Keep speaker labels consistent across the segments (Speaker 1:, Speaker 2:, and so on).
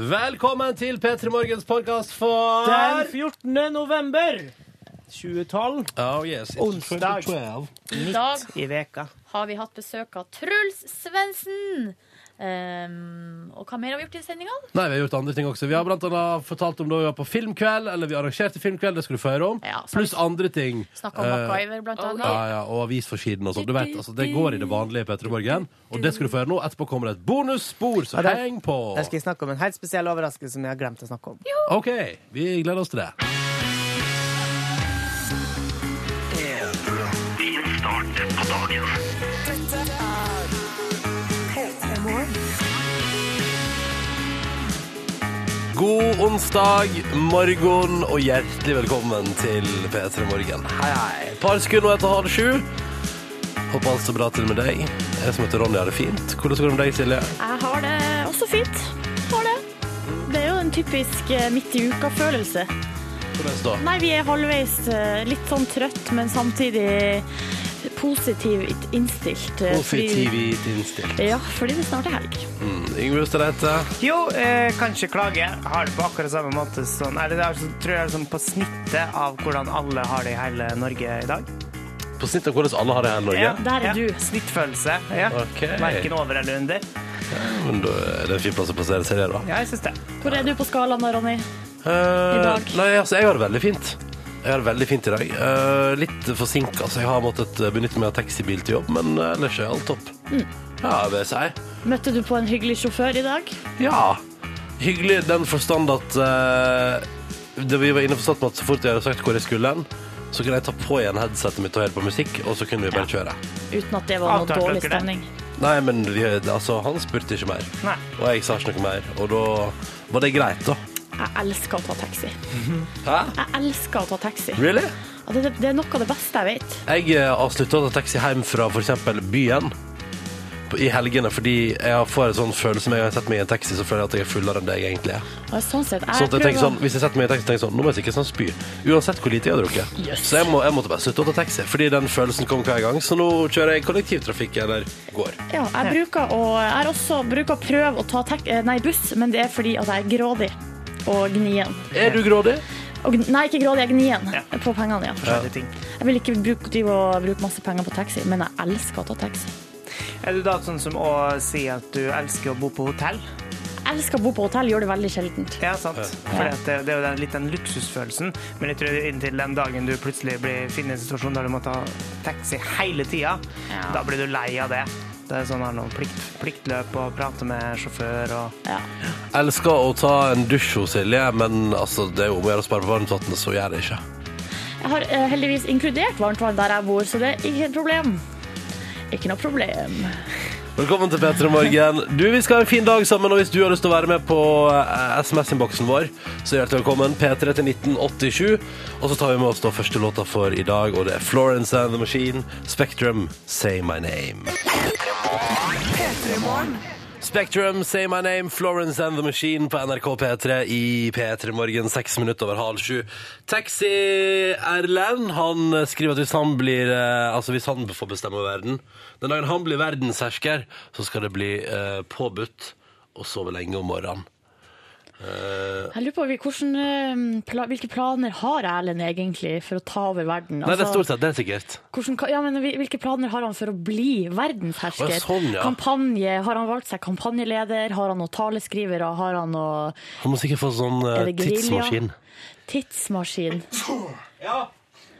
Speaker 1: Velkommen til P3 Morgens podkast for
Speaker 2: Den 14. november 2012,
Speaker 1: Oh yes, it's
Speaker 2: Onsdag.
Speaker 1: 2012.
Speaker 2: midt
Speaker 3: dag.
Speaker 2: i veka.
Speaker 3: har vi hatt besøk av Truls Svendsen. Ehm, og hva mer har vi gjort i sendinga?
Speaker 1: Nei, vi har gjort andre ting også. Vi har blant annet fortalt om da vi var på filmkveld, eller vi arrangerte filmkveld, det skal du få høre om.
Speaker 3: Ja, så har vi
Speaker 1: Pluss andre ting.
Speaker 3: Snakka om
Speaker 1: Eh,
Speaker 3: MacGyver, blant
Speaker 1: ja,
Speaker 3: annet.
Speaker 1: ja, og avisforsiden og sånn. Du vet, altså, det går i det vanlige Petter Morgen. Og det skal du få høre nå. Etterpå kommer det et bonusspor, så
Speaker 2: Ja, der-
Speaker 1: heng på.
Speaker 2: Der skal jeg snakke om en helt spesiell overraskelse som jeg har glemt å snakke om.
Speaker 1: OK, vi gleder oss til det. God onsdag morgen og hjertelig velkommen til P3 Morgen. Hei, hei. Et par sekunder nå etter halv sju. Håper alt står bra til med deg. Jeg som heter Ronny, har det fint. Hvordan går det med deg, Silje?
Speaker 3: Jeg har det også fint. Har det. Det er jo en typisk eh, midt i uka-følelse.
Speaker 1: Hvordan står det?
Speaker 3: Nei, vi er halvveis eh, litt sånn trøtt, men samtidig positivt innstilt. eh, fordi-
Speaker 1: Positivt innstilt.
Speaker 3: Ja, fordi det snart er helg.
Speaker 1: Mm, Yngve Ustadreite.
Speaker 2: Jo, eh, kan ikke klage. Har det på akkurat samme måte som Eller det er, så, tror jeg er sånn på snittet av hvordan alle har det i hele Norge i dag.
Speaker 1: På snitt av hvordan alle har det her i Norge.
Speaker 3: Der er du.
Speaker 2: Snittfølelse. Ja.
Speaker 1: Ok.
Speaker 2: Verken over eller under.
Speaker 1: Men da er det en fin plass å plassere seg, det, da.
Speaker 2: Ja, jeg syns det.
Speaker 3: Hvor er du på skalaen da, Ronny?
Speaker 1: Eh,
Speaker 3: dag?
Speaker 1: Nei, altså, jeg har det veldig fint. Jeg har det veldig fint i dag. Eh, litt forsinka, så jeg har måttet eh, benytte meg av taxibil til jobb, men eh, ellers er alt topp.
Speaker 2: Mm.
Speaker 1: Ja, vil jeg si.
Speaker 3: Møtte du på en hyggelig sjåfør i dag?
Speaker 1: Ja. Hyggelig i den forstand at eh, det vi var inne på starten med at så fort jeg hadde sagt hvor jeg skulle hen, så kunne jeg ta på igjen headsetet mitt og høre på musikk, og så kunne vi bare kjøre.
Speaker 3: Uten at det var noe
Speaker 2: Avtalte
Speaker 3: dårlig
Speaker 2: dere det?
Speaker 3: stemning.
Speaker 1: Nei, men vi, altså, han spurte ikke mer,
Speaker 2: Nei.
Speaker 1: og jeg sa ikke noe mer, og da var det greit, da.
Speaker 3: Jeg elsker å ta taxi.
Speaker 1: Hæ?
Speaker 3: Jeg elsker å ta taxi.
Speaker 1: Really?
Speaker 3: Ja, Det, det er noe av det beste jeg vet.
Speaker 1: Jeg eh, har slutta å ta taxi hjem fra f.eks. byen på- i helgene fordi jeg får en sånn følelse med en gang jeg setter meg i en taxi, så føler jeg at jeg er fullere enn det jeg egentlig er.
Speaker 3: Og sånn sett,
Speaker 1: Så
Speaker 3: jeg
Speaker 1: at jeg tenker sånn,
Speaker 3: prøver
Speaker 1: Hvis jeg setter meg i en taxi, tenker jeg sånn Nå må jeg sikkert sånn spy. Uansett hvor lite jeg har drukket. Så jeg, må, jeg måtte bare slutte å ta taxi, fordi den følelsen kom hver gang. Så nå kjører jeg kollektivtrafikk eller går.
Speaker 3: ja, jeg bruker å, jeg er også bruker å prøve å ta tek, eh, nei, buss, men det er fordi at jeg er grådig og gnien.
Speaker 1: Er du grådig?
Speaker 3: Og, gn- nei, ikke grådig, jeg er gnien
Speaker 2: Ja.
Speaker 3: på pengene. ja.
Speaker 2: Forskjellige ting.
Speaker 3: Jeg vil ikke bruke, drive og bruke masse penger på taxi, men jeg elsker å ta taxi.
Speaker 2: Er du da sånn som å si at du elsker å bo på hotell?
Speaker 3: Jeg elsker å bo på hotell, gjør det veldig sjeldent.
Speaker 2: Ja, sant. Fordi at det, det er jo den, litt den luksusfølelsen. Men jeg tror inntil den dagen du plutselig blir, finner en situasjon der du må ta taxi hele tida,
Speaker 3: Ja.
Speaker 2: da blir du lei av det. Det er sånn her noe plikt, pliktløp og prate med sjåfør og
Speaker 3: Ja.
Speaker 1: Elsker å ta en dusj hos Silje, men altså, det er jo om å gjøre å spare på varmtvannet, så gjør jeg det ikke.
Speaker 3: Jeg har eh, heldigvis inkludert varmtvann der jeg bor, så det er ikke et problem. Ikke noe problem.
Speaker 1: Velkommen til Petra Morgen. Du, Vi skal ha en fin dag sammen, og hvis du har lyst til å være med på eh, SMS-innboksen vår, så er du hjertelig velkommen. P3 til 1987. Og så tar vi med oss da første låta for i dag, og det er Florence and the Machine, Spectrum, Say My Name. Spectrum, Say My Name, Florence and the Machine på NRK P3 i P3 Morgen, seks minutter over halv sju. Taxi Erlend han skriver at hvis han blir eh, Altså hvis han får bestemme over verden Den dagen han blir verdenshersker, så skal det bli eh, påbudt å sove lenge om morgenen. Eh,
Speaker 3: Jeg lurer på hvordan, eh, pla Hvilke planer har Erlend egentlig for å ta over verden?
Speaker 1: nei, det er
Speaker 3: Altså,
Speaker 1: stort sett det, er sikkert.
Speaker 3: hvordan, ka- ja, men hvil- Hvilke planer har han for å bli verdenshersker?
Speaker 1: Å, ja, sånn, ja.
Speaker 3: Kampanje, Har han valgt seg kampanjeleder? Har han noen taleskrivere? Har han noen
Speaker 1: Han må sikkert få sånn eh,
Speaker 3: Er det grilla?
Speaker 1: tidsmaskin.
Speaker 3: tidsmaskin?
Speaker 1: Ja,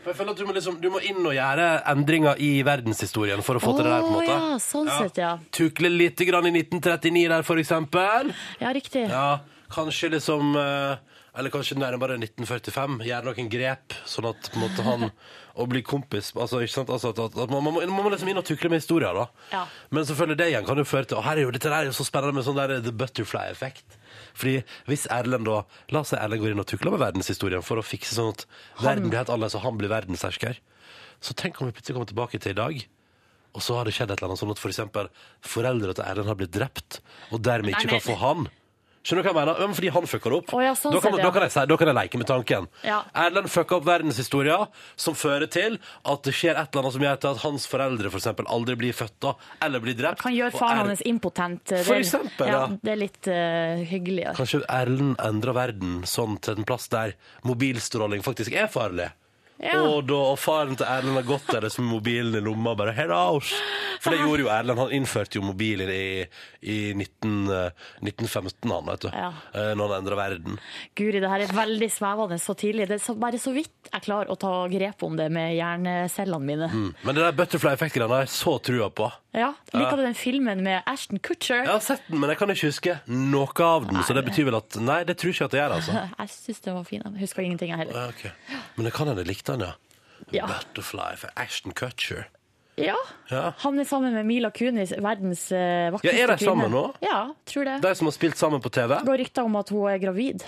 Speaker 1: for jeg føler at du må, liksom, du må inn og gjøre endringer i verdenshistorien for å få til det der, på en
Speaker 3: Å,
Speaker 1: måte.
Speaker 3: ja, sånn sett, ja.
Speaker 1: Tukle litt grann i 1939 der, for eksempel.
Speaker 3: Ja, riktig.
Speaker 1: Ja, kanskje liksom eh, Eller kanskje nærmere 1945. Gjøre noen grep, sånn at på en måte han Å bli kompis Altså, ikke sant? Altså, at, at, at man, man, må, man må liksom inn og tukle med historier, da.
Speaker 3: Ja.
Speaker 1: Men selvfølgelig det igjen kan jo føre til Og her er jo dette der er jo så spennende med sånn der The Butterfly-effekt. Fordi hvis Erlend da La oss si Erlend går inn og tukler med verdenshistorien for å fikse sånn at verden blir helt annerledes, og han blir verdenshersker. Så tenk om vi plutselig kommer tilbake til i dag. Og så har det skjedd et eller annet sånn at for eksempel foreldre til Erlend har blitt drept, og dermed
Speaker 3: Nei,
Speaker 1: ikke
Speaker 3: men-
Speaker 1: kan få han. Skjønner du hva jeg mener? Ja, men fordi han fucker opp.
Speaker 3: Å, ja, sånn
Speaker 1: da, kan,
Speaker 3: sett, ja.
Speaker 1: da, kan jeg, si- da kan jeg leke med tanken.
Speaker 3: Ja.
Speaker 1: Erlend fucker opp verdenshistoria, som fører til at det skjer et eller annet som gjør til at hans foreldre for eksempel, aldri blir født da, eller blir drept.
Speaker 3: Kan gjøre
Speaker 1: Og
Speaker 3: faren
Speaker 1: Er-
Speaker 3: hans impotent. Det er-
Speaker 1: For eksempel, ja.
Speaker 3: Det er litt eh, hyggeligere.
Speaker 1: Kanskje Erlend endrer verden sånn til en plass der mobilstråling faktisk er farlig.
Speaker 3: Ja.
Speaker 1: Og da og faren til Erlend har gått der liksom med mobilen i lomma og bare «Hei da, oss!» For det gjorde jo Erlend. Han innførte jo mobilen i, i 19, eh, 1915, han, vet du.
Speaker 3: Ja.
Speaker 1: eh, Når han endra verden.
Speaker 3: Guri, det her er veldig svevende så tidlig. Det er så, bare så vidt jeg klarer å ta grep om det med hjernecellene mine.
Speaker 1: Men det der butterfly effect-greiene har jeg så trua på.
Speaker 3: Ja, Liker du den filmen med Ashton Kutcher?
Speaker 1: Jeg har sett den, men jeg kan ikke huske noe av den. Så det betyr vel at Nei, det tror jeg ikke at jeg gjør, altså.
Speaker 3: Jeg syns den var fin. Jeg husker ingenting, jeg heller.
Speaker 1: Ja, ok. Men det kan hende jeg likte den, ja.
Speaker 3: Ja.
Speaker 1: Butterfly for Ashton Cutcher.
Speaker 3: Ja.
Speaker 1: Ja.
Speaker 3: Han er sammen med Mila Kunis, verdens eh, vakreste
Speaker 1: Ja,
Speaker 3: kvinne.
Speaker 1: er de sammen nå?
Speaker 3: Ja, tror det.
Speaker 1: De som har spilt sammen på TV.
Speaker 3: Det går rykter om at hun er gravid.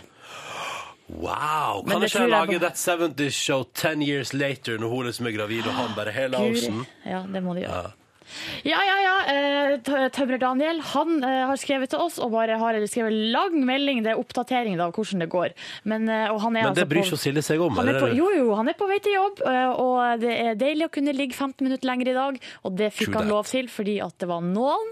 Speaker 1: Wow! Kan
Speaker 3: Men det
Speaker 1: ikke jeg
Speaker 3: tror jeg
Speaker 1: lage
Speaker 3: på-
Speaker 1: That 70's Show ten years later når hun liksom er gravid og han bare hele
Speaker 3: Guri.
Speaker 1: halsen?
Speaker 3: Ja, altså, det må de gjøre. Ja, ja, ja. eh, Tø- Tømrer Daniel han eh, har skrevet til oss og bare har skrevet lang melding. Det er oppdatering da, av hvordan det går. Men, eh, og han er
Speaker 1: Men det
Speaker 3: altså
Speaker 1: bryr
Speaker 3: på-
Speaker 1: ikke Silje seg om.
Speaker 3: Han er
Speaker 1: eller?
Speaker 3: på, jo, jo, han er på vei til jobb, eh, og det er deilig å kunne ligge 15 minutter lenger i dag. Og det fikk
Speaker 1: True
Speaker 3: han
Speaker 1: that.
Speaker 3: lov til fordi at det var noen,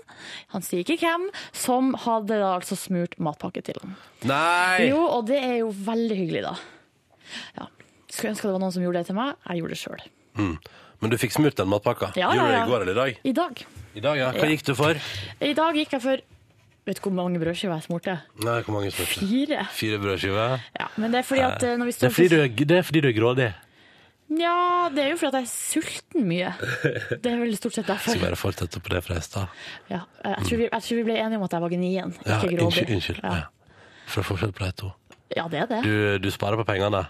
Speaker 3: han sier ikke hvem, som hadde da altså smurt matpakke til ham.
Speaker 1: Nei!
Speaker 3: Jo, og det er jo veldig hyggelig, da. Ja. Skulle ønske det var noen som gjorde det til meg. Jeg gjorde det sjøl.
Speaker 1: Men du fikk smurt den matpakka?
Speaker 3: Ja, ja,
Speaker 1: Gjorde du det
Speaker 3: ja.
Speaker 1: i går eller i dag?
Speaker 3: I dag.
Speaker 1: I dag, ja. Hva gikk du for?
Speaker 3: I dag gikk jeg for Vet du hvor mange brødskiver jeg smurte?
Speaker 1: Nei, hvor mange smurte?
Speaker 3: Fire.
Speaker 1: Fire brødskiver?
Speaker 3: Ja, men det er fordi at eh, når vi
Speaker 1: Det
Speaker 3: står
Speaker 1: er fordi du er, det er, fordi du er grådig.
Speaker 3: Ja, det er jo fordi at jeg er sulten mye. Det er vel stort sett derfor.
Speaker 1: Skal bare fortsette på det fra i stad.
Speaker 3: Ja, eh, jeg, tror vi, jeg tror vi ble enige om at jeg var gnien,
Speaker 1: Ja,
Speaker 3: ikke grådig.
Speaker 1: unnskyld. unnskyld. Ja.
Speaker 3: Ja.
Speaker 1: For å fortsette på de to.
Speaker 3: ja, det er det.
Speaker 1: Du, du sparer på pengene,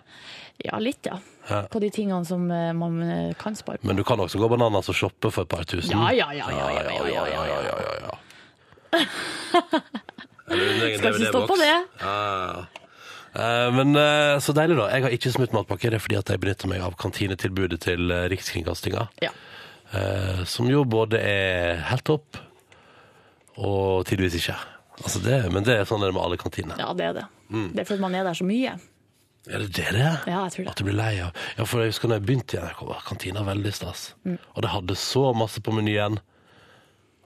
Speaker 3: Ja, litt, ja.
Speaker 1: Ja.
Speaker 3: På de tingene som eh, man eh, kan spare på.
Speaker 1: men du kan også gå bananas og shoppe for et par tusen.
Speaker 3: Ja, ja, ja, ja, ja, ja, ja, ja,
Speaker 1: ja, ja, ja. Eller din egen
Speaker 3: Skal ikke
Speaker 1: DVD-boks.
Speaker 3: stå på det.
Speaker 1: Ja, ja, ja. Eh, Men eh, så deilig, da. Jeg har ikke smutt matpakke. Det er fordi at jeg benytter meg av kantinetilbudet til eh, Rikskringkastinga.
Speaker 3: Ja.
Speaker 1: eh, Som jo både er helt topp og tidvis ikke. Altså det, men det er sånn det er med alle kantiner.
Speaker 3: ja, det er det.
Speaker 1: Mm.
Speaker 3: Det er fordi man er der så mye.
Speaker 1: Er det det det er?
Speaker 3: Ja, jeg tror det.
Speaker 1: At du blir lei av Ja, for jeg husker når jeg begynte i NRK, var kantina veldig stas.
Speaker 3: Mm.
Speaker 1: Og det hadde så masse på menyen.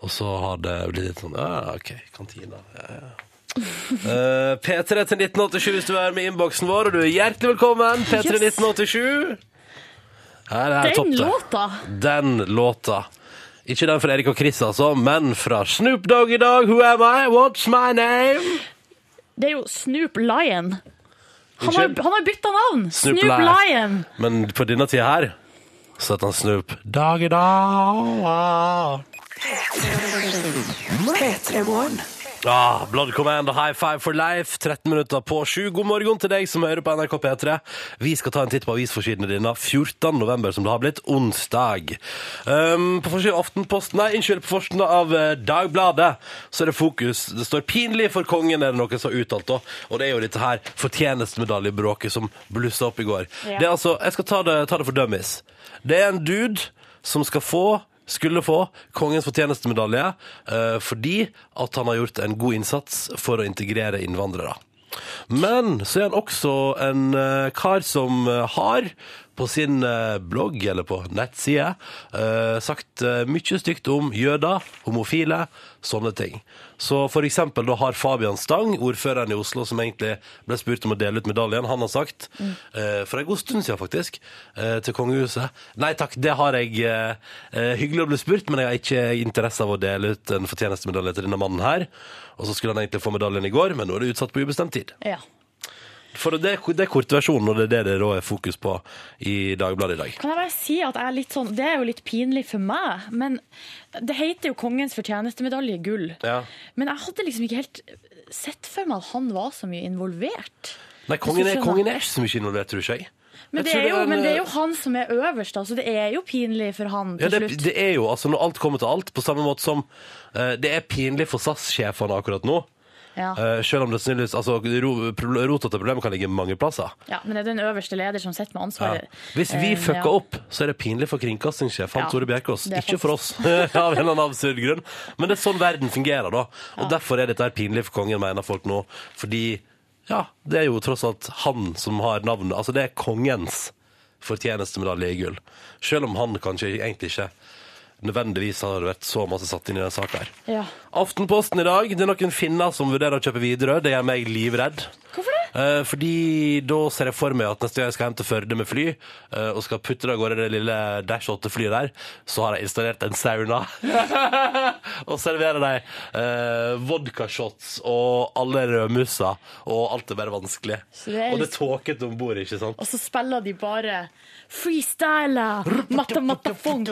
Speaker 1: Og så har det blitt litt sånn Ja, OK, kantina. Ja, ja. Eh, P3 til 1987 hvis du er med i innboksen vår, og du er hjertelig velkommen. P3
Speaker 3: Yes.
Speaker 1: 1987. Her er
Speaker 3: Den
Speaker 1: topp, det.
Speaker 3: låta!
Speaker 1: Den låta. Ikke den fra Erik og Chris, altså, men fra Snoop Dogg i dag. Who am I? What's my name?
Speaker 3: Det er jo Snoop Lion. Han har,
Speaker 1: Unnskyld?
Speaker 3: han har bytta navn! Snoop, Lion!
Speaker 1: Men på denne tida her så heter han Snoop Dag i dag. Ah, Blood Command og High Five for Life, 13 minutter på sju. God morgen til deg som hører på NRK P3. Vi skal ta en titt på avisforsidene dine 14. november, som det har blitt onsdag. Um, på forsiden av Aftenposten, nei, unnskyld, på forsiden av eh, Dagbladet, så er det fokus. Det står 'pinlig for kongen', er det noen som har uttalt da. Og det er jo dette her fortjenestemedaljebråket som blussa opp i går.
Speaker 3: Ja.
Speaker 1: Det er altså, jeg skal ta det, ta det for dummies. Det er en dude som skal få skulle få kongens fortjenestemedalje eh, fordi at han har gjort en god innsats for å integrere innvandrere. Men så er han også en eh, kar som eh, har på sin eh, blogg eller på nettside eh, sagt eh, mye stygt om jøder, homofile, sånne ting. Så for eksempel da har Fabian Stang, ordføreren i Oslo, som egentlig ble spurt om å dele ut medaljen, han har sagt, eh, for en god stund siden faktisk, eh, til kongehuset, nei takk, det har jeg eh, eh, hyggelig å bli spurt, men jeg har ikke interesse av å dele ut en fortjenestemedalje til denne mannen her. Og så skulle han egentlig få medaljen i går, men nå er det utsatt på ubestemt tid.
Speaker 3: Ja.
Speaker 1: For det, er- det er kortversjonen, og det er det det da er fokus på i Dagbladet i dag.
Speaker 3: Kan jeg bare si at jeg er litt sånn, Det er jo litt pinlig for meg, men det heter jo Kongens fortjenestemedalje gull.
Speaker 1: Ja.
Speaker 3: Men jeg hadde liksom ikke helt sett for meg at han var så mye involvert.
Speaker 1: Nei, kongen er,
Speaker 3: Hvis du skjønner.
Speaker 1: kongen er ikke så mye involvert, tror ikke jeg. Jeg
Speaker 3: Men det,
Speaker 1: tror
Speaker 3: er jo,
Speaker 1: en, eh,
Speaker 3: men det er jo han som er øverst, da, så det er jo pinlig for han
Speaker 1: Ja,
Speaker 3: til
Speaker 1: det,
Speaker 3: slutt.
Speaker 1: det er jo altså når alt kommer til alt, på samme måte som eh, det er pinlig for SAS-sjefene akkurat nå.
Speaker 3: Ja.
Speaker 1: Eh, selv om det sannsynligvis altså, ro- pro- Rotete problemer kan ligge mange plasser.
Speaker 3: Ja, men det er den øverste leder som sitter
Speaker 1: Ja.
Speaker 3: med ansvaret.
Speaker 1: Hvis vi
Speaker 3: Eh,
Speaker 1: fucker
Speaker 3: ja.
Speaker 1: opp, så er det pinlig for kringkastingssjef Hans
Speaker 3: Ja,
Speaker 1: Tore Bjerkås.
Speaker 3: det er
Speaker 1: Ikke for oss, av en eller annen absurd grunn. Men det er sånn verden fungerer, da. Og derfor er dette her pinlig for kongen, mener folk nå. Fordi ja, det er jo tross alt han som har navnet. Altså, det er kongens fortjenestemedalje i gull. Selv om han kanskje egentlig ikke nødvendigvis har vært så masse satt inn i den saka her.
Speaker 3: Ja.
Speaker 1: Aftenposten i dag, det er noen finner som vurderer å kjøpe Widerøe. Det gjør meg livredd.
Speaker 3: Hvorfor det?
Speaker 1: Eh, fordi da ser jeg for meg at neste gang jeg skal hjem til Førde med fly, eh, og skal putte det av gårde det lille Dash 8-flyet der, så har jeg installert en sauna. og serverer de eh, vodkashots og alle rødmusa, og alt er bare vanskelig.
Speaker 3: Så det er
Speaker 1: Og det
Speaker 3: litt-
Speaker 1: er tåkete om bord, ikke sant?
Speaker 3: Og så spiller de bare freestyler! Matta, matta, funk!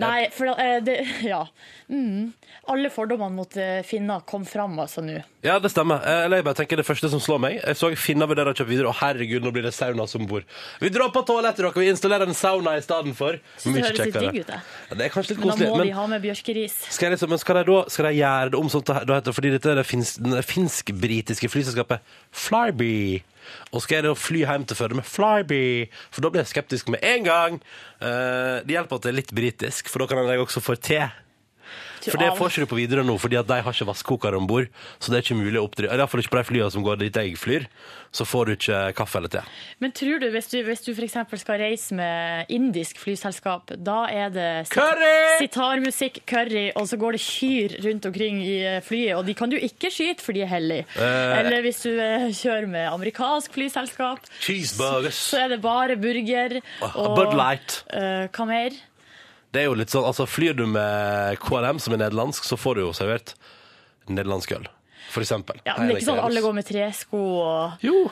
Speaker 3: Nei, for eh, det Ja. Mm. Alle fordommene mot eh, finner kom fram altså nå.
Speaker 1: Ja, det stemmer. Eh, Eller jeg bare tenker det første som slår meg. Jeg så Finna vurderer å kjøpe videre, og herregud, nå blir det sauna som bor. Vi dropper toalettet, dere. Vi installerer en sauna i stedet for.
Speaker 3: Synes det
Speaker 1: Mye
Speaker 3: høres litt
Speaker 1: kjekkere.
Speaker 3: digg ut, det.
Speaker 1: Ja, det er kanskje litt
Speaker 3: Men da
Speaker 1: koselig.
Speaker 3: må
Speaker 1: men-
Speaker 3: de ha med bjørkeris.
Speaker 1: Skal, jeg liksom, men skal de da skal de gjøre det om sånn til- da heter det- Fordi dette er det fins- det finsk-britiske flyselskapet Flyby. Og skal jeg da fly hjem til Førde med Flyby? For da blir jeg skeptisk med en gang. Eh, det hjelper at det er litt britisk, for da kan jeg også få te.
Speaker 3: Til
Speaker 1: For det
Speaker 3: av-
Speaker 1: får ikke du på Widerøe nå, fordi at de har ikke vaskekoker om bord. Så det er ikke mulig å oppdrive Iallfall ikke på de flyene som går dit jeg flyr. Så får du ikke kaffe eller te.
Speaker 3: Men tror du, hvis du, hvis du f.eks. skal reise med indisk flyselskap, da er det sit-
Speaker 1: Curry!
Speaker 3: sitarmusikk, curry, og så går det kyr rundt omkring i eh, flyet, og de kan du ikke skyte, for de er hellige.
Speaker 1: Eh.
Speaker 3: Eller hvis du eh, kjører med amerikansk flyselskap,
Speaker 1: Cheeseburgers. Ah,
Speaker 3: så er det bare burger og
Speaker 1: Bud Light.
Speaker 3: eh, hva mer?
Speaker 1: Det er jo litt sånn, altså Flyr du med KLM, som er nederlandsk, så får du jo servert nederlandsk øl. For eksempel.
Speaker 3: Ja, men det er ikke sånn at alle går med tresko og
Speaker 1: Jo!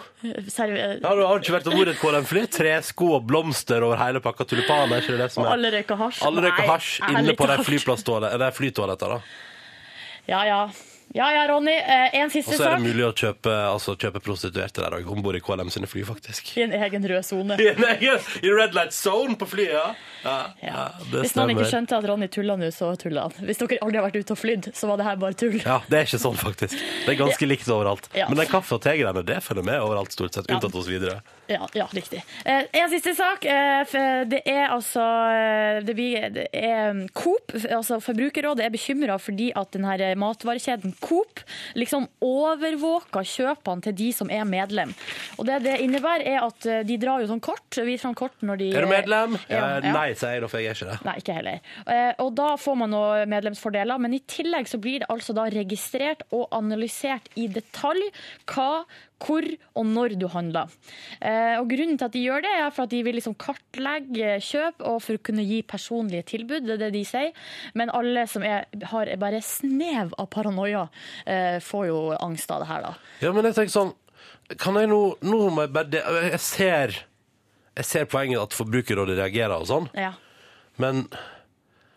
Speaker 3: server...
Speaker 1: Ja, du har ikke vært om bord i et KLM-fly. Tre sko og blomster over hele pakka tulipaner. er Ikke det det som
Speaker 3: Og
Speaker 1: er.
Speaker 3: alle røyker hasj.
Speaker 1: Alle røyker
Speaker 3: Nei,
Speaker 1: hasj inne
Speaker 3: ærlig
Speaker 1: på de
Speaker 3: talt.
Speaker 1: flyplasstoalett- eller flytoaletter. da.
Speaker 3: Ja, ja. Ja, ja, Ronny. eh, En
Speaker 1: Og
Speaker 3: siste
Speaker 1: så er det
Speaker 3: sak
Speaker 1: mulig å kjøpe, altså, kjøpe prostituerte der òg, om bord i KLM sine fly, faktisk.
Speaker 3: i en egen rød sone.
Speaker 1: I en egen- i red light zone på flyet, ja. ja, ja det
Speaker 3: Hvis noen ikke
Speaker 1: stemmer.
Speaker 3: skjønte at Ronny tulla nå, så tulla han. Hvis dere aldri har vært ute og flydd, så var det her bare tull.
Speaker 1: Ja, Det er ikke sånn, faktisk. Det er ganske likt overalt.
Speaker 3: Ja.
Speaker 1: Men den kaffe- og tegreiene, det følger med overalt, stort sett. Unntatt hos Widerøe.
Speaker 3: Ja, ja riktig. Eh, en siste sak. Eh, f- det er altså eh, det blir, det er um, Coop, f- altså Forbrukerrådet, er bekymra fordi at den her eh, matvarekjeden Coop liksom overvåker kjøpene til de som er medlem. Og det det innebærer, er at eh, de drar jo sånn kort. Viser fram kort når de
Speaker 1: Er du medlem?
Speaker 3: Ja,
Speaker 1: Eh,
Speaker 3: ja.
Speaker 1: Nei, sier jeg da, for jeg er ikke det.
Speaker 3: Nei, ikke heller. Eh, Og da får man noen medlemsfordeler, men i tillegg så blir det altså da registrert og analysert i detalj hva, hvor og når du handler. Eh, Og grunnen til at de gjør det, er for at de vil liksom kartlegge kjøp og for å kunne gi personlige tilbud, det er det de sier. Men alle som er, har bare snev av paranoia, eh, får jo angst av det her, da.
Speaker 1: Ja, men jeg tenker sånn Kan jeg nå Nå må jeg bare de- Jeg ser Jeg ser poenget at Forbrukerrådet reagerer og sånn,
Speaker 3: Ja.
Speaker 1: men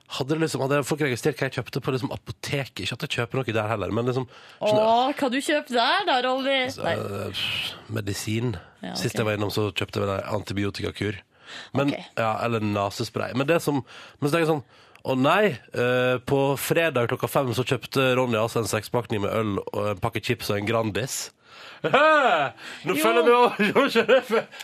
Speaker 1: hadde, det liksom, hadde folk registrert hva jeg kjøpte på liksom apoteket Ikke at jeg kjøper noe der heller, men liksom
Speaker 3: Å, hva du kjøper der da, Rolly? Nei.
Speaker 1: eh, pff, medisin.
Speaker 3: Ja, ok.
Speaker 1: Sist jeg var innom, så kjøpte jeg vel en antibiotikakur. Men,
Speaker 3: Ok.
Speaker 1: ja, eller nesespray. Men det som Men så tenker jeg sånn å nei, eh, på fredag klokka fem så kjøpte Ronny altså en sekspakning med øl og en pakke chips og en Grandis. Hæ? Nå
Speaker 3: Jo.
Speaker 1: føler jeg meg over- Jeg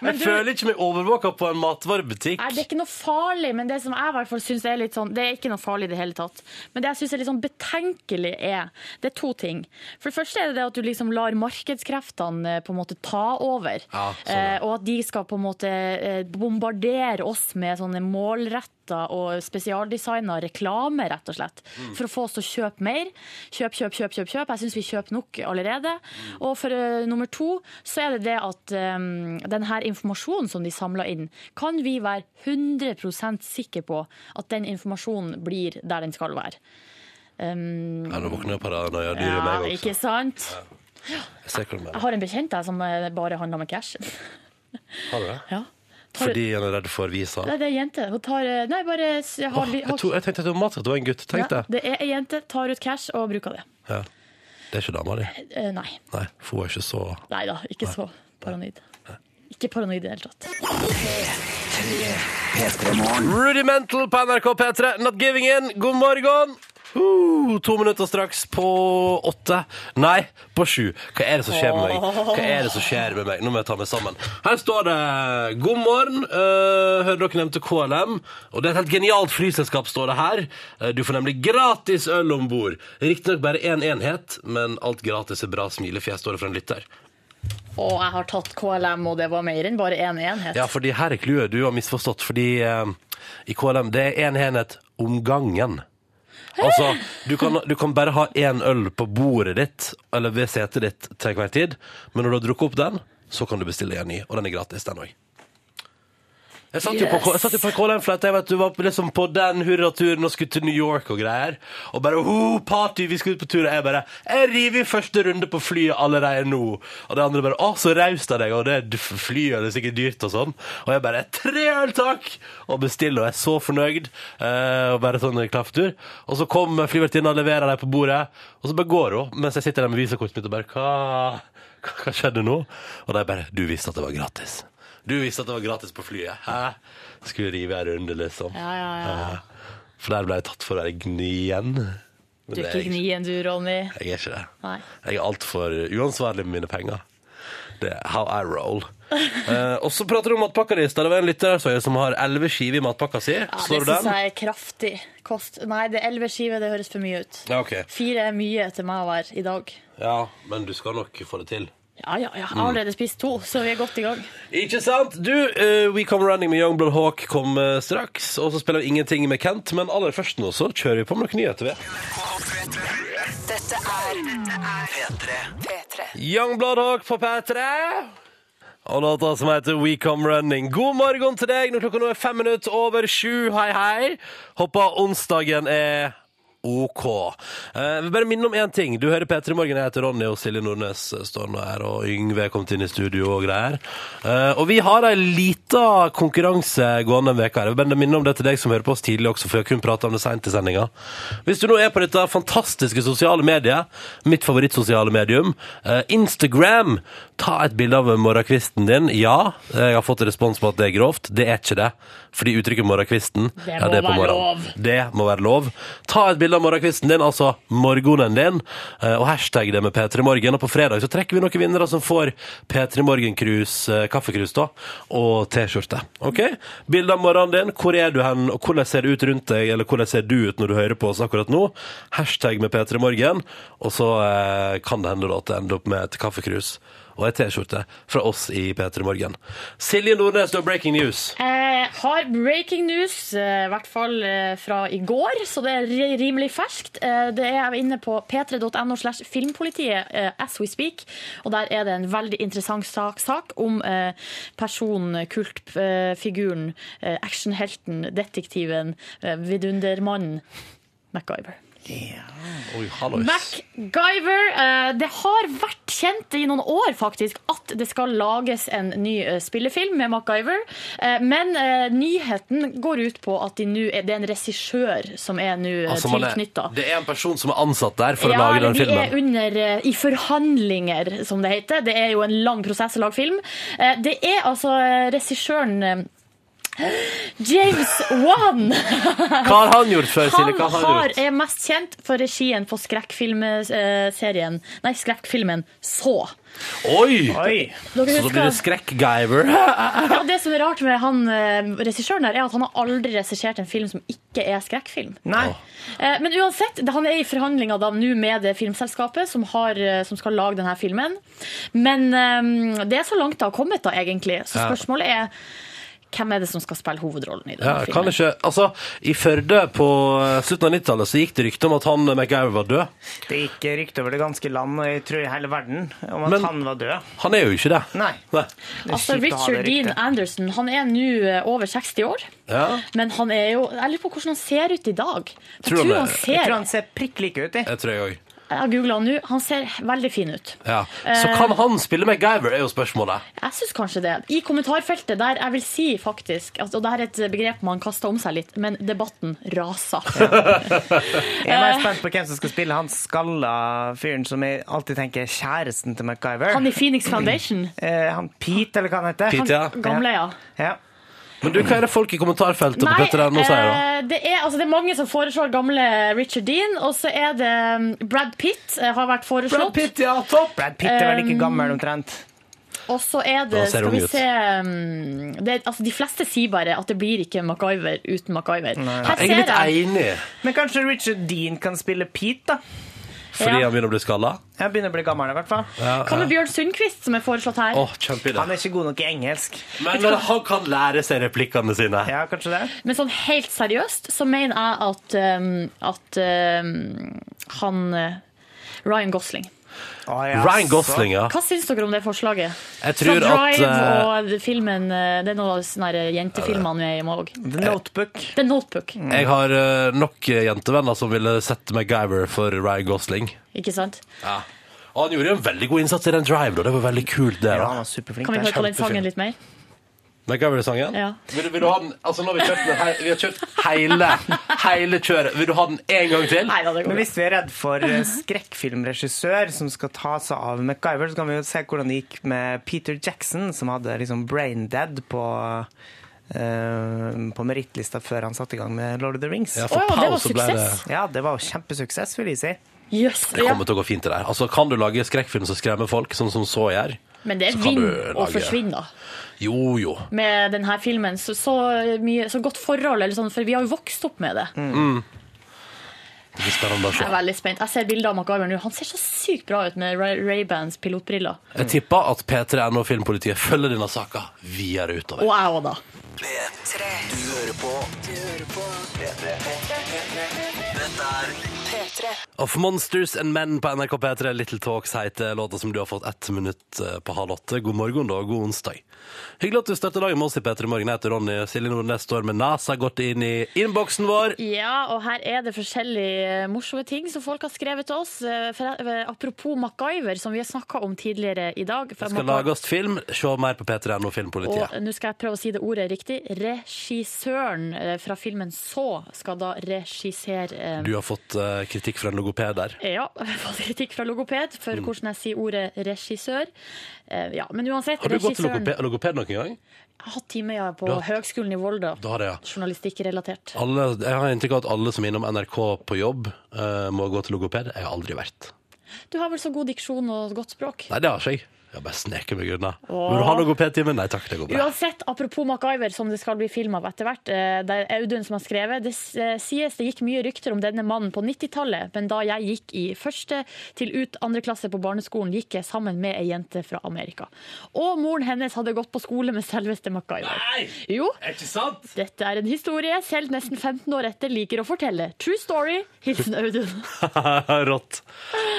Speaker 3: Men du-
Speaker 1: føler ikke meg overvåka på en matvarebutikk.
Speaker 3: Nei, det er ikke noe farlig, men det som jeg i hvert fall synes er litt sånn Det er ikke noe farlig i det hele tatt. Men det jeg syns er litt sånn betenkelig, er Det er to ting. For det første er det det at du liksom lar markedskreftene eh, på en måte ta over.
Speaker 1: Ja, sånn, ja.
Speaker 3: eh, og at de skal på en måte eh, bombardere oss med sånne målretta og spesialdesigna reklame, rett og slett.
Speaker 1: Mm.
Speaker 3: For å få oss til å kjøpe mer. Kjøp, kjøp, kjøp. kjøp, kjøp. Jeg syns vi kjøper nok allerede.
Speaker 1: Mm.
Speaker 3: Og for eh, nummer to så er det det at um, den her informasjonen som de samler inn, kan vi være 100 sikre på at den informasjonen blir der den skal være. Um,
Speaker 1: Ja, nå våkner paranoia dyret i
Speaker 3: ja,
Speaker 1: meg
Speaker 3: ikke
Speaker 1: også.
Speaker 3: sant?
Speaker 1: Jeg ser hva du mener.
Speaker 3: Jeg har en bekjent jeg som eh, bare handler med cash.
Speaker 1: Har du det?
Speaker 3: Ja. Tar,
Speaker 1: Fordi han er redd for visa?
Speaker 3: Nei, det er ei jente. Hun tar eh, Nei, bare s- har,
Speaker 1: Åh,
Speaker 3: li-
Speaker 1: jeg,
Speaker 3: har,
Speaker 1: tror- jeg tenkte at det var mat, at det var en gutt. Tenk
Speaker 3: Ja,
Speaker 1: det.
Speaker 3: det er ei jente, tar ut cash og bruker det.
Speaker 1: Ja. Det er ikke dama di.
Speaker 3: Eh, Nei.
Speaker 1: Nei, for hun er ikke så
Speaker 3: Nei da, ikke så paranoid. Ikke paranoid i det hele tatt.
Speaker 1: Rudimental på NRK P3. Not giving in. God morgen! Uh, to minutter straks på åtte. Nei, på sju. Hva er det som skjer med meg? Hva er det som skjer med meg? Nå må jeg ta meg sammen. Her står det 'God morgen'. eh, hører dere nevnte KLM? Og det er et helt genialt flyselskap, står det her. Eh, Du får nemlig gratis øl om bord. Riktignok bare én enhet, men alt gratis er bra smilefjes, står det fra en lytter.
Speaker 3: Og jeg har tatt KLM, og det var mer enn bare én enhet.
Speaker 1: Ja, fordi her er clouet. Du har misforstått. Fordi eh, i KLM det er én enhet om gangen. Altså, du kan, du kan bare ha én øl på bordet ditt eller ved setet ditt til hver tid, men når du har drukket opp den, så kan du bestille en ny, og den er gratis, den òg. Jeg satt jo på,
Speaker 3: Yes.
Speaker 1: jeg satt jo på KLM-flight, jeg vet du var liksom på den hurraturen og skulle til New York og greier. Og bare ho, party, vi skal ut på tur. Og jeg bare Jeg river i første runde på flyet allerede nå. Og de andre bare Å, så raust av deg, og det er d- flyet, og det er sikkert dyrt og sånn. Og jeg bare Tre øl, takk! Og bestiller, og jeg er så fornøyd. eh, og bare sånn klafftur. Og så kommer flyvertinna og leverer dem på bordet, og så bare går hun, mens jeg sitter der med visakortet mitt og bare Hva, hva, hva skjedde nå? Og de bare Du visste at det var gratis. Du visste at det var gratis på flyet. Hæ? Skulle rive en runde, liksom.
Speaker 3: Ja, ja, ja.
Speaker 1: For der ble jeg tatt for å være gnien. Men
Speaker 3: Du er
Speaker 1: det er
Speaker 3: ikke
Speaker 1: jeg,
Speaker 3: gnien du, Ronny.
Speaker 1: ikke- jeg er ikke det.
Speaker 3: Nei.
Speaker 1: Jeg er altfor uansvarlig med mine penger. Det er how I roll. Eh, og så prater du om matpakka di. i stad. Det var en lytter her så jeg, som har elleve skiver i matpakka si.
Speaker 3: Ja, det
Speaker 1: Slår du
Speaker 3: syns
Speaker 1: den?
Speaker 3: jeg er kraftig kost. Nei, det er elleve skiver, det høres for mye ut.
Speaker 1: Ja, ok.
Speaker 3: Fire er mye til meg å være i dag.
Speaker 1: Ja, men du skal nok få det til.
Speaker 3: Ja, ja, ja. Jeg har allerede spist to, så vi er godt i gang.
Speaker 1: Ikke sant? Du, eh, We Come Running med Youngblood Hawk kom eh, straks. Og så spiller vi ingenting med Kent, men aller først nå så kjører vi på med noen nyheter. vi.
Speaker 4: Dette er P3.
Speaker 1: Youngblood Hawk på P3. Og låta som heter We Come Running. God morgen til deg når klokka nå er fem minutter over sju. Hei, hei. Håper onsdagen er OK. Eh, vi bare minne om én ting. Du hører P3 Morgen. Jeg heter Ronny, og Silje Nordnes står nå her. Og Yngve er kommet inn i studio og greier. Eh, og vi har ei lita konkurranse gående en veke her. Jeg vil bare minne om det til deg som hører på oss tidlig også, for jeg har kun prata om det seint i sendinga. Hvis du nå er på dette fantastiske sosiale mediet, mitt favorittsosiale medium, eh, Instagram, ta et bilde av morgenkvisten din. Ja, eh, jeg har fått respons på at det er grovt. Det er ikke det. Fordi uttrykket morgenkvisten
Speaker 3: Det
Speaker 1: ja,
Speaker 3: må
Speaker 1: er på
Speaker 3: være
Speaker 1: morgenen.
Speaker 3: lov.
Speaker 1: Det må være lov. Ta et bilde av morgenkvisten din, altså morgenen din, eh, og hashtag det med P3 Morgen. Og på fredag så trekker vi noen vinnere som får P3 Morgen-krus, eh, kaffekrus da, og T-skjorte. Ok? Bilde av morgenen din, hvor er du hen, og hvordan ser det ut rundt deg, eller hvordan ser du ut når du hører på oss akkurat nå? Hashtag med P3 Morgen, og så eh, kan det hende da at det ender opp med et kaffekrus. Og ei T-skjorte fra oss i P3 Morgen. Silje Nordnes, du har breaking news.
Speaker 3: Jeg Eh, har breaking news, eh, i hvert fall eh, fra i går, så det er ri- rimelig ferskt. Eh, Det er jeg inne på p3.no slash filmpolitiet eh, as we speak, og der er det en veldig interessant sak, sak om eh, personen, kultfiguren, eh, actionhelten, detektiven, eh, vidundermannen MacGyver.
Speaker 1: Oi, hallois.
Speaker 3: MacGyver. eh, Det har vært kjent i noen år faktisk at det skal lages en ny eh, spillefilm med MacGyver. Eh, Men eh, nyheten går ut på at de nå er, det er en regissør som er nå
Speaker 1: Altså, man er-
Speaker 3: tilknytta.
Speaker 1: Det er en person som er ansatt der for
Speaker 3: eh, Ja,
Speaker 1: å lage den
Speaker 3: eller de
Speaker 1: filmen.
Speaker 3: er under eh, i forhandlinger, som det heter. Det er jo en lang prosess å lage film. Eh, Det er altså eh, regissøren eh, James Wan!
Speaker 1: Hva har han gjort før, Silje? Hva
Speaker 3: Han
Speaker 1: har han
Speaker 3: har,
Speaker 1: gjort?
Speaker 3: er mest kjent for regien på skrekkfilmserien Nei, skrekkfilmen Så.
Speaker 1: Oi!
Speaker 2: Oi!
Speaker 3: Dere
Speaker 1: Så da blir det
Speaker 3: husker,
Speaker 1: skrekk-Guyver.
Speaker 3: ja, det som er rart med han eh, regissøren, der er at han har aldri regissert en film som ikke er skrekkfilm.
Speaker 2: Nei.
Speaker 3: Eh, Men uansett, det- han er i forhandlinger da nå med det filmselskapet som, har, eh, som skal lage denne filmen. Men eh, det er så langt det har kommet, da, egentlig. Så
Speaker 1: Ja.
Speaker 3: spørsmålet er hvem er det som skal spille hovedrollen i denne
Speaker 1: Ja, kan
Speaker 3: filmen?
Speaker 1: ikke, altså, I Førde på eh, slutten av 90-tallet så gikk det rykte om at han eh, MacGyver var død.
Speaker 2: Det gikk rykte over det ganske land, og jeg tror i hele verden, om at
Speaker 1: Men-
Speaker 2: han var død.
Speaker 1: Han er jo ikke det.
Speaker 2: Nei. Det er kjipt å ha
Speaker 3: Altså,
Speaker 2: det
Speaker 3: Richard Dean
Speaker 2: ryktet.
Speaker 3: Anderson han er nå eh, over 60 år.
Speaker 1: Ja.
Speaker 3: Men han er jo Jeg lurer på hvordan han ser ut i dag. Jeg
Speaker 1: Tror
Speaker 3: tror,
Speaker 1: han er-
Speaker 3: han
Speaker 2: Jeg
Speaker 3: ser
Speaker 2: tror han ser prikk like ut, jeg.
Speaker 1: Jeg tror jeg òg.
Speaker 3: Jeg har googla han nå. Han ser veldig fin ut.
Speaker 1: Ja. Så
Speaker 3: Eh.
Speaker 1: kan han spille MacGyver, er jo spørsmålet.
Speaker 3: Jeg syns kanskje det. I kommentarfeltet der jeg vil si faktisk altså, Og det her er et begrep man kaster om seg litt, men debatten raser.
Speaker 2: Jeg er mer spent på hvem som skal spille han skalla fyren som jeg alltid tenker er kjæresten til MacGyver.
Speaker 3: Han i Phoenix Foundation.
Speaker 2: eh, han Pete, eller hva han heter.
Speaker 1: Pete, ja.
Speaker 3: Gamle, ja.
Speaker 2: Ja.
Speaker 1: Men du, hva er det folk i kommentarfeltet på
Speaker 3: Nei,
Speaker 1: Petter Erno sier, da?
Speaker 3: eh, det, er, altså, det er mange som foreslår gamle Richard Dean, og så er det mm, Brad Pitt eh, har vært foreslått.
Speaker 1: ja, topp!
Speaker 2: Brad Pitt er vel ikke gammel omtrent.
Speaker 3: Og så er
Speaker 1: Da
Speaker 3: det,
Speaker 1: ser
Speaker 3: skal
Speaker 1: hun
Speaker 3: vi
Speaker 1: ut.
Speaker 3: se mm, det, er- altså, De fleste sier bare at det blir ikke MacGyver uten MacGyver. Her
Speaker 1: Jeg er
Speaker 3: ser
Speaker 1: litt
Speaker 3: jeg.
Speaker 1: enig,
Speaker 2: Men kanskje Richard Dean kan spille Pete, da?
Speaker 1: fordi
Speaker 3: Ja.
Speaker 1: han begynner å bli skalla.
Speaker 2: Jeg begynner å bli gammel i hvert fall.
Speaker 3: Hva med Bjørn Sundquist, som er foreslått her?
Speaker 1: Åh, kjempeidé.
Speaker 2: Han er ikke god nok i engelsk.
Speaker 1: Men, men han kan lære seg replikkene sine.
Speaker 2: Ja, kanskje det?
Speaker 3: Men sånn helt seriøst så mener jeg at, um, at um, han eh, Ryan Gosling.
Speaker 2: Å, ja,
Speaker 1: Ryan
Speaker 2: så-
Speaker 1: Gosling, ja.
Speaker 3: Hva syns dere om det forslaget?
Speaker 1: Jeg
Speaker 3: Fra
Speaker 1: tror at
Speaker 3: Drive
Speaker 1: eh,
Speaker 3: og filmen eh, Det er noen av de sånne her jentefilmene vi er i òg.
Speaker 2: The Notebook.
Speaker 3: The Notebook,
Speaker 2: Mm.
Speaker 1: jeg har eh, nok jentevenner som ville sett MacGyver for Ryan Gosling.
Speaker 3: ikke sant?
Speaker 1: Og han gjorde jo en veldig god innsats i den Drive, da. Det var veldig kult, det.
Speaker 2: Ja,
Speaker 1: da.
Speaker 2: han var superflink.
Speaker 3: Kan vi
Speaker 2: der.
Speaker 3: høre på den sangen litt mer?
Speaker 1: MacGyver-sangen?
Speaker 3: Ja.
Speaker 1: Vil, vil du ha den Altså, nå har vi kjørt, den, hei- vi har kjørt hele, hele kjøret. Vil du ha den én gang til?
Speaker 3: Nei da,
Speaker 2: Men
Speaker 3: det går bra.
Speaker 2: hvis vi er redd for eh, skrekkfilmregissør som skal ta seg av MacGyver, så kan vi jo se hvordan det gikk med Peter Jackson, som hadde liksom brain dead på eh, på merittlista før han satte i gang med Lord of the Rings.
Speaker 1: Ja,
Speaker 2: Ja,
Speaker 1: for
Speaker 3: Å, ja, det
Speaker 1: Pau
Speaker 3: var
Speaker 1: så ble det
Speaker 3: suksess.
Speaker 2: det var jo kjempesuksess, vil jeg si.
Speaker 3: Jøs.
Speaker 1: Det
Speaker 3: ja.
Speaker 1: kommer til å gå fint, det der. Altså, kan du lage skrekkfilm som skremmer folk, sånn som så gjør?
Speaker 3: Men det er
Speaker 1: Så kan
Speaker 3: vinn
Speaker 1: du
Speaker 3: og
Speaker 1: lage-
Speaker 3: forsvinn, da.
Speaker 1: Jo, jo.
Speaker 3: Med denne filmen. Så, så, mye, så godt forhold, eller sånn, for vi har jo vokst opp med det.
Speaker 1: Det blir spennende å
Speaker 3: Jeg
Speaker 1: se.
Speaker 3: er veldig spent. Jeg ser bilder av MacGyver nå. Han ser så sykt bra ut med Ray- Ray-Bans pilotbriller.
Speaker 1: Jeg tipper at P3 NO Filmpolitiet følger denne saka videre utover.
Speaker 3: Og jeg òg, da.
Speaker 4: P3. Du hører på Du hører på P3.
Speaker 1: Of Monsters and Men på NRK P3, Little Talks heter låta som du har fått ett minutt eh, på halv åtte. God morgen da, og god onsdag. Hyggelig at du starter dagen med oss i P3 Morgen. Jeg heter Ronny, og Silje Nordnes står med nesa godt inn i innboksen vår.
Speaker 3: Ja, og her er det forskjellige eh, morsomme ting som folk har skrevet til oss. Eh, For, eh, apropos MacGyver, som vi har snakka om tidligere i dag. For
Speaker 1: Skal
Speaker 3: Mac-
Speaker 1: lage oss film. Se mer på P3 NO Filmpolitiet.
Speaker 3: og nå skal jeg prøve å si det ordet riktig. Regissøren eh, fra filmen Så skal da regissere eh,
Speaker 1: Du har fått eh, kritikk fra en logoped der.
Speaker 3: Ja, jeg har fått kritikk fra logoped for
Speaker 1: Mm.
Speaker 3: hvordan jeg sier ordet regissør. Eh, Ja, men uansett,
Speaker 1: Har du gått til
Speaker 3: regissøren
Speaker 1: logoped, logoped noen gang?
Speaker 3: Jeg har hatt time ja, på
Speaker 1: Du har-
Speaker 3: Høgskolen i Volda.
Speaker 1: Da har jeg, ja.
Speaker 3: Journalistikkrelatert.
Speaker 1: Alle, jeg har inntrykk av at alle som er innom NRK på jobb, eh, må gå til logoped. Jeg har aldri vært.
Speaker 3: Du har vel så god diksjon og godt språk.
Speaker 1: Nei, det har ikke jeg. Jeg har bare sneket meg unna. Vil du ha logopedtime? Nei takk, det går bra.
Speaker 3: Uansett, apropos MacGyver, som det skal bli film av etter hvert. eh, Det er Audun som har skrevet. Det s- eh, sies det gikk mye rykter om denne mannen på 90-tallet, men da jeg gikk i første til ut andre klasse på barneskolen, gikk jeg sammen med ei jente fra Amerika. Og moren hennes hadde gått på skole med selveste MacGyver. Jo,
Speaker 1: Er ikke sant?
Speaker 3: dette er en historie selv nesten 15 år etter liker å fortelle. True story. Hilsen Audun.
Speaker 1: rått.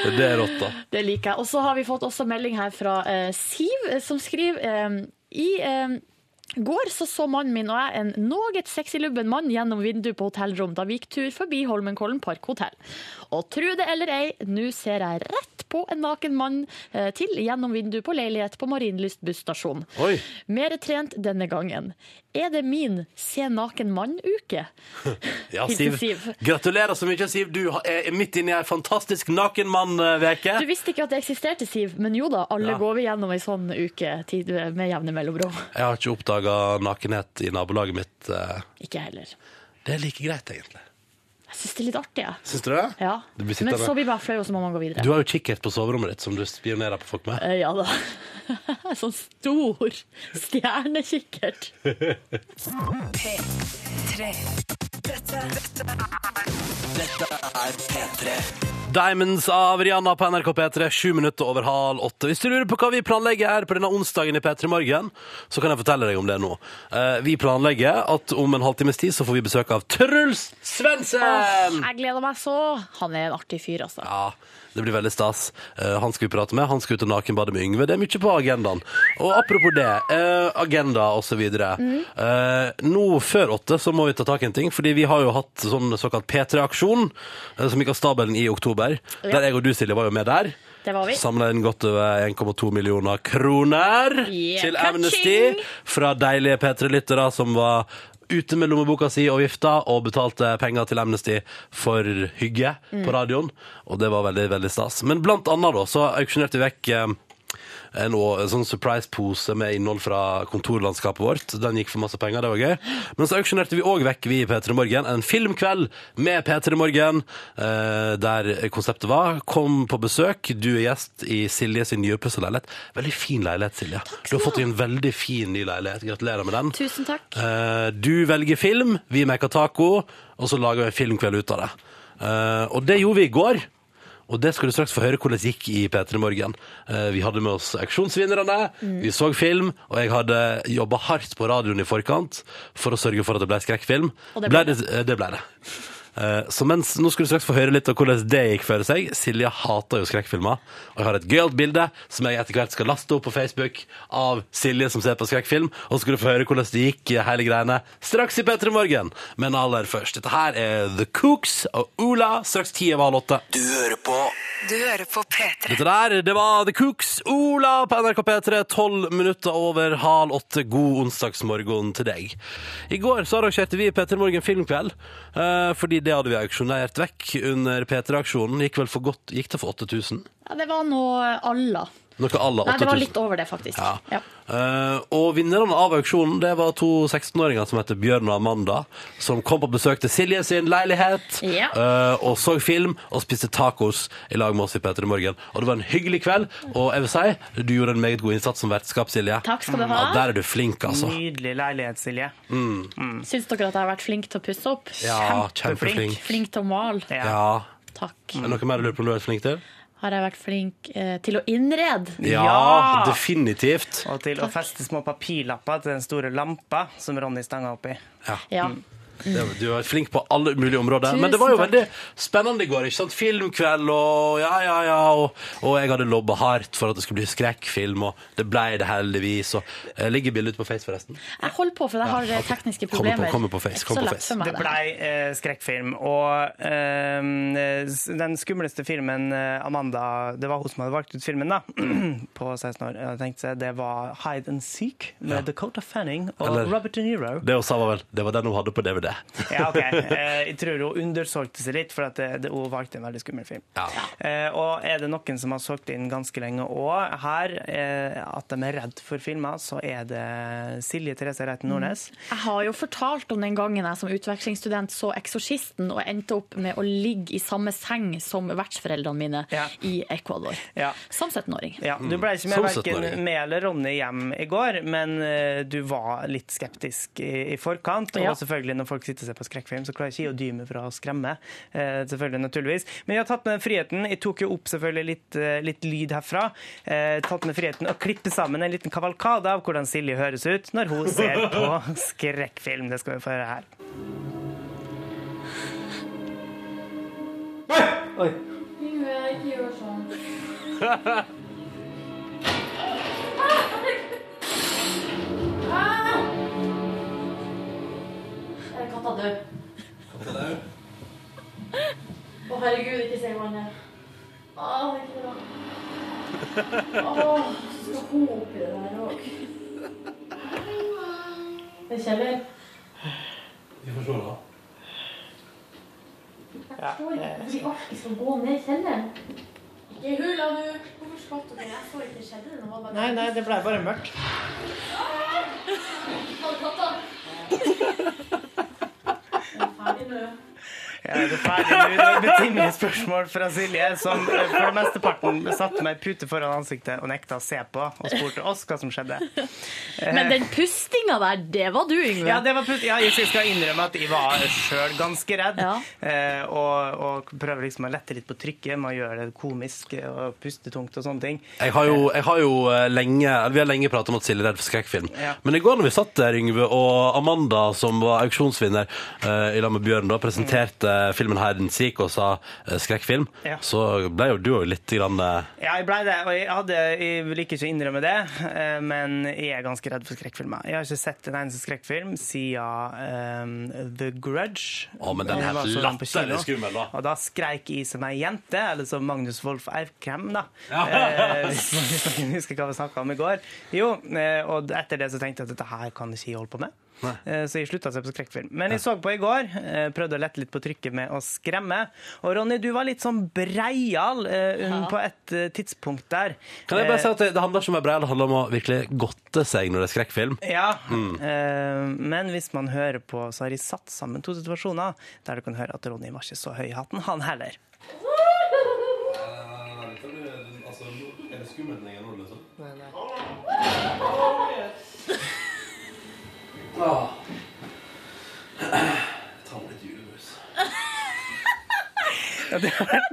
Speaker 1: Det er rått, da.
Speaker 3: Det liker jeg. Og så har vi fått også melding her fra eh, Siv, eh, som skriver eh, i eh, Går så så mannen min og jeg en noe sexylubben mann gjennom vinduet på hotellrom da vi gikk tur forbi Holmenkollen Park hotell. Og tro det eller ei, nå ser jeg rett på en naken mann eh, til gjennom vinduet på leilighet på Marienlyst busstasjon.
Speaker 1: Oi.
Speaker 3: Mere trent denne gangen. Er det min se naken mann-uke?
Speaker 1: Ja,
Speaker 3: Hilsen
Speaker 1: Siv.
Speaker 3: Siv.
Speaker 1: Gratulerer så mye, Siv. Du har- er midt inne i ei fantastisk naken eh, mann-veke.
Speaker 3: Du visste ikke at det eksisterte, Siv, men jo da, alle
Speaker 1: Ja.
Speaker 3: går vi gjennom ei sånn uke tid med jevne mellomrom.
Speaker 1: Jeg har ikke oppdaga nakenhet i nabolaget mitt. eh.
Speaker 3: Ikke jeg heller.
Speaker 1: Det er like greit, egentlig.
Speaker 3: Jeg syns det er litt artig, jeg.
Speaker 1: Syns du det?
Speaker 3: Ja.
Speaker 1: Du blir
Speaker 3: Men
Speaker 1: sittende.
Speaker 3: så blir man flau, og så må man gå videre.
Speaker 1: Du har jo kikkert på soverommet ditt, som du spionerer på folk med.
Speaker 3: Eh, Ja da. Sånn stor stjernekikkert.
Speaker 4: P3. Dette, dette
Speaker 1: Diamonds av Rihanna på NRK P3, sju minutter over halv åtte. Hvis du lurer på hva vi planlegger her på denne onsdagen i P3 Morgen, så kan jeg fortelle deg om det nå. Eh, Vi planlegger at om en halvtimes tid så får vi besøk av Truls Svendsen!
Speaker 3: Jeg gleder meg så. Han er en artig fyr, altså.
Speaker 1: Ja, det blir veldig stas. Eh, han skal vi prate med. Han skal ut og nakenbade med Yngve. Det er mye på agendaen. Og apropos det, eh, agenda og så videre.
Speaker 3: Mm.
Speaker 1: Eh, nå før åtte så må vi ta tak i en ting, fordi vi har jo hatt sånn såkalt P3-aksjon, eh, som gikk av stabelen i oktober. Der jeg og du, Silje, var jo med der.
Speaker 3: Det var vi.
Speaker 1: Samla inn godt over 1,2 millioner kroner
Speaker 3: Yeah,
Speaker 1: til
Speaker 3: ka-ching!
Speaker 1: Amnesty fra deilige P3-lyttere som var ute med lommeboka si og vifta og betalte penger til Amnesty for
Speaker 3: Mm.
Speaker 1: hygge på radioen. Og det var veldig, veldig stas. Men blant annet da, så auksjonerte vi vekk eh, en, å- en sånn surprise-pose med innhold fra kontorlandskapet vårt. Den gikk for masse penger, det var gøy. Men så auksjonerte vi òg vekk, vi i P3 Morgen, en filmkveld med P3 Morgen, eh, der konseptet var kom på besøk, du er gjest i Silje sin nye pussa leilighet. Veldig fin leilighet, Silje. Du har fått deg en veldig fin ny leilighet. Gratulerer med den.
Speaker 3: Tusen takk.
Speaker 1: Eh, du velger film, vi maker taco, og så lager vi en filmkveld ut av det. Eh, og det gjorde vi i går. Og det skal du straks få høre hvordan det gikk i P3 Morgen. Eh, vi hadde med oss auksjonsvinnerne,
Speaker 3: Mm.
Speaker 1: vi så film, og jeg hadde jobba hardt på radioen i forkant for å sørge for at det ble skrekkfilm.
Speaker 3: Og det ble
Speaker 1: det. eh, det, ble det. Eh, så mens, nå skal du straks få høre litt av hvordan det gikk for seg. Silja hater jo skrekkfilmer. Og jeg har et gøyalt bilde som jeg etter hvert skal laste opp på Facebook av Silje som ser på skrekkfilm. Og så skal du få høre hvordan det gikk, eh, hele greiene, straks i P3 Morgen. Men aller først, dette her er The Cooks og Ola, straks ti over halv åtte.
Speaker 4: Du hører på Du hører på P3.
Speaker 1: Dette der, det var The Cooks, Ola på NRK P3, 12 minutter over halv åtte. God onsdagsmorgen til deg. I går så arrangerte vi P3 Morgen filmkveld, eh, fordi det hadde vi auksjonert vekk under P3-aksjonen. Gikk vel for godt, gikk det for 8000?
Speaker 3: Ja, det var noe alla.
Speaker 1: Noe à la 8000.
Speaker 3: Nei, det var litt over det, faktisk.
Speaker 1: Ja.
Speaker 3: Ja.
Speaker 1: Eh, og vinnerne av auksjonen det var to 16-åringer som heter Bjørn og Amanda, som kom på besøk til Silje sin leilighet
Speaker 3: Ja.
Speaker 1: eh, og så film og spiste tacos i lag med oss i P3 Morgen. Og det var en hyggelig kveld, og jeg vil si du gjorde en meget god innsats som vertskap, Silje.
Speaker 3: Takk skal du ha.
Speaker 1: Ja,
Speaker 3: Mm.
Speaker 1: der er du flink, altså.
Speaker 2: Nydelig leilighet, Silje.
Speaker 3: Syns dere at jeg har vært flink til å pusse opp?
Speaker 1: Ja,
Speaker 2: Kjempeflink.
Speaker 1: kjempeflink.
Speaker 3: Flink til å male?
Speaker 2: Ja.
Speaker 1: Ja.
Speaker 3: Takk.
Speaker 1: Er det noe mer du lurer på om du har vært flink til?
Speaker 3: Har jeg vært flink eh, til å innrede?
Speaker 1: Ja,
Speaker 2: Ja.
Speaker 1: definitivt.
Speaker 2: Og til å feste små papirlapper til den store lampa som Ronny stanga oppi.
Speaker 1: Ja.
Speaker 3: Ja.
Speaker 1: Det- Du var flink på alle mulige områder.
Speaker 3: Tusen
Speaker 1: men det var jo
Speaker 3: takk.
Speaker 1: veldig spennende i går. ikke sant? Filmkveld og ja, ja, ja. Og, og jeg hadde lobba hardt for at det skulle bli skrekkfilm, og det ble det heldigvis. Og eh, ligger bildet ute på Face, forresten?
Speaker 3: Jeg holder på, for jeg har eh, tekniske
Speaker 1: Kommer på-
Speaker 3: problemer.
Speaker 1: kommer på face,
Speaker 3: Det er
Speaker 1: kommer på
Speaker 3: så lett
Speaker 1: face.
Speaker 3: for meg,
Speaker 2: Det blei eh, skrekkfilm, og ehm, eh, s- den skumleste filmen eh, Amanda Det var hun som hadde valgt ut filmen, da, på 16 år. Jeg tenkte Det var Hide and Seek med Dakota Fanning og
Speaker 1: Eller-
Speaker 2: Robert De Niro.
Speaker 1: Det hun sa, var vel det var den hun hadde på DVD.
Speaker 2: Ja, ok. Eh, jeg tror hun undersolgte seg litt, for at eh, det, det, hun valgte en veldig skummel film.
Speaker 1: Ja.
Speaker 2: Eh, og er det noen som har solgt inn ganske lenge òg her, eh, at de er redd for filmer, så er det Silje Therese Reiten Nordnes.
Speaker 3: Jeg har jo fortalt om den gangen jeg som utvekslingsstudent så Eksorsisten og endte opp med å ligge i samme seng som vertsforeldrene mine
Speaker 2: Ja.
Speaker 3: i Ecuador.
Speaker 2: Ja.
Speaker 3: Som 17-åring.
Speaker 2: Ja, du ble ikke med
Speaker 1: Som
Speaker 2: verken
Speaker 1: 17-åring.
Speaker 2: meg eller Ronny hjem i går, men eh, du var litt skeptisk i, i forkant. Og
Speaker 3: Ja.
Speaker 2: selvfølgelig når folk sitter og ser på skrekkfilm, så klarer ikke jeg å dy meg fra å skremme. eh, selvfølgelig, naturligvis. Men jeg har tatt med friheten. Jeg tok jo opp selvfølgelig litt, eh, litt lyd herfra. eh, tatt med friheten å klippe sammen en liten kavalkade av hvordan Silje høres ut når hun ser på skrekkfilm. Det skal vi få høre her. Oi!
Speaker 3: Eh, Katta død. Å, herregud, ikke se henne ned. Å, det er ikke bra. Å, så skal hun oppi det der òg. Det er Kjeller.
Speaker 1: Vi får se, da.
Speaker 3: Jeg forstår ikke hvorfor de alltid skal gå ned i kjelleren. Ikke i hula, du! Hvorfor skvatt du? Jeg så ikke kjelleren. og var bare-
Speaker 2: Nei, nei, det ble bare mørkt.
Speaker 3: Faen, katta! Jeg er ferdig nå.
Speaker 2: Ja, det er ferdig nå. Det var et betimelig spørsmål fra Silje, som eh, for det meste parten satte meg pute foran ansiktet og nekta å se på, og spurte oss hva som skjedde.
Speaker 3: Men den pustinga der, det var du, Yngve.
Speaker 2: Ja, det var put ja, jeg skal innrømme at jeg var sjøl ganske redd,
Speaker 3: Ja.
Speaker 2: eh, og, og prøver liksom å lette litt på trykket med å gjøre det komisk og puste tungt og sånne ting.
Speaker 1: Jeg har jo, jeg har jo eh, lenge, eller vi har lenge pratet om at Silje er redd for skrekkfilm.
Speaker 2: Ja.
Speaker 1: Men i går når vi satt der, Yngve og Amanda, som var auksjonsvinner eh, i lag med Bjørn, da, presenterte eh, filmen Herden Seek og sa eh, skrekkfilm,
Speaker 2: Ja.
Speaker 1: så ble jo du jo litt grann eh,
Speaker 2: Ja, jeg blei det, og jeg, hadde, jeg liker ikke å innrømme det, eh, men jeg er ganske redd for skrekkfilmer. Jeg har ikke sett en eneste skrekkfilm siden eh, The Grudge. Eh,
Speaker 1: Å, men den er
Speaker 2: Jeg var så
Speaker 1: latterlig
Speaker 2: på kino,
Speaker 1: skummel, da.
Speaker 2: Og da skreik jeg som ei jente, eller som Magnus Wolff Erkrem, da. Eh, Hvis man hvis man kan huske hva vi snakka om i går. Jo, eh, og etter det så tenkte jeg at dette her kan ikke jeg holde på med. Eh, Så jeg slutta å se på skrekkfilm. Men jeg så på i går, eh, prøvde å lette litt på trykket med å skremme. Og Ronny, du var litt sånn breial eh, un-
Speaker 3: Ja.
Speaker 2: på et eh, tidspunkt der.
Speaker 1: Kan jeg bare
Speaker 2: Eh,
Speaker 1: si at det, det handler ikke om å være brei, det handler om å virkelig godte seg når det er skrekkfilm.
Speaker 2: Eh, Ja,
Speaker 1: Mm.
Speaker 2: eh, men hvis man hører på, så har de satt sammen to situasjoner der du kan høre at Ronny var ikke så høy i hatten, han heller.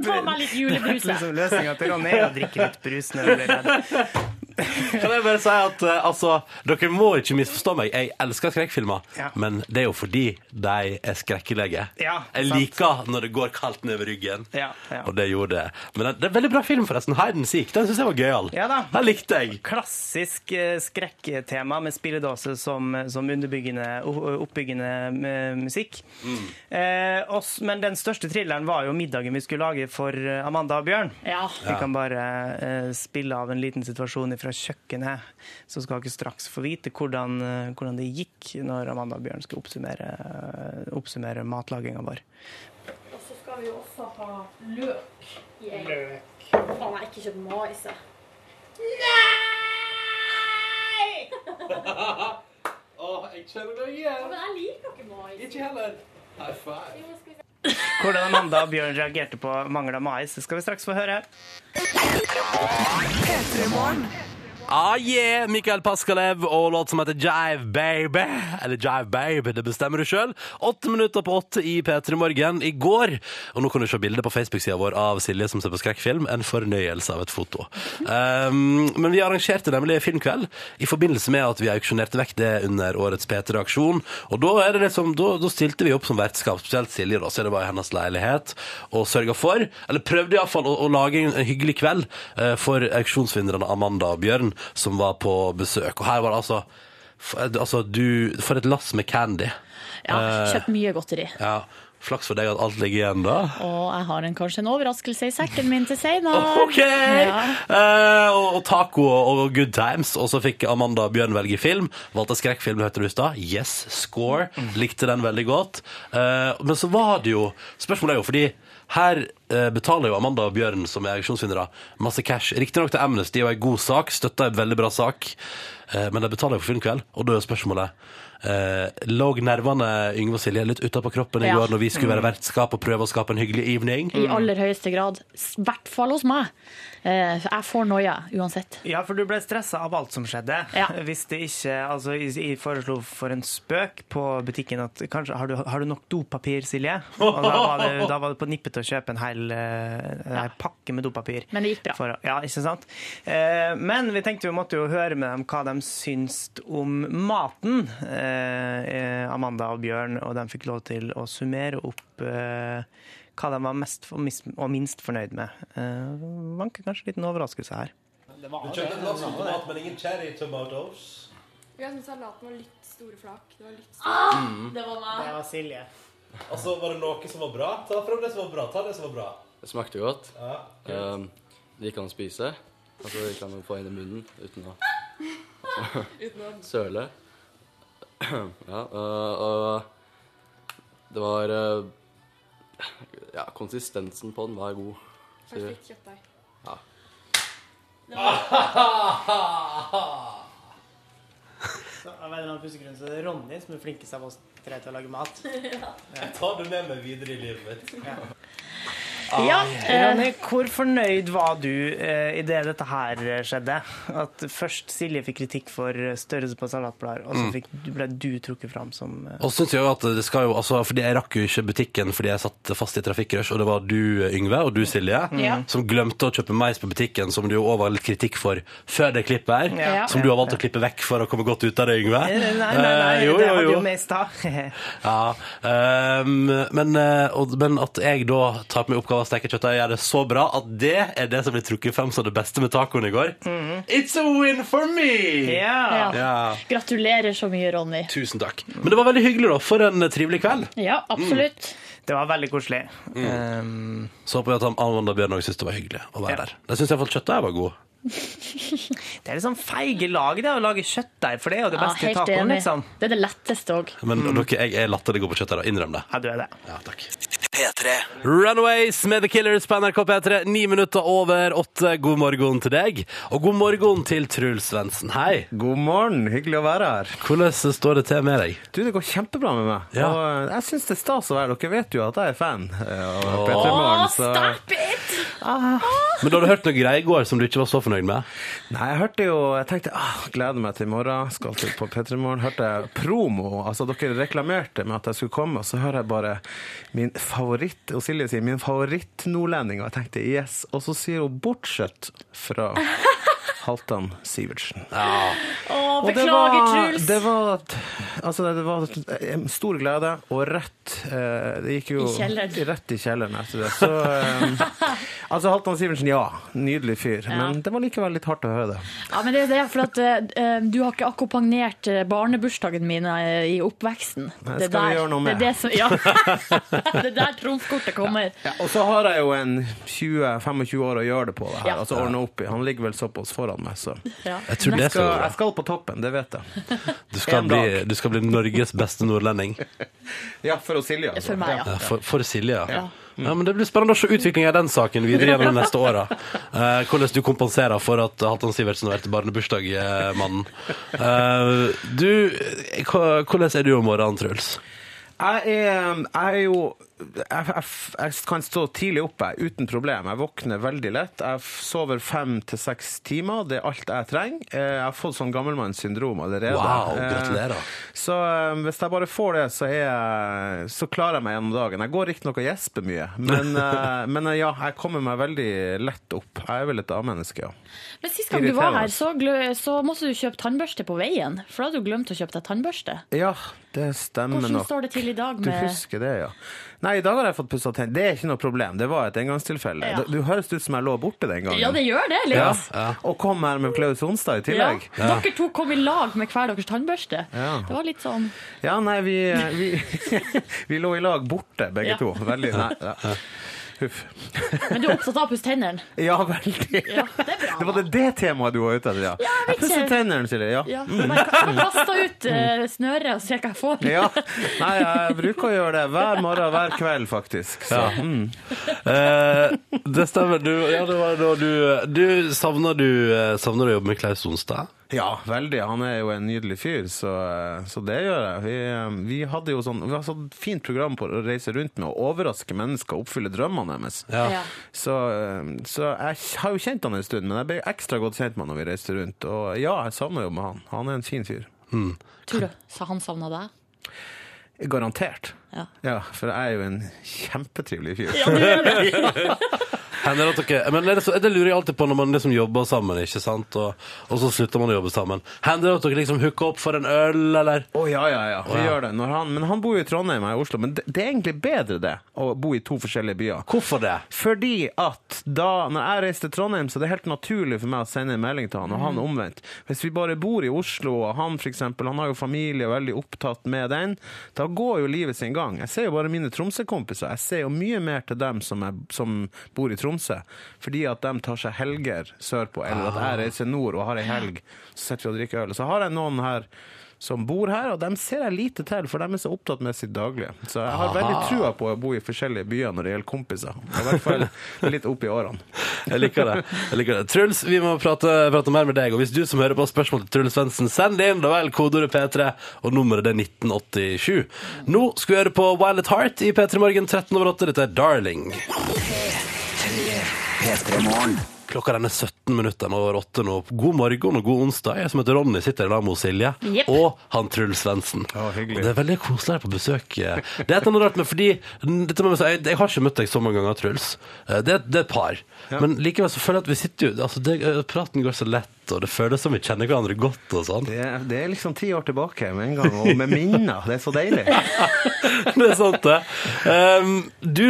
Speaker 3: Ta meg litt julebrus. jeg.
Speaker 2: Liksom Løsninga til Ronny er å drikke litt brus når du blir redd.
Speaker 1: Kan jeg bare si at eh, altså, dere må ikke misforstå meg. Jeg elsker skrekkfilmer,
Speaker 2: Ja.
Speaker 1: men det er jo fordi de er skrekkelige.
Speaker 2: Ja,
Speaker 1: jeg
Speaker 2: sant.
Speaker 1: liker når det går kaldt nedover ryggen,
Speaker 2: Ja, ja.
Speaker 1: og det gjorde det. Men det- det er en veldig bra film, forresten. Hide and Seek. Den syns jeg var gøyal.
Speaker 2: Ja da.
Speaker 1: Den likte jeg.
Speaker 2: Klassisk eh, skrekktema med spilledåse som, som underbyggende, o- oppbyggende eh, musikk. Eh, oss, men den største thrilleren var jo middagen vi skulle lage for eh, Amanda og Bjørn.
Speaker 3: Ja.
Speaker 2: Vi kan bare eh, spille av en liten situasjon fra kjøkkenet, så skal dere straks få vite hvordan, eh, hvordan det gikk når Amanda og Bjørn skal oppsummere, uh, oppsummere matlaginga vår.
Speaker 5: Og så skal vi jo også ha løk i egg. Løk. Faen, jeg har ikke kjøpt mais, jeg. Nei! Å, jeg kjenner deg igjen. Men jeg liker ikke mais. Ikke
Speaker 2: Hvordan Amanda og Bjørn reagerte på mangel av mais, det skal vi straks få høre.
Speaker 1: Ah yeah, Mikael Paskalev og låt som heter Jive Baby. Eller Jive Babe, det bestemmer du sjøl. Åtte minutter på åtte i P3 Morgen i går. Og nå kan du se bildet på Facebook-sida vår av Silje som ser på skrekkfilm. En fornøyelse av et foto. Um, men vi arrangerte nemlig filmkveld i forbindelse med at vi auksjonerte vekk det under årets P3-aksjon. Og da, er det liksom, da, da stilte vi opp som vertskap, spesielt Silje, da, så det var i hennes leilighet, og sørga for, eller prøvde iallfall å, å lage en, en hyggelig kveld eh, for auksjonsvinnerne Amanda og Bjørn, som var på besøk. Og her var det altså f- eh, Altså, du For et lass med candy.
Speaker 3: ja
Speaker 1: Eh.
Speaker 3: Kjøpt mye godteri.
Speaker 1: Ja. Flaks for deg at alt ligger igjen, da.
Speaker 3: Og jeg har en, kanskje en overraskelse i sekken min til senere.
Speaker 1: OK!
Speaker 3: Ja.
Speaker 1: Eh, og, og taco og, og good times. Og så fikk Amanda og Bjørn velge film. Valgte skrekkfilm, hørte du i stad. Yes, score. Likte den veldig godt. Eh, men så var det jo Spørsmålet er jo fordi her eh, betaler jo Amanda og Bjørn, som er auksjonsvinnere, masse cash. Riktignok til Amnesty og ei god sak, støtta ei veldig bra sak, Eh, men de betaler jo for filmkveld. Og da er spørsmålet eh, Lå nervene Yngve og Silje litt utapå kroppen i
Speaker 3: Ja. Mm.
Speaker 1: går når vi skulle være vertskap og prøve å skape en hyggelig evening?
Speaker 3: I aller høyeste grad. I hvert fall hos meg. Eh, Jeg får noia uansett.
Speaker 2: Ja, for du ble stressa av alt som skjedde.
Speaker 3: Ja.
Speaker 2: Hvis det ikke Altså, jeg jeg foreslo for en spøk på butikken at kanskje Har du, har du nok dopapir, Silje? Og da var det, da var det på nippet til å kjøpe en hel eh, en hel pakke med dopapir.
Speaker 3: Men det gikk bra.
Speaker 2: For å- ja, ikke sant? Eh, men vi tenkte vi måtte jo høre med dem hva de syns om maten. Eh, eh, Amanda og Bjørn, og de fikk lov til å summere opp eh, hva de var mest for, mis- og minst fornøyd med. Eh, vanker kanskje en liten overraskelse her.
Speaker 5: Vi har salaten var litt store flak. Det var litt
Speaker 2: Det var Silje.
Speaker 1: Altså, Var det noe som var bra? Ta fram det som var bra. ta det som var bra.
Speaker 6: Det smakte godt. Ehm, det gikk an å spise. Altså, det gikk an å få inn i munnen uten å søle. ja, øh, og det var øh, Ja, konsistensen på den var god. Så,
Speaker 5: perfekt kjøttdeig.
Speaker 2: Så av en eller annen pussegrunn så er det Ronny som er flinkest av oss tre til å lage mat.
Speaker 1: Jeg tar det med meg videre i livet mitt.
Speaker 7: Ah,
Speaker 3: Ja, eh,
Speaker 2: Ronny, hvor fornøyd var du eh, i det dette her eh, skjedde? At først Silje fikk kritikk for størrelse på salatblader, og så fikk, ble du trukket fram som eh,
Speaker 1: Og så synes jeg jo at det skal jo, altså, fordi jeg rakk jo ikke butikken fordi jeg satt fast i trafikkrush, og det var du, Yngve, og du, Silje,
Speaker 3: Ja.
Speaker 1: som glemte å kjøpe mais på butikken, som du jo også var litt kritikk for før det klippet her.
Speaker 3: Ja.
Speaker 1: Som du har valgt å klippe vekk for å komme godt ut av det, Yngve.
Speaker 2: Nei, nei, nei,
Speaker 1: Eh, jo,
Speaker 2: det
Speaker 1: jo,
Speaker 2: hadde
Speaker 1: jo.
Speaker 2: jo med i stad.
Speaker 1: Ja, ehm, men, eh, og, men at jeg da tar på meg oppgaven å steke kjøttdeig og gjør det så bra at det er det som ble trukket frem som det beste med tacoen i går. It's a win for me!
Speaker 2: ja.
Speaker 3: ja.
Speaker 1: Ja,
Speaker 3: Gratulerer så mye, Ronny.
Speaker 1: Tusen takk. Men det var veldig hyggelig, da. For en trivelig kveld.
Speaker 3: Ja, absolutt.
Speaker 7: Mm.
Speaker 2: Det var veldig koselig. Ehm, Um,
Speaker 1: Så håper jeg at han- Amanda Bjørn også syntes det var hyggelig å være
Speaker 2: Ja.
Speaker 1: der. Jeg syns iallfall kjøttdeigen var god.
Speaker 2: Det er litt sånn feige lag det å lage kjøttdeig, for det er jo det
Speaker 3: Ja,
Speaker 2: beste i
Speaker 3: helt
Speaker 2: tacoen,
Speaker 3: enig.
Speaker 2: liksom.
Speaker 3: Det er det letteste òg.
Speaker 1: Men dere, jeg er latter det går på kjøttet. da. Innrøm det.
Speaker 2: Ja, du er det.
Speaker 1: Ja, takk.
Speaker 4: P3.
Speaker 1: Runaways med The Killers på NRK P3. Ni minutter over åtte. God morgen til deg. Og god morgen til Truls Svendsen. Hei.
Speaker 7: God morgen, hyggelig å være her.
Speaker 1: Hvordan står det til med deg?
Speaker 7: Du, det går kjempebra med meg.
Speaker 1: Ja.
Speaker 7: Og eh, jeg syns det er stas å være Dere vet jo at jeg er fan eh, av
Speaker 3: Å,
Speaker 7: P3 Morgen, så
Speaker 3: stop it!
Speaker 1: Men da hadde du hørt noe greier i går som du ikke var så fornøyd med?
Speaker 7: Nei, jeg hørte jo Jeg tenkte ah, gleder meg til i morgen, skal til på P3 Morgen. Hørte jeg promo, altså dere reklamerte med at jeg skulle komme, og så hører jeg bare min favoritt Og Silje sier min favoritt-nordlending, og jeg tenkte yes. Og så sier hun bortsett fra Halvdan Sivertsen.
Speaker 3: Å,
Speaker 7: Og det
Speaker 3: beklager,
Speaker 7: var-
Speaker 3: Truls.
Speaker 7: Det var, altså, det var en stor glede, og rett eh, Det gikk jo
Speaker 3: I kjelleren.
Speaker 7: rett i kjelleren etter det. Så eh, Altså, Halvdan Sivertsen, ja. Nydelig fyr. Men det var likevel litt hardt å høre det.
Speaker 3: Ja, men det er det, for at eh, Du har ikke akkompagnert eh, barnebursdagen min eh, i oppveksten.
Speaker 7: Nei, det skal vi gjøre noe med.
Speaker 3: Det er det som, ja. det er der trumfkortet kommer.
Speaker 7: Ja, og så har jeg jo en 20-25 år å gjøre det på det her.
Speaker 3: Ja.
Speaker 7: Altså ordne opp i. Han ligger vel såpass foran meg, så jeg
Speaker 3: Ja.
Speaker 1: Jeg tror det skal
Speaker 7: skal,
Speaker 1: gå
Speaker 7: jeg skal på toppen, det vet jeg.
Speaker 1: Du skal,
Speaker 7: en
Speaker 1: bli, du skal bli Norges beste nordlending.
Speaker 7: Ja, for å Silje, altså.
Speaker 3: For meg, ja.
Speaker 1: Ja, For, for Silje, ja. ja. men Det blir spennende å se utviklingen i den saken videre gjennom de neste åra. Eh, hvordan du kompenserer for at Halvdan Sivertsen har vært barnebursdagsmannen. Eh, du, eh, hva- hvordan er du om morgenen, Truls?
Speaker 7: Jeg er, um, jeg er jo jeg, jeg, jeg kan stå tidlig oppe jeg, uten problem. Jeg våkner veldig lett. Jeg f- sover fem til seks timer. Det er alt jeg trenger. Eh, Jeg har fått sånn gammelmannssyndrom allerede.
Speaker 1: Wow,
Speaker 7: Eh,
Speaker 1: gratulerer.
Speaker 7: Så eh, hvis jeg bare får det, så, er jeg, så klarer jeg meg gjennom dagen. Jeg går riktignok og gjesper mye, men, eh, men eh, ja, jeg kommer meg veldig lett opp. Jeg er vel et A-menneske, ja.
Speaker 3: Men Sist gang du var her,
Speaker 7: Irriterende.
Speaker 3: så, glø- så måtte du kjøpe tannbørste på veien. For da hadde du glemt å kjøpe deg tannbørste.
Speaker 7: Ja, det stemmer
Speaker 3: Hvordan
Speaker 7: nok.
Speaker 3: står det til i dag
Speaker 7: Du
Speaker 3: med
Speaker 7: husker det, ja. Nei, i dag har jeg fått pussa tenner. Det er ikke noe problem. Det var et engangstilfelle.
Speaker 3: Ja.
Speaker 7: Du, du høres ut som jeg lå borte den gangen.
Speaker 3: Ja, det gjør det litt.
Speaker 7: Ja. Og kom her med Klaus Onsdag i
Speaker 3: Ja.
Speaker 7: tillegg. Ja,
Speaker 3: Dere to kom i lag med hver deres tannbørste.
Speaker 7: Ja.
Speaker 3: Det var litt sånn
Speaker 7: nei, vi, eh, vi, vi lå i lag borte, begge
Speaker 3: Ja.
Speaker 7: to. Veldig nei, ja. Huff.
Speaker 3: Men du er opptatt av å pusse tennene.
Speaker 7: Ja, veldig.
Speaker 3: Ja, det er bra.
Speaker 7: Det var det, det temaet du var ute etter, ja.
Speaker 3: jeg vet
Speaker 7: Jeg pusser
Speaker 3: ikke.
Speaker 7: tennene, Silje. Ja.
Speaker 3: Ja, bare ka- kaste ut eh, snøret og se hva jeg får.
Speaker 7: ja. Nei, jeg bruker å gjøre det hver morgen, hver kveld, faktisk. Så.
Speaker 1: Eh, det stemmer. Du, ja, det var da du, eh, du, savner, du eh, savner du å jobbe med Klaus Sonstad?
Speaker 7: Ja, veldig. Han er jo en nydelig fyr, så, så det gjør jeg. Vi, vi hadde jo sånn, vi har sånn fint program på å reise rundt med å overraske mennesker og oppfylle drømmene deres.
Speaker 3: Ja.
Speaker 7: Så, så jeg har jo kjent han en stund, men jeg ble ekstra godt kjent med han når vi reiste rundt. Og ja, jeg savner jo med han. Han er en fin fyr.
Speaker 3: Tror du sa han savna deg?
Speaker 7: Garantert.
Speaker 3: Ja.
Speaker 7: for jeg er jo en kjempetrivelig fyr.
Speaker 3: Ja, det gjør det.
Speaker 1: Hender det at dere, men er det, så, det lurer jeg alltid på når man liksom jobber sammen, ikke sant? Og, og så slutter man å jobbe sammen. Hender det at dere liksom hooker opp for en øl, eller?
Speaker 7: Å ja, ja, ja. Vi
Speaker 1: Å, ja.
Speaker 7: gjør det. Når han, men han bor jo i Trondheim, jeg i Oslo. Men det, det er egentlig bedre det, å bo i to forskjellige byer.
Speaker 1: Hvorfor det?
Speaker 7: Fordi at da når jeg reiser til Trondheim, så er det helt naturlig for meg å sende en melding til han, og han omvendt. Hvis vi bare bor i Oslo, og han for eksempel, han har jo familie og er veldig opptatt med den, da går jo livet sin gang. Jeg ser jo bare mine Tromsø-kompiser. Jeg ser jo mye mer til dem som, er, som bor i Tromsø, fordi at de tar seg helger sørpå, eller at jeg reiser nord og har ei helg, så sitter vi og drikker øl. Og Så har jeg noen her som bor her, og dem ser jeg lite til, for de er så opptatt med sitt daglige. Så jeg har veldig trua på å bo i forskjellige byer når det gjelder kompiser. I hvert fall litt opp i årene.
Speaker 1: Jeg liker det. jeg liker det Truls, vi må prate, prate mer med deg. Og hvis du som hører på har spørsmål til Truls Svendsen, send det inn, da vel. Kodeordet P3, og nummeret det er 1987. Nå skal vi høre på Violet Heart i P3 Morgen 13 over 8. Dette er Darling.
Speaker 4: P3 Morgen.
Speaker 1: Klokka den er 17 minutter over 8 nå. God morgen og god onsdag. Jeg som heter Ronny, sitter i lag med Silje
Speaker 3: Jepp.
Speaker 1: og han Truls Svendsen.
Speaker 7: Å, hyggelig.
Speaker 1: Og det er veldig koselig her på besøk. Det er et eller annet rart, men fordi dette må jeg, si, jeg, jeg har ikke møtt deg så mange ganger, Truls. Eh, Det, er- det er et par. Men likevel så føler jeg at vi sitter jo altså det, eh, Praten går så lett, og det føles som vi kjenner hverandre godt og sånn.
Speaker 7: Det, er- det er liksom ti år tilbake med en gang, og med minner. Det er så deilig.
Speaker 1: Det er sant, det. Ehm, du,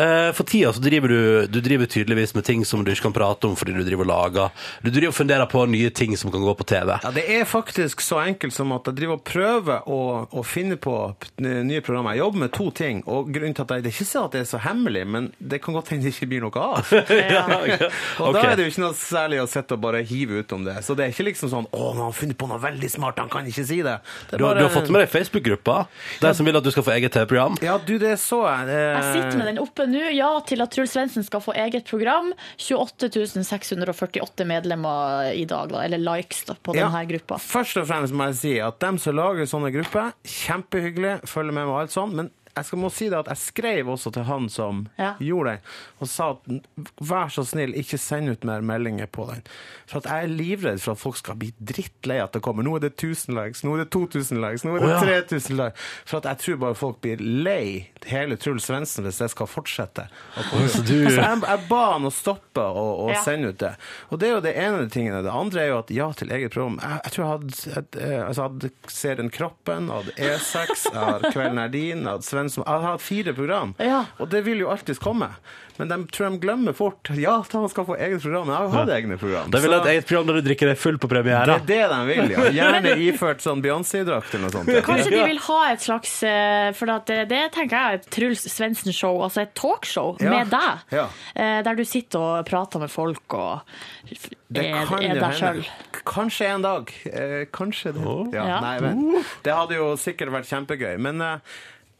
Speaker 1: eh, for tida så driver du Du driver tydeligvis med ting som du ikke kan prate om fordi du driver og lager. Du driver og funderer på nye ting som kan gå på TV.
Speaker 7: Ja, Det er faktisk så enkelt som at jeg driver og prøver å, å finne på p- nye programmer. Jeg jobber med to ting, og grunnen til at jeg, det er ikke sånn at det er så hemmelig, men det kan godt hende det ikke blir noe av. Og da er det jo ikke noe særlig å sitte og bare hive ut om det. Så det er ikke liksom sånn 'Å, nå har han funnet på noe veldig smart, han kan ikke si det'. det er
Speaker 1: Du, har-
Speaker 7: bare-
Speaker 1: du har fått med deg Facebook-gruppa? De som vil at du skal få eget TV-program?
Speaker 7: Ja, du, det så jeg. Eh,
Speaker 3: Jeg sitter med den oppe nå. Ja til at Truls Svendsen skal få eget program. 28 648 medlemmer i dag, da, eller likes da, på
Speaker 7: Ja.
Speaker 3: denne gruppa.
Speaker 7: Først og fremst må jeg si at dem som lager sånne grupper, kjempehyggelig, følger med meg og alt sånt, men jeg skal må si det at jeg skrev også til han som
Speaker 3: Ja.
Speaker 7: gjorde det, og sa at vær så snill, ikke send ut mer meldinger på den. For at jeg er livredd for at folk skal bli drittlei at det kommer. Nå er det 1000 likes, nå er det 2000 likes, nå er
Speaker 1: Å,
Speaker 7: det
Speaker 1: ja.
Speaker 7: 3000 likes. For at jeg tror bare folk blir lei hele Truls Svendsen hvis det skal fortsette. å komme ut. Altså, jeg, jeg ba han å stoppe å, å
Speaker 3: Ja.
Speaker 7: sende ut det. Og det er jo det ene av de tingene. Det andre er jo at ja til eget program. Jeg, jeg tror jeg hadde, et, eh, altså, jeg hadde serien Kroppen, jeg hadde E6, jeg hadde Kvelden er din, jeg hadde Svensson Jeg har hatt fire program,
Speaker 3: Ja.
Speaker 7: og det vil jo alltids komme. Men de tror de glemmer fort. Ja, at han skal få eget program. Men jeg har jo hatt egne program.
Speaker 1: De vil
Speaker 7: så
Speaker 1: ha et eget program der du drikker deg full på premiere.
Speaker 7: det er det de vil, ja. Gjerne iført sånn Beyoncé-drakt eller noe sånt. ja.
Speaker 3: Kanskje de vil ha et slags eh, For at det, det tenker jeg er et Truls Svendsen-show, altså et talkshow
Speaker 7: Ja.
Speaker 3: med deg.
Speaker 7: Ja.
Speaker 3: eh, Der du sitter og prater med folk og er,
Speaker 7: Det kan
Speaker 3: er
Speaker 7: jo
Speaker 3: deg
Speaker 7: hende.
Speaker 3: sjøl.
Speaker 7: K- Kanskje en dag. Eh, kanskje det. Ja,
Speaker 3: Ja.
Speaker 7: Nei, men,
Speaker 1: Uh.
Speaker 7: det hadde jo sikkert vært kjempegøy. Men eh,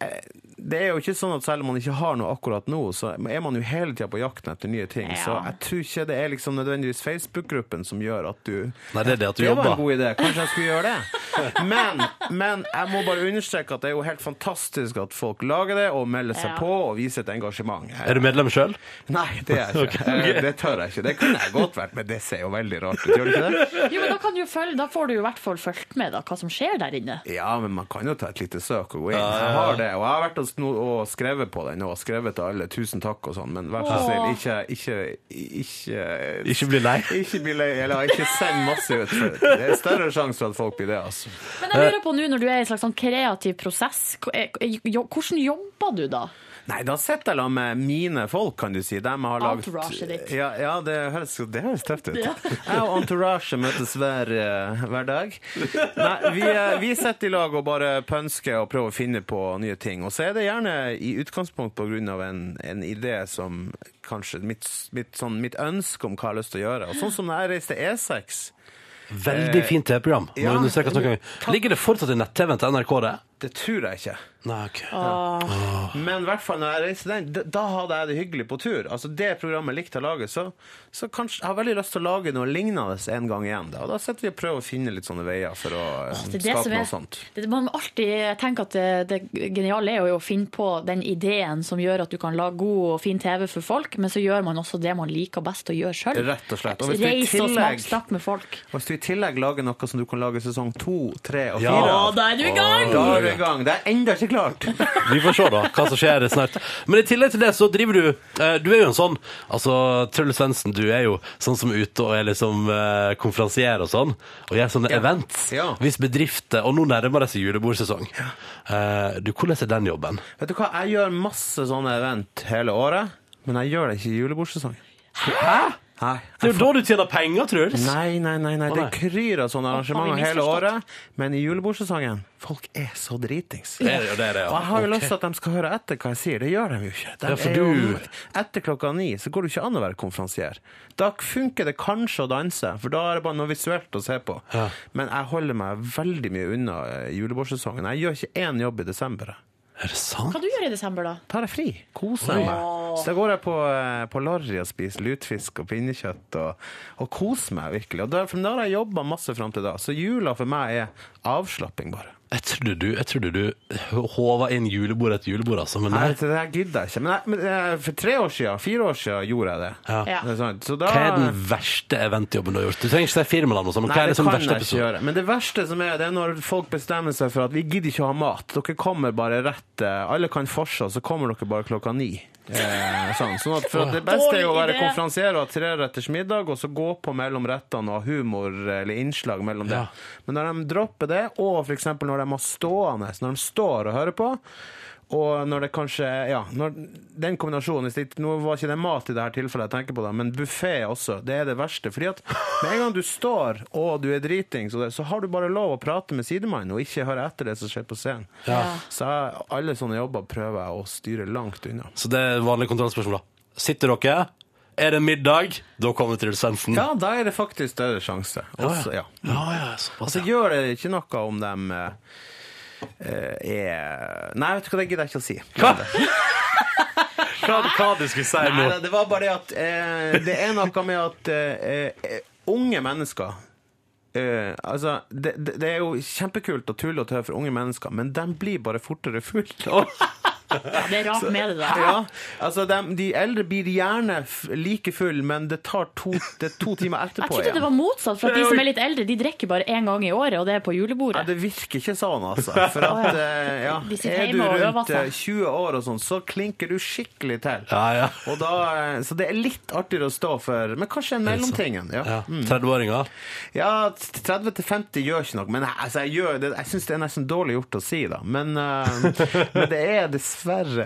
Speaker 7: eh, det er jo ikke sånn at selv om man ikke har noe akkurat nå, så er man jo hele tida på jakten etter nye ting.
Speaker 3: Ja.
Speaker 7: Så jeg tror ikke det er liksom nødvendigvis Facebook-gruppen som gjør at du
Speaker 1: Nei, det er det at du
Speaker 7: det var en
Speaker 1: jobber.
Speaker 7: god idé. Kanskje jeg skulle gjøre det. Men, men jeg må bare understreke at det er jo helt fantastisk at folk lager det og melder seg
Speaker 3: Ja.
Speaker 7: på og viser et engasjement. Jeg-
Speaker 1: Er du medlem sjøl?
Speaker 7: Nei, det er jeg ikke. Eh, Det tør jeg ikke. Det kunne jeg godt vært, men det ser jo veldig rart ut, gjør det ikke det?
Speaker 3: Jo, men da, kan du jo følge, da får du jo i hvert fall fulgt med da, hva som skjer der inne.
Speaker 7: Ja, men man kan jo ta et lite søk og gå inn. Jeg har det, og jeg har vært og, sno- og skrevet på den, og skrevet til alle 'tusen takk' og sånn, men vær så snill, ikke Ikke, ikke,
Speaker 1: Ikke bli lei.
Speaker 7: ikke bli lei, eller ikke send masse ut. For det er større sjanse for at folk blir det, altså.
Speaker 3: Men jeg lurer på nå, når du er i en slags sånn kreativ prosess, hva- er- jo- hvordan jobber du da?
Speaker 7: Nei, da sitter jeg da med mine folk, kan du si. Dem har laget-
Speaker 3: Entouraget ditt.
Speaker 7: Ja, ja det, høres, det høres tøft ut. Jeg og entourage møtes hver, eh, hver dag. Nei, vi, eh, vi sitter i lag og bare pønsker og prøver å finne på nye ting. Og så er det gjerne i utgangspunkt på grunn av en, en idé som kanskje mitt, mitt, sånn, mitt ønske om hva jeg har lyst til å gjøre. Og sånn som da jeg reiste E6
Speaker 1: Veldig fint TV-program. Må
Speaker 7: Eh, ja.
Speaker 1: understrekes noen gang. Ligger det fortsatt i nett-TV-en til NRK, det?
Speaker 7: Det tror jeg ikke.
Speaker 1: Nei, ok.
Speaker 7: Ah. Men i hvert fall når jeg reiste den, d- da hadde jeg det hyggelig på tur. Altså Det programmet likte jeg å lage, så, så kanskje jeg har veldig lyst til å lage noe lignende en gang igjen. Da. Og da sitter vi og prøver å finne litt sånne veier for å eh,
Speaker 3: Det er det
Speaker 7: skape
Speaker 3: som
Speaker 7: noe
Speaker 3: er-
Speaker 7: sånt.
Speaker 3: Det, man må alltid tenke at det, det geniale er jo å finne på den ideen som gjør at du kan lage god og fin TV for folk, men så gjør man også det man liker best å gjøre sjøl.
Speaker 7: Rett og slett. Og hvis du i
Speaker 3: Reise og
Speaker 7: tillegg,
Speaker 3: smaksnakk med folk.
Speaker 7: og hvis du i tillegg lager noe som du kan lage sesong to, tre og
Speaker 1: Ja.
Speaker 7: fire
Speaker 3: Å,
Speaker 7: av,
Speaker 3: da er du i gang!
Speaker 7: da er du i gang. Det er ennå ikke klart.
Speaker 1: Vi får se da, hva som skjer snart. Men i tillegg til det så driver du eh, Du er jo en sånn Altså, Truls Svendsen, du er jo sånn som er ute og er liksom eh, konferansier og sånn, og gjør sånne events.
Speaker 7: Ja.
Speaker 1: Hvis bedrifter Og nå nærmer det seg julebordsesong. Eh, du, hvordan er den jobben?
Speaker 7: Vet du hva, jeg gjør masse sånne event hele året, men jeg gjør det ikke i julebordsesong. Hæ? Nei.
Speaker 1: Det er jo da du tjener penger, Truls!
Speaker 7: Nei, nei, nei, nei. det
Speaker 1: nei.
Speaker 7: kryr av sånne arrangementer
Speaker 3: vi
Speaker 7: hele
Speaker 3: misforstått?
Speaker 7: året. Men i julebordsesongen Folk er så dritings.
Speaker 1: Det er jo det, det, er,
Speaker 7: Og jeg
Speaker 1: ja.
Speaker 7: har jo lyst til at de skal høre etter hva jeg sier. Det gjør de jo ikke. De
Speaker 1: Ja, for
Speaker 7: er jo,
Speaker 1: du-
Speaker 7: etter klokka ni så går det jo ikke an å være konferansier. Da funker det kanskje å danse, for da er det bare noe visuelt å se på.
Speaker 1: Ja.
Speaker 7: Men jeg holder meg veldig mye unna eh, julebordsesongen. Jeg gjør ikke én jobb i desember. jeg.
Speaker 1: Er det sant?
Speaker 3: Hva du gjør i desember, da?
Speaker 7: Tar jeg fri. Koser meg. Så da går jeg på, eh, på Larry og spiser lutfisk og pinnekjøtt og, og koser meg virkelig. Og da, for da har jeg jobba masse fram til da. Så jula for meg er avslapping, bare.
Speaker 1: Jeg trodde du, jeg trodde du håva inn julebord etter julebord, altså. Men
Speaker 7: Nei,
Speaker 1: nei.
Speaker 7: det her gidder jeg ikke. Men, jeg, men eh, for tre år siden, fire år siden, gjorde jeg det.
Speaker 1: Ja.
Speaker 3: Ja.
Speaker 7: Det er sant. Så da,
Speaker 1: Hva er den verste eventjobben du har gjort? Du trenger ikke si firmanavn og sånn, men
Speaker 7: Nei,
Speaker 1: hva er
Speaker 7: det
Speaker 1: liksom
Speaker 7: kan
Speaker 1: verste
Speaker 7: jeg ikke
Speaker 1: episode?
Speaker 7: gjøre. Men det verste som er, det er når folk bestemmer seg for at vi gidder ikke å ha mat. Dere kommer bare rett eh, Alle kan forsa, så kommer dere bare klokka ni. Eh, sånn. sånn at, for at det beste er jo å
Speaker 3: Dårlig
Speaker 7: være
Speaker 3: idé.
Speaker 7: konferansier og ha treretters middag, og så gå på mellom rettene og ha humor eller innslag mellom det.
Speaker 1: Ja.
Speaker 7: Men når de dropper det, og f.eks. når de har stående, så når de står og hører på og når det kanskje Ja, når den kombinasjonen hvis det- Nå var ikke det mat i det her tilfellet jeg tenker på, da, men buffé også. Det er det verste. Fordi at med en gang du står og du er dritings, og det, så har du bare lov å prate med sidemannen og ikke høre etter det som skjer på scenen.
Speaker 3: Ja.
Speaker 7: Så jeg, alle sånne jobber prøver jeg å styre langt unna.
Speaker 1: Så det er vanlige kontrollspørsmål, da. Sitter dere? Er det middag? Da kommer det til Svendsen.
Speaker 7: Ja, da er det faktisk større sjanse.
Speaker 3: Altså,
Speaker 7: Også, ja.
Speaker 1: ja, ja, såpass,
Speaker 7: Så
Speaker 1: ja.
Speaker 7: Altså, gjør det ikke noe om dem eh, eh, er Nei, vet du hva, det gidder jeg ikke å si.
Speaker 1: Hva, hva du skulle si
Speaker 7: Nei, nei, det var bare det at eh, Det er noe med at eh, eh, unge mennesker eh, altså, det, det det er jo kjempekult å tulle og tøve for unge mennesker, men de blir bare fortere fullt.
Speaker 3: Det er rart med det der.
Speaker 7: Ja, altså, de, de eldre blir gjerne f like full, men det tar to, det er to timer
Speaker 3: Jeg
Speaker 7: etterpå
Speaker 3: trodde det var motsatt, for at de som er litt eldre, de drikker bare én gang i året, og det er på
Speaker 7: Ja,
Speaker 3: julebordet.
Speaker 7: det virker ikke sånn, altså. For at, eh, ja,
Speaker 3: De sitter
Speaker 7: er du
Speaker 3: hjemme og øver
Speaker 7: rundt
Speaker 3: seg.
Speaker 7: eh, 20 år og sånn, så klinker du skikkelig til.
Speaker 1: Ja, ja.
Speaker 7: Og da, eh, så det er litt artigere å stå for, men kanskje en mellomtingen. Ja.
Speaker 1: ja.
Speaker 3: Mm.
Speaker 1: 30-åringer.
Speaker 7: Ja, 30 til 50 gjør ikke noe, men altså, jeg, gjør, det, jeg synes det er nesten dårlig gjort å si, da. Men, eh, men det er dessverre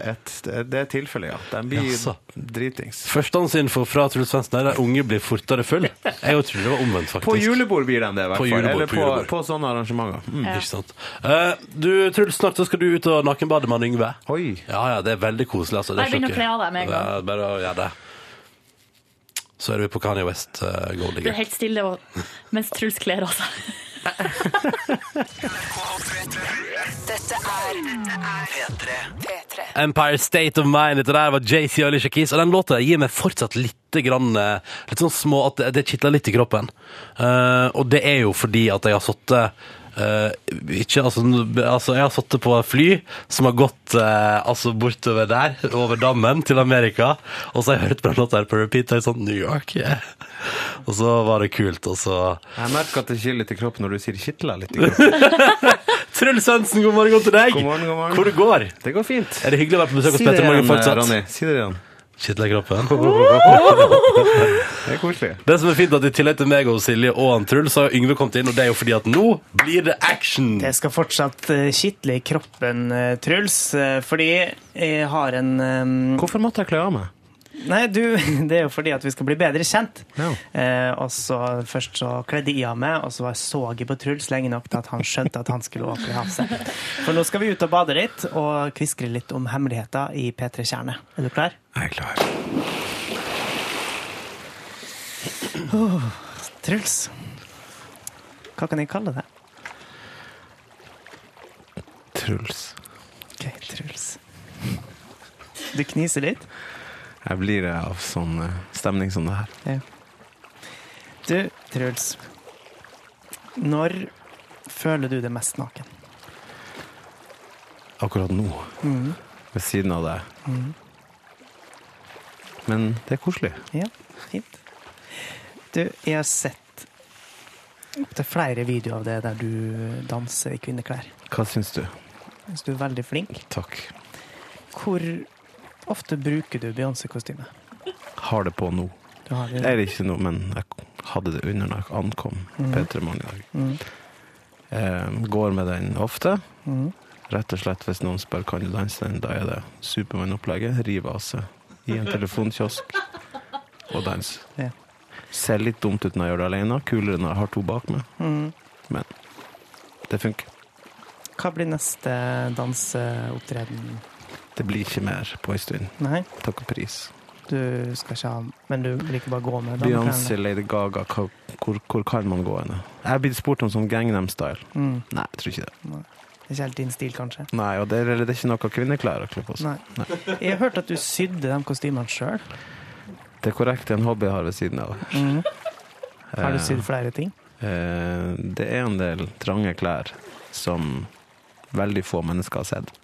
Speaker 7: et, det er tilfellet, ja. De blir
Speaker 1: Jaså.
Speaker 7: dritings.
Speaker 1: Førstehåndsinfo fra Truls Svendsen er at unge blir fortere full. Jeg trodde det var omvendt, faktisk.
Speaker 7: På julebord blir de det, i hvert
Speaker 1: På
Speaker 7: fall.
Speaker 1: julebord,
Speaker 7: Eller
Speaker 1: på
Speaker 7: på, på,
Speaker 1: julebord.
Speaker 7: sånne arrangementer. Mm.
Speaker 1: Ikke sant. Eh, du, Truls, snart så skal du ut og nakenbade med han Yngve.
Speaker 7: Oi.
Speaker 1: Ja, ja, det er veldig koselig. Altså. Det
Speaker 3: Bare
Speaker 1: er
Speaker 3: begynn å
Speaker 1: ikke-
Speaker 3: kle av deg med en gang.
Speaker 1: Ja, bare å gjøre det. Så er vi på Kanye West, uh, Gold
Speaker 3: Det
Speaker 1: Digger.
Speaker 3: er helt stille og, mens Truls kler av seg.
Speaker 4: Dette er P3. P3.
Speaker 1: Empire State of Mind, dette der var JC og Alicia Keys. Og den låta gir meg fortsatt litt, grann, eh, litt sånn små At det- det kitler litt i kroppen. Eh, og det er jo fordi at jeg har sittet eh, ikke, altså, n- altså, jeg har sittet på et fly som har gått eh, altså, bortover der, over dammen, til Amerika. Og så har jeg hørt på den låta her på repeat. Og jeg er sånn New York, yeah. Og så var det kult, og så
Speaker 7: Jeg merker at det kiler litt i kroppen når du sier kitler litt i kroppen.
Speaker 1: Truls Svendsen, god morgen til deg!
Speaker 7: God morgen, god morgen.
Speaker 1: Hvor det går?
Speaker 7: Det går fint.
Speaker 1: Er det hyggelig å være på besøk hos
Speaker 7: Si det
Speaker 1: Petter Morgen
Speaker 7: igjen,
Speaker 1: fortsatt?
Speaker 7: Ronny. Si det igjen.
Speaker 1: Kitler i kroppen.
Speaker 7: Det er koselig.
Speaker 1: Det som er fint er at I tillegg til meg og Silje og han Truls har Yngve kommet inn, og det er jo fordi at nå blir det action!
Speaker 2: Det skal fortsatt eh, kitle i kroppen, eh, Truls, eh, fordi jeg har en eh,
Speaker 7: Hvorfor måtte jeg kle av meg?
Speaker 2: Nei, du, det er jo fordi at vi skal bli bedre kjent.
Speaker 7: Ja.
Speaker 2: Eh, og så Først så kledde jeg av meg, og så var jeg så jeg på Truls lenge nok til at han skjønte at han skulle åpne havset. For nå skal vi ut og bade litt, og kviskre litt om hemmeligheter i P3 Kjerne. Er du klar?
Speaker 7: Jeg er klar.
Speaker 2: Truls, hva kan jeg kalle det?
Speaker 7: Truls.
Speaker 2: Ok, Truls. Du kniser litt?
Speaker 7: Jeg blir av sånn eh, stemning som det her.
Speaker 2: Du, Truls. Når føler du deg mest naken?
Speaker 7: akkurat nå. Ved siden av deg. Men det er koselig.
Speaker 2: Ja, fint. Du, jeg har sett opptil flere videoer av det der du danser i kvinneklær.
Speaker 7: Hva syns du?
Speaker 2: Jeg synes du er veldig flink.
Speaker 7: Takk.
Speaker 2: Hvor ofte bruker du Beyoncé-kostyme?
Speaker 7: Har det på nå.
Speaker 2: Du har
Speaker 7: Det
Speaker 2: det.
Speaker 7: er ikke noe, men jeg hadde det under når jeg ankom
Speaker 2: Mm.
Speaker 7: P3 Morgen i dag. Eh, går med den ofte.
Speaker 2: Mhm.
Speaker 7: Rett og slett hvis noen spør kan du danse den, da er det Supermann-opplegget. Riv av seg i en telefonkiosk og dans.
Speaker 2: Ja.
Speaker 7: Ser litt dumt ut når jeg gjør det alene. Kulere når jeg har to bak meg.
Speaker 2: Mhm.
Speaker 7: Men det funker.
Speaker 2: Hva blir neste danseopptreden?
Speaker 7: Det blir ikke mer på en stund.
Speaker 2: Nei,
Speaker 7: Takk og pris.
Speaker 2: du skal ikke ha Men du liker bare å gå med
Speaker 7: Beyoncé,
Speaker 2: dameklærne.
Speaker 7: Lady Gaga, hva, hvor, hvor kan man gå henne? Jeg har blitt spurt om sånn Gangnam Style.
Speaker 2: Mm.
Speaker 7: Nei, jeg tror ikke det.
Speaker 2: Det er ikke helt din stil, kanskje?
Speaker 7: Nei, og det er, det er ikke noe kvinneklær å kle på seg.
Speaker 2: Nei. Jeg har hørt at du sydde de kostymene sjøl.
Speaker 7: Det er korrekt, det er en hobby jeg har ved siden av.
Speaker 2: Har du
Speaker 7: Eh,
Speaker 2: sydd flere ting?
Speaker 7: eh, det er en del trange klær som veldig få mennesker har sett.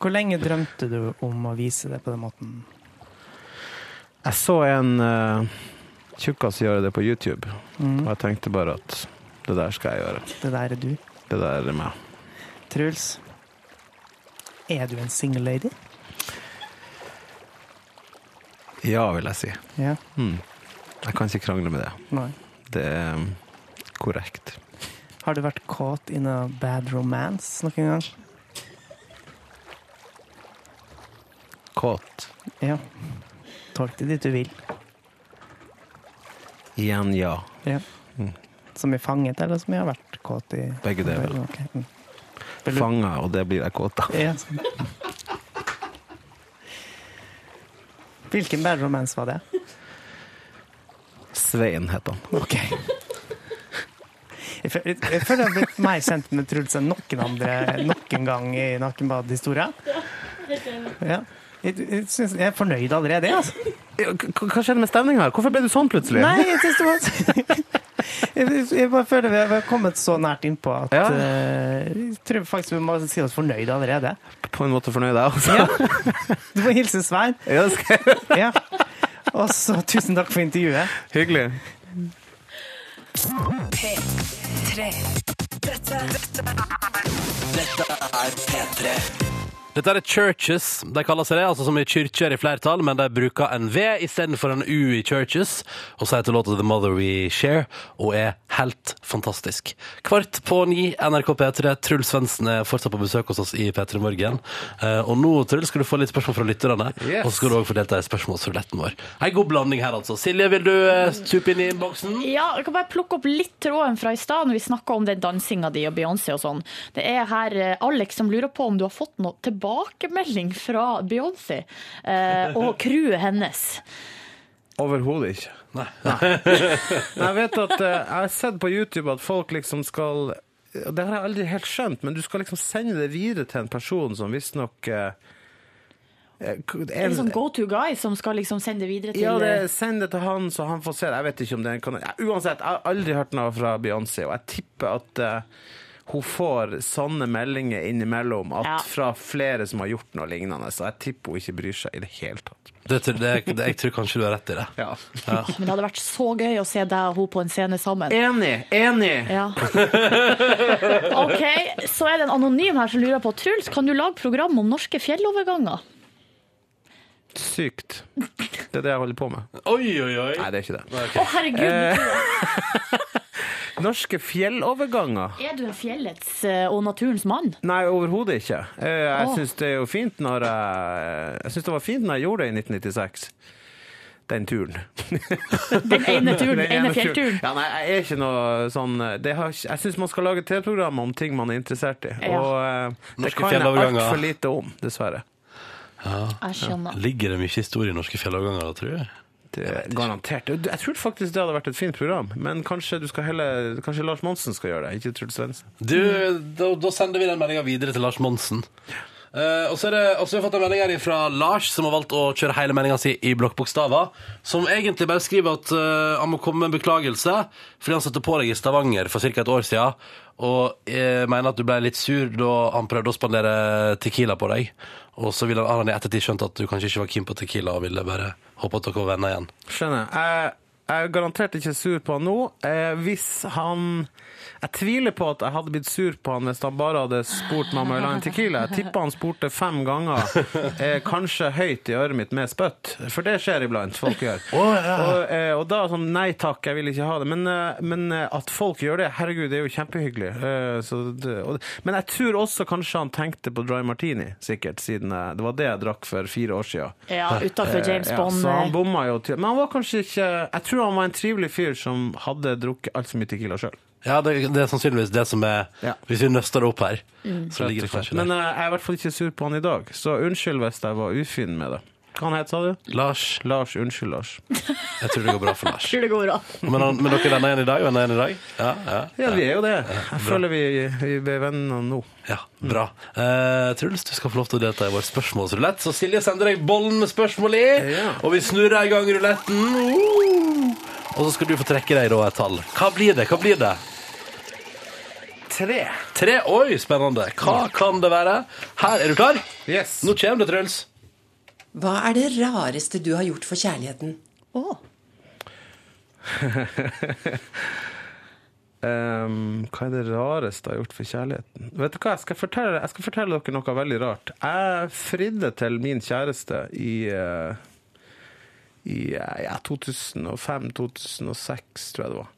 Speaker 2: Hvor lenge drømte du om å vise det på den måten?
Speaker 7: Jeg så en eh, tjukkas gjøre det på YouTube,
Speaker 2: Mm.
Speaker 7: og jeg tenkte bare at det der skal jeg gjøre.
Speaker 2: Det der er du.
Speaker 7: Det der er meg.
Speaker 2: Truls, er du en single lady?
Speaker 7: Ja, vil jeg si.
Speaker 2: Ja.
Speaker 7: Mm. Jeg kan ikke krangle med det.
Speaker 2: Nei.
Speaker 7: Det er mm, korrekt.
Speaker 2: Har du vært kåt i noe bad romance noen gang?
Speaker 7: Kåt.
Speaker 2: Ja. Tolk det dit du vil.
Speaker 7: Igjen ja.
Speaker 2: Ja. Som er fanget, eller som jeg har vært kåt i?
Speaker 7: Mm. Begge deler.
Speaker 2: Ok. Mm. Vil du-
Speaker 7: Fanga, og det blir jeg kåt av.
Speaker 2: Ja. sånn. Hvilken bad romance var det?
Speaker 7: Svein het han.
Speaker 2: Ok. Jeg føl- jeg føler jeg har blitt mer kjent med Truls enn noen andre noen gang i nakenbadhistoria. Ja. Jeg, jeg, synes, jeg er fornøyd allerede, jeg, altså.
Speaker 7: Ja, k- k- Hva skjedde med stemninga her? Hvorfor ble du sånn plutselig?
Speaker 2: Nei, jeg synes det var jeg, jeg bare føler vi har- vi har kommet så nært innpå at
Speaker 7: Ja.
Speaker 2: eh, Jeg tror faktisk vi må si oss fornøyd allerede.
Speaker 7: På en måte fornøyd, jeg også.
Speaker 2: Ja. Du må hilse Svein.
Speaker 7: Ja, det skal jeg.
Speaker 2: Ja. Og så tusen takk for intervjuet.
Speaker 7: Hyggelig.
Speaker 1: Dette er churches, de kaller seg det, altså som i kyrkjer i flertall, men de bruker en V istedenfor en U i churches, og så heter låta The Mother We Share, og er helt fantastisk. Kvart på ni, NRK P3. Truls Svendsen er fortsatt på besøk hos oss i P3 Morgen. Eh, Og nå, Truls, skal du få litt spørsmål fra lytterne,
Speaker 7: Yes.
Speaker 1: og så skal du også få delta i spørsmålsruletten vår. Ei god blanding her, altså. Silje, vil du eh, stupe inn i innboksen?
Speaker 3: Ja, jeg kan bare plukke opp litt tråden fra i stad når vi snakka om den dansinga di og Beyoncé og sånn. Det er her eh, Alex som lurer på om du har fått noe tilbakemelding fra Beyoncé eh, og crewet hennes.
Speaker 7: Overhodet ikke.
Speaker 1: Nei.
Speaker 7: Men Jeg vet at eh, jeg har sett på YouTube at folk liksom skal og Det har jeg aldri helt skjønt, men du skal liksom sende det videre til en person som visstnok eh, eh, k-
Speaker 3: Det er
Speaker 7: en-
Speaker 3: liksom go to guy som skal liksom sende det videre til
Speaker 7: ja, det,
Speaker 3: eh,
Speaker 7: er- send det til han, så han får se det. Jeg vet ikke om det er en kanal. Ja, uansett, jeg har aldri hørt noe fra Beyoncé, og jeg tipper at eh, hun får sånne meldinger innimellom at
Speaker 3: Ja.
Speaker 7: fra flere som har gjort noe lignende, så jeg tipper hun ikke bryr seg i det hele tatt.
Speaker 1: Det, tror- det, det, jeg tror kanskje du har rett i det.
Speaker 7: Ja.
Speaker 3: Men det hadde vært så gøy å se deg og hun på en scene sammen.
Speaker 7: Enig! Enig!
Speaker 3: Ja. OK, så er det en anonym her som lurer på Truls, kan du lage program om norske fjelloverganger?
Speaker 7: Sykt. Det er det jeg holder på med.
Speaker 1: Oi, oi, oi.
Speaker 7: Nei, det er ikke det.
Speaker 3: Å,
Speaker 7: Eh.
Speaker 3: herregud!
Speaker 7: Norske fjelloverganger?
Speaker 3: Er du en fjellets eh, og naturens mann?
Speaker 7: Nei, overhodet ikke. Eh, Jeg
Speaker 3: Åh.
Speaker 7: syns det er jo fint når jeg Jeg syns det var fint når jeg gjorde det i 1996. Den turen.
Speaker 3: Den ene turen,
Speaker 7: Den
Speaker 3: ene
Speaker 7: ene
Speaker 3: fjellturen.
Speaker 7: Ja, nei, jeg er ikke noe sånn det har, ikke- Jeg syns man skal lage TV-program om ting man er interessert i.
Speaker 3: Ja.
Speaker 7: Og eh, det
Speaker 1: Norske
Speaker 7: kan jeg
Speaker 1: fjelloverganger.
Speaker 7: altfor lite om, dessverre.
Speaker 3: Jeg skjønner.
Speaker 1: Ligger det mye historie i norske fjelloverganger, da, tror jeg?
Speaker 7: Det, garantert. Jeg tror faktisk det hadde vært et fint program, men kanskje, du skal heller, kanskje Lars Monsen skal gjøre det, ikke Truls Svendsen.
Speaker 1: Du, da, da sender vi den meldinga videre til Lars Monsen. Eh, og så er det, og så har vi fått en melding her fra Lars, som har valgt å kjøre hele meldinga si i blokkbokstaver. Som egentlig bare skriver at eh, han må komme med en beklagelse fordi han satte på deg i Stavanger for ca. et år siden. Og eh, mener at du ble litt sur da han prøvde å spandere Tequila på deg. Og så ville han, har han i ettertid skjønt at du kanskje ikke var keen på Tequila og ville bare håpe at dere var venner igjen.
Speaker 7: Skjønner. Jeg, jeg er garantert ikke sur på han nå. Eh, hvis han Jeg tviler på at jeg hadde blitt sur på han hvis han bare hadde spurt meg om å la en Tequila. Jeg tipper han spurte fem ganger, eh, kanskje høyt i øret mitt med spytt. For det skjer iblant. Folk gjør. og, eh, og da sånn Nei takk, jeg vil ikke ha det. Men, eh, men eh, at folk gjør det, herregud, det er jo kjempehyggelig. Eh, så det, og, men jeg tror også kanskje han tenkte på Dry Martini, sikkert, siden eh, det var det jeg drakk for fire år siden.
Speaker 3: Ja, utenfor James
Speaker 7: Ja,
Speaker 3: Bond. eh,
Speaker 7: så han bomma jo til. Men han var kanskje ikke Jeg tror han var en trivelig fyr som hadde drukket altfor mye Tequila sjøl.
Speaker 1: Ja, det, det er sannsynligvis det som er
Speaker 7: Ja.
Speaker 1: Hvis vi nøster det opp her, så ligger det kanskje
Speaker 7: Men
Speaker 1: der.
Speaker 7: eh, jeg er i hvert fall ikke sur på han i dag, så unnskyld hvis jeg var ufin med det. Hva han het, sa du?
Speaker 1: Lars,
Speaker 7: Lars. Unnskyld, Lars.
Speaker 1: jeg tror det går bra for Lars.
Speaker 3: Tror det går bra.
Speaker 1: Men, han, men dere er venner igjen i dag? Venner igjen i dag? Ja, ja,
Speaker 7: Ja, vi er jo det. Jeg føler vi, vi er venner nå.
Speaker 1: ja Bra. Eh, Truls, du skal få lov til å delta i vår spørsmålsrulett. Så Silje sender deg bollen med spørsmål i,
Speaker 7: Ja.
Speaker 1: og vi snurrer i gang ruletten. Uh! Og så skal du få trekke deg da et tall. Hva blir det? Hva blir det?
Speaker 8: Tre.
Speaker 1: Tre, oi, spennende. Hva kan det være? Her, er du klar?
Speaker 8: Yes.
Speaker 1: Nå kommer det, Truls.
Speaker 4: Hva er det rareste du har gjort for kjærligheten?
Speaker 8: Ehm, hva er det rareste jeg har gjort for kjærligheten? Vet du hva, jeg skal fortelle, jeg skal fortelle dere noe veldig rart. Jeg fridde til min kjæreste i, eh, i eh, ja, 2005-2006, tror jeg det var.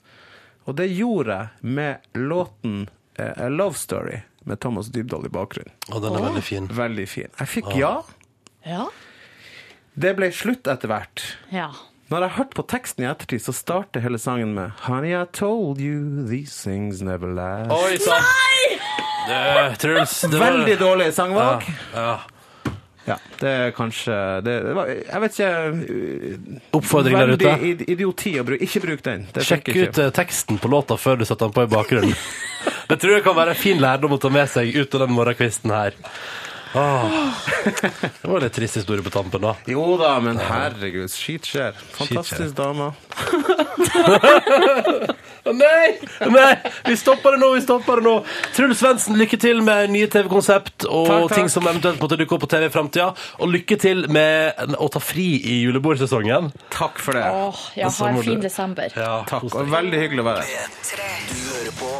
Speaker 8: Og det gjorde jeg med låten eh, A Love Story med Thomas Dybdahl i bakgrunnen.
Speaker 1: Å, den er veldig fin.
Speaker 8: Veldig fin. Jeg fikk ja.
Speaker 3: Ja.
Speaker 8: Det ble slutt etter hvert.
Speaker 3: ja.
Speaker 8: Når jeg har hørt på teksten i ettertid, så starter hele sangen med Honey, I told you these things never last.
Speaker 1: Oi sann. Nei! Truls, det var
Speaker 8: Veldig dårlig sangvalg.
Speaker 1: ja.
Speaker 8: Ja, det er kanskje det, det var, Jeg vet ikke
Speaker 1: Oppfordring der ute.
Speaker 8: Veldig id- idioti å bruke. Ikke bruk den. Det
Speaker 1: Sjekk
Speaker 8: funker
Speaker 1: ut
Speaker 8: ikke.
Speaker 1: eh, teksten på låta før du setter den på i bakgrunnen. Det tror jeg kan være en fin lærdom å ta med seg ut av den morgenkvisten her. Åh. Det var en litt trist historie på tampen, da.
Speaker 8: Jo da, men herregud, skit skjer.
Speaker 1: Skit skjer.
Speaker 8: Fantastisk dame.
Speaker 1: Å, Nei! Nei! Vi stopper det nå! vi stopper det nå Truls Svendsen, lykke til med nye TV-konsept og
Speaker 8: Takk, takk.
Speaker 1: ting som eventuelt måtte dukke opp på TV i framtida. Og lykke til med en- å ta fri i julebordsesongen.
Speaker 8: Takk for det.
Speaker 3: Åh, ja, ha en fin desember.
Speaker 1: Ja,
Speaker 8: Takk, og Veldig hyggelig å være her.
Speaker 9: Tre. Du hører på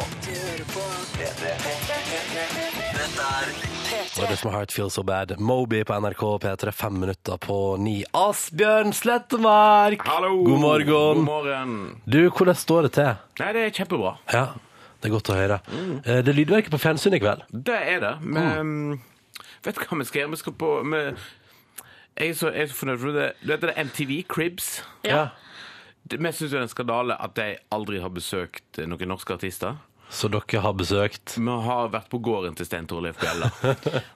Speaker 1: Og det som er Heart Feels So Bad. Moby på NRK P3, fem minutter på ni. Asbjørn Slettemark! God morgen. Du, hvordan står det til?
Speaker 7: Nei, det er kjempebra.
Speaker 1: Ja, det er godt å høre. Eh, Det er lydverket på fjernsyn i kveld.
Speaker 7: Det er det.
Speaker 1: Mm.
Speaker 7: Men ehm, vet du hva vi skal gjøre? Vi skal på vi, jeg, er så, jeg er så fornøyd med det. Du vet det er MTV Cribs?
Speaker 1: Ja.
Speaker 7: Det- Vi syns det er en skandale at de aldri har besøkt eh, noen norske artister.
Speaker 1: Så dere har besøkt.
Speaker 7: Vi har vært på gården til Stein Torleif Bjella.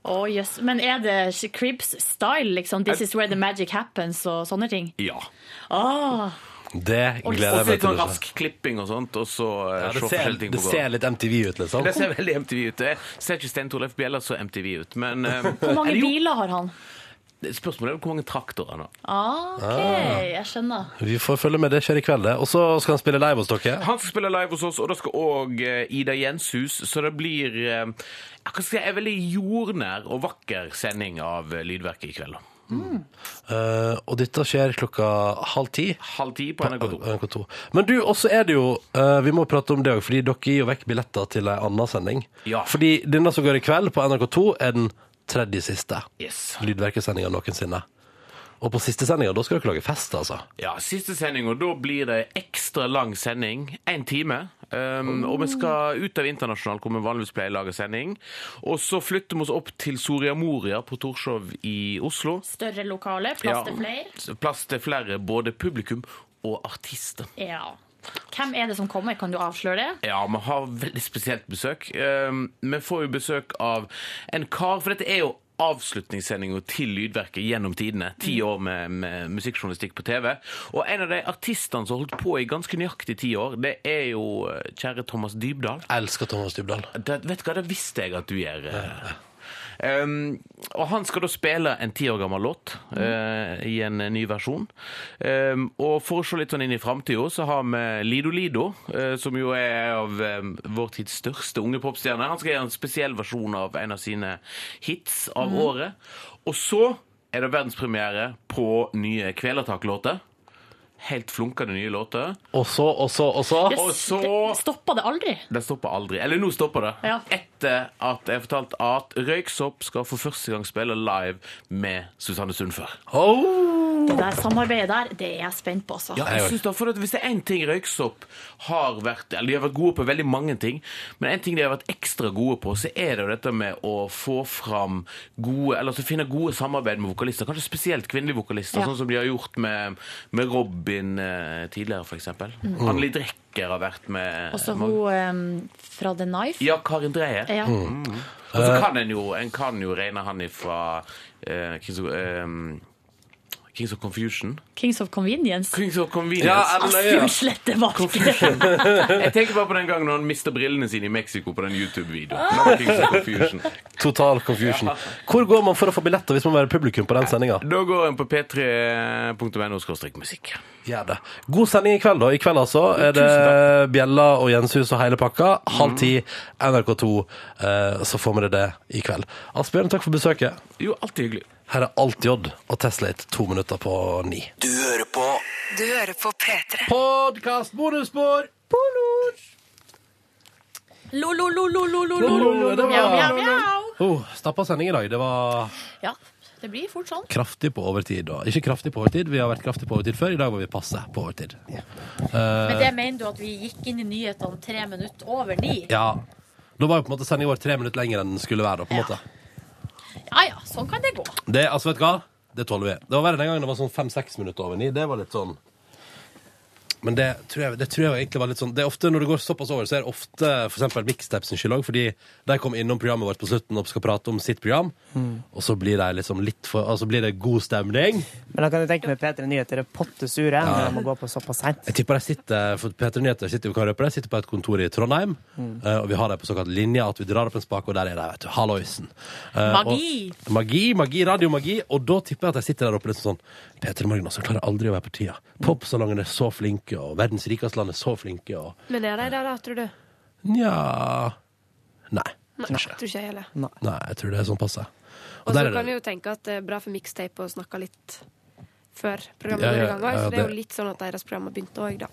Speaker 3: Å, jøss. Men er det Cribs-style, liksom? This is where the magic happens, og sånne ting?
Speaker 7: Ja.
Speaker 3: Åh,
Speaker 1: Det
Speaker 7: Og
Speaker 1: gleder jeg
Speaker 7: så
Speaker 1: meg til.
Speaker 7: litt
Speaker 1: å
Speaker 7: sånn
Speaker 1: se.
Speaker 7: rask klipping og sånt, og så eh,
Speaker 1: Ja,
Speaker 7: se
Speaker 1: det, ser,
Speaker 7: forskjellige ting
Speaker 1: det
Speaker 7: på gården.
Speaker 1: ser litt MTV ut, liksom.
Speaker 7: Det ser veldig MTV ut. Det ser ikke Stein Torleif Bjella så MTV ut, men eh,
Speaker 3: Hvor mange
Speaker 7: eller jo,
Speaker 3: biler har han?
Speaker 7: Spørsmålet er hvor mange traktorer han har.
Speaker 3: Ah, OK, jeg skjønner.
Speaker 1: Vi får følge med, det skjer i kveld, det. Og så skal han spille live hos dere.
Speaker 7: Han skal spille live hos oss, og da skal òg Ida Jenshus, så det blir eh, ja, hva skal jeg, si, en veldig jordnær og vakker sending av eh, Lydverket i kveld.
Speaker 1: Eh, og dette skjer klokka halv ti.
Speaker 7: Halv ti på NRK2.
Speaker 1: NRK 2. Men du, også er det jo eh, Vi må prate om det òg, fordi dere gir jo vekk billetter til ei anna sending.
Speaker 7: Ja.
Speaker 1: Fordi denne som går i kveld på NRK2, er den tredje siste
Speaker 7: Yes.
Speaker 1: lydverkesendinga noensinne. Og på siste sendinga, da skal dere lage fest, altså.
Speaker 7: Ja, siste sending, og da blir det ekstra lang sending. Én time. Um,
Speaker 3: Mm.
Speaker 7: Og vi skal ut av internasjonalt, hvor vi vanligvis pleier å lage sending. Og så flytter vi oss opp til Soria Moria på Torshov i Oslo.
Speaker 3: Større lokale, plass til flere.
Speaker 7: Ja, Plass til flere, både publikum og artister.
Speaker 3: Ja. Hvem er det som kommer? Kan du avsløre det?
Speaker 7: Ja, vi har veldig spesielt besøk. Um, vi får jo besøk av en kar, for dette er jo avslutningssendinga til Lydverket gjennom tidene. Ti år med, med musikkjournalistikk på TV. Og en av de artistene som har holdt på i ganske nøyaktig ti år, det er jo eh, kjære Thomas Dybdahl.
Speaker 1: Jeg elsker Thomas Dybdahl.
Speaker 7: Det, vet du hva, det visste jeg at du gjør. eh. Um, og han skal da spille en ti år gammel låt eh, i en ny versjon. Um, og for å se litt sånn inn i framtida, så har vi Lido Lido, eh, som jo er av eh, vår tids største unge popstjerne. Han skal gjøre en spesiell versjon av en av sine hits av året. Og så er det verdenspremiere på nye Kvelertak-låter. Helt flunkende nye låter.
Speaker 1: Og så, og så, og så.
Speaker 3: Yes,
Speaker 7: Og så-
Speaker 3: det stoppa det aldri.
Speaker 7: Det stopper aldri. Eller nå stopper det.
Speaker 3: Ja.
Speaker 7: Etter at jeg fortalte at Røyksopp skal for første gang spille live med Susanne Sundfør.
Speaker 1: Oh!
Speaker 3: Det der samarbeidet der, det er jeg spent på, altså.
Speaker 7: Ja, jeg synes da, for at Hvis det er én ting Røyksopp har vært Eller de har vært gode på veldig mange ting, men en ting de har vært ekstra gode på, så er det jo dette med å få fram gode Eller altså finne gode samarbeid med vokalister. Kanskje spesielt kvinnelige vokalister,
Speaker 3: Ja.
Speaker 7: sånn som de har gjort med, med Robin eh, tidligere, f.eks. Mm. Anneli Drecker har vært med
Speaker 3: Også
Speaker 7: med-
Speaker 3: hun em, fra The Knife.
Speaker 7: Ja, Karin Dreyer.
Speaker 3: Ja.
Speaker 7: Og så kan en jo, en kan jo regne han ifra eh, hvem som- eh,
Speaker 10: Kings of Confusion.
Speaker 3: Kings of Convenience.
Speaker 10: Kings of Convenience.
Speaker 1: Ja, eller-
Speaker 3: Asbjørn Slette Valke.
Speaker 10: Jeg tenker bare på den gangen han mister brillene sine i Mexico på den YouTube-videoen. Det var Kings of Confusion.
Speaker 1: Total confusion. Hvor går man for å få billetter hvis man vil være publikum på den sendinga?
Speaker 10: Da går en på p3.no musikk.
Speaker 1: Gjør det. God sending i kveld, da. I kveld altså er det Bjella og Jenshus og hele pakka.
Speaker 10: Mm.
Speaker 1: Halv ti, NRK2. eh, Så får vi det det i kveld. Asbjørn, takk for besøket.
Speaker 10: Jo, alltid hyggelig.
Speaker 1: Her er Alt J og Teslate to minutter på ni.
Speaker 4: Du hører på Du hører på P3.
Speaker 1: Podkast bonusspor!
Speaker 3: Mjau, mjau, mjau.
Speaker 1: Oh, Stappa sending i dag. Det var
Speaker 3: Ja, det blir fort sånn.
Speaker 1: kraftig på overtid. da. Ikke kraftig på overtid, vi har vært kraftig på overtid før. I dag var vi passe på overtid.
Speaker 2: Eh.
Speaker 3: Men det mener du at vi gikk inn i nyhetene tre minutter over ni?
Speaker 1: Ja. Da var jo på en måte sendinga vår tre minutter lenger enn den skulle være. da, på en måte.
Speaker 3: Ja ja, sånn kan det gå.
Speaker 1: Det, altså, vet du hva? Det tåler vi. Det var verre den gangen det var sånn fem-seks minutter over ni. Det var litt sånn Men det tror jeg, det tror jeg egentlig var litt sånn Det er ofte Når det går såpass over, så er det ofte for eksempel Mixtapes sin skyld òg, fordi de kom innom programmet vårt på slutten og skal prate om sitt program, og så blir det liksom litt for Altså blir det god stemning.
Speaker 2: Men da kan du tenke meg P3 Nyheter er pottesure når de må gå på såpass seint.
Speaker 1: Jeg tipper de sitter for Peter Nyheter sitter, jo, kan røpe det, sitter på et kontor i Trondheim, eh, og vi har dem på såkalt linje, at vi drar opp en spak, og der er de, vet du. Halloisen. Eh,
Speaker 3: Magi.
Speaker 1: Og, magi, magi, radiomagi. Og da tipper jeg at de sitter der oppe litt sånn Peter Morgen, altså, klarer aldri å være på tida. Popsalongen er så flinke, og Verdens rikeste land er så flinke, og
Speaker 5: Men er de der, da, tror du?
Speaker 1: nja Nei.
Speaker 5: Nei, tror ikke jeg heller.
Speaker 1: Nei, jeg tror det er sånn passe.
Speaker 5: Og så
Speaker 1: der er det-
Speaker 5: kan jeg jo tenke at det er bra for mixtape å snakke litt før programmet
Speaker 1: Ja,
Speaker 5: går
Speaker 1: ja,
Speaker 5: i gang også,
Speaker 1: ja,
Speaker 5: så det er
Speaker 1: det-
Speaker 5: jo litt sånn at deres program har begynt òg, da.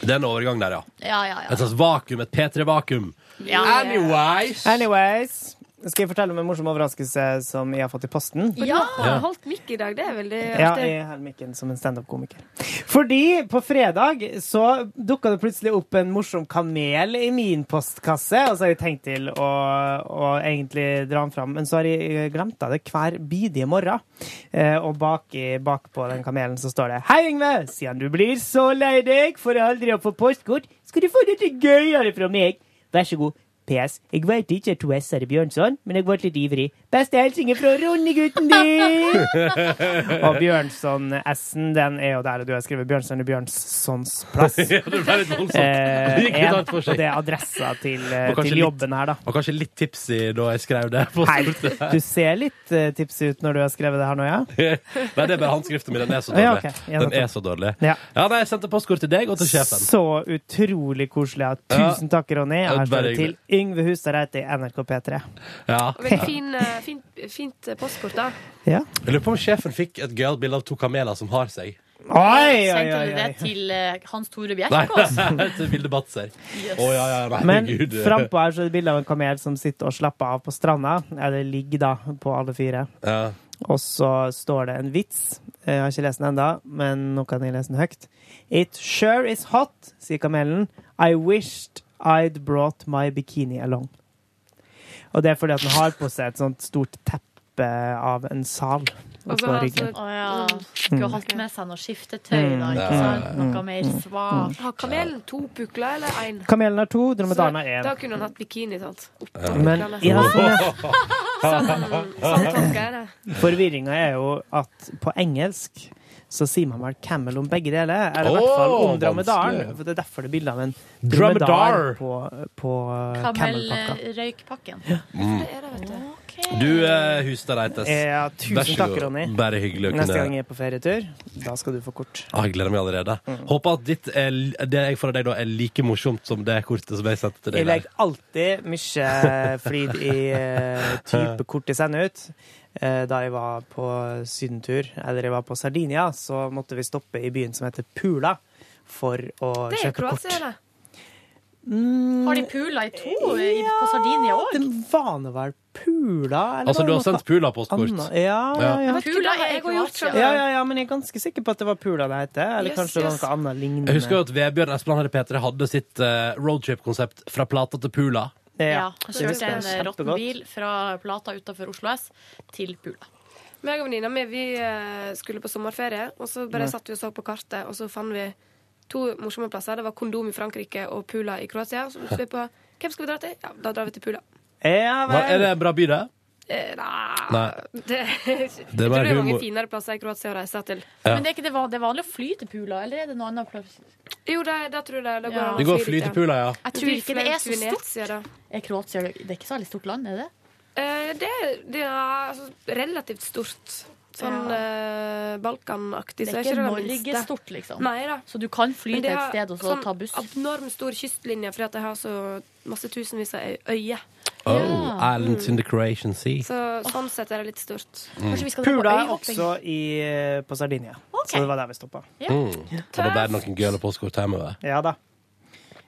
Speaker 1: Det er en overgang der, ja.
Speaker 3: Ja ja ja.
Speaker 2: Altså-
Speaker 1: Et slags vakuum. Et P3-vakuum.
Speaker 3: ja.
Speaker 1: Anyways.
Speaker 2: Anyways, skal jeg fortelle om en morsom overraskelse som jeg har fått i posten?
Speaker 5: Men
Speaker 3: Ja.
Speaker 5: du har holdt mikk i dag, det er veldig
Speaker 2: Ja,
Speaker 5: artig.
Speaker 2: jeg holder mikken som en standup-komiker. Fordi på fredag så dukka det plutselig opp en morsom kamel i min postkasse, og så har jeg tenkt til å, å egentlig dra den fram, men så har jeg glemt av det hver bidige morgen. Eh, og bak, i- bak på den kamelen så står det Hei, Yngve! Siden du blir så lei deg for aldri å få postkort, skal du få dette gøyere fra meg. Vær så god. PS. Jeg veit ikke er to s-er i Bjørnson, men jeg ble litt ivrig. Beste hilsinger fra Ronny-gutten din! Og Bjørnson-S-en, den er jo der du har skrevet Bjørnson i Bjørnsons plass.
Speaker 1: Ja, det ble litt voldsomt.
Speaker 2: Eh,
Speaker 1: Det gikk litt
Speaker 2: en,
Speaker 1: langt for
Speaker 2: og
Speaker 1: seg.
Speaker 2: det er adressa til, eh,
Speaker 1: Og kanskje
Speaker 2: til
Speaker 1: litt-
Speaker 2: jobben her, da.
Speaker 1: Og kanskje litt tipsy da jeg skrev det. på
Speaker 2: Hei,
Speaker 1: slutten.
Speaker 2: du ser litt eh, tipsy ut når du har skrevet det her nå, ja?
Speaker 1: Nei, det er bare håndskriften min. Den er så dårlig.
Speaker 2: Ja, ok. Ja,
Speaker 1: den er så dårlig.
Speaker 2: Ja.
Speaker 1: nei, Jeg sendte postkort til deg og til sjefen.
Speaker 2: Så utrolig koselig. Ja. Tusen takk, Ronny.
Speaker 1: Ja,
Speaker 2: Og her står
Speaker 1: bare
Speaker 2: det til Yngve Hustadreit i NRK P3.
Speaker 1: Ja.
Speaker 5: Og veldig fin, eh, fint, fint eh, postkort, da.
Speaker 2: Ja.
Speaker 1: Jeg lurer på om sjefen fikk et gøyalt bilde av to kameler som har seg.
Speaker 2: Oi, oi,
Speaker 3: Sendte
Speaker 2: oi,
Speaker 3: du det
Speaker 2: oi.
Speaker 3: til eh, Hans Tore
Speaker 1: Nei,
Speaker 3: Bjerkås?
Speaker 1: et bilde Batzer.
Speaker 3: Yes.
Speaker 1: Å ja, ja, nei,
Speaker 2: Men
Speaker 1: gud.
Speaker 2: frampå her så er det bilde av en kamel som sitter og slapper av på stranda. Eller ligger, da, på alle fire.
Speaker 1: Ja.
Speaker 2: Og så står det en vits. Jeg har ikke lest den ennå, men nå kan jeg lese den høyt. It sure is hot, sier kamelen. I wished I'd brought my bikini along. Og det er fordi at den har på seg et sånt stort teppe av en sal
Speaker 5: Og så altså,
Speaker 2: på
Speaker 5: har han
Speaker 2: ryggen.
Speaker 5: så-
Speaker 3: Å ja. Skulle hatt med seg noe skiftetøy, da. Ikke sant? Noe mer svakt.
Speaker 5: Har kamelen to pukler eller én?
Speaker 2: Kamelen har to, dromedaren har
Speaker 5: Da
Speaker 2: én.
Speaker 5: kunne han hatt bikini, sant. Oppå eh,
Speaker 2: Men
Speaker 5: puklene.
Speaker 2: i den sånne
Speaker 5: Sånn tolker jeg det.
Speaker 2: forvirringa er jo at på engelsk så sier man vel camel om begge deler. Eller i hvert
Speaker 1: Åh,
Speaker 2: fall om dromedaren.
Speaker 1: vanskelig.
Speaker 2: For det er derfor det er bilde av en
Speaker 1: Dromedar.
Speaker 2: dromedar på, på
Speaker 5: eh,
Speaker 2: camelpakka.
Speaker 3: Kamelrøykpakken.
Speaker 1: Mm.
Speaker 5: Det er det, vet du.
Speaker 1: Du, eh, Hustad Reites.
Speaker 2: Ja, tusen takk, Ronny.
Speaker 1: Bare hyggelig å
Speaker 2: Neste
Speaker 1: Mm, kunne
Speaker 2: gang jeg er på ferietur, da skal du få kort.
Speaker 1: Ah, jeg gleder meg allerede.
Speaker 2: Mm.
Speaker 1: Håper at ditt er, det jeg får av deg da, er like morsomt som det kortet som jeg sendte til
Speaker 2: Jeg
Speaker 1: deg. der.
Speaker 2: legger alltid mye flid i eh, type kort jeg sender ut. Eh, Da jeg var på sydentur, eller jeg var på Sardinia, så måtte vi stoppe i byen som heter Pula, for å
Speaker 5: Det er
Speaker 2: kjøpe kort. Mm,
Speaker 5: Kroatia, det.
Speaker 3: Har de pula i to i- på Sardinia
Speaker 2: Den
Speaker 3: òg?
Speaker 2: var nå vel Pula, eller
Speaker 1: Altså,
Speaker 2: var
Speaker 1: du har
Speaker 2: det noe
Speaker 1: sendt Pula-postkort?
Speaker 2: annet? Ja, ja,
Speaker 1: Ja.
Speaker 2: ja.
Speaker 5: Pula har jeg også gjort
Speaker 3: Kroatia.
Speaker 5: selv.
Speaker 2: Ja, ja, ja, men jeg er ganske sikker på at det var Pula det heter. Eller
Speaker 5: Yes,
Speaker 2: kanskje det var
Speaker 5: yes.
Speaker 2: noe annet lignende.
Speaker 3: Mm.
Speaker 1: Jeg husker jo at Vebjørn Espeland her i P3 hadde sitt eh, roadtrip-konsept fra plata til pula.
Speaker 3: Ja.
Speaker 5: det
Speaker 3: Kjørte en
Speaker 2: husker jeg
Speaker 3: råtten
Speaker 2: kjempegodt.
Speaker 3: bil fra Plata utenfor Oslo S til Pula.
Speaker 5: Meg og venninna mi vi eh, skulle på sommerferie, og så bare satt vi og så på kartet, og så fant vi to morsomme plasser. Det var kondom i Frankrike og Pula i Kroatia. Så lurte vi på hvem skal vi dra til? Ja, da drar vi til Pula.
Speaker 2: Ja,
Speaker 1: Hva,
Speaker 2: vel.
Speaker 1: er det en bra by, det?
Speaker 5: Eh, nei.
Speaker 1: Nei.
Speaker 5: Det, jeg tror det
Speaker 1: mer
Speaker 5: er
Speaker 1: humor.
Speaker 5: mange finere plasser i Kroatia å reise til.
Speaker 1: Ja.
Speaker 3: Men det er, ikke det, van- det er vanlig å fly til Pula, eller er det noe annet plass?
Speaker 5: Jo, det, det tror jeg det. Det går,
Speaker 3: Ja.
Speaker 5: an å
Speaker 1: Det går
Speaker 5: fly dit, ja.
Speaker 1: flytepula, ja.
Speaker 3: Jeg tror ikke det er så
Speaker 5: Fløy til
Speaker 3: stort.
Speaker 5: Venezia, da.
Speaker 3: Er Kroatia det er ikke så veldig stort land, er det?
Speaker 5: Eh, det, det er altså, relativt stort. Sånn eh, Balkanaktig.
Speaker 3: Det
Speaker 5: så
Speaker 3: er
Speaker 5: ikke
Speaker 3: ikke
Speaker 5: minste.
Speaker 3: Norge stort, liksom.
Speaker 5: Nei da.
Speaker 3: Så du kan fly
Speaker 5: Men
Speaker 3: til
Speaker 5: det
Speaker 3: et
Speaker 5: har
Speaker 3: sted og så ta buss.
Speaker 5: abnormt stor kystlinje fordi at de har så masse tusenvis av øy- øyer.
Speaker 1: Oh,
Speaker 3: Ja.
Speaker 1: Islands in the Croatian Sea.
Speaker 5: Så sånn sett er det litt stort.
Speaker 3: Kanskje vi skal dra
Speaker 2: Pula
Speaker 3: på
Speaker 2: er
Speaker 3: øyhopping?
Speaker 2: også i, eh, på Sardinia,
Speaker 3: Ok.
Speaker 2: så det var der vi stoppa.
Speaker 1: Mm. Og da bærer noen gøle postkort hjemover.
Speaker 2: Ja da.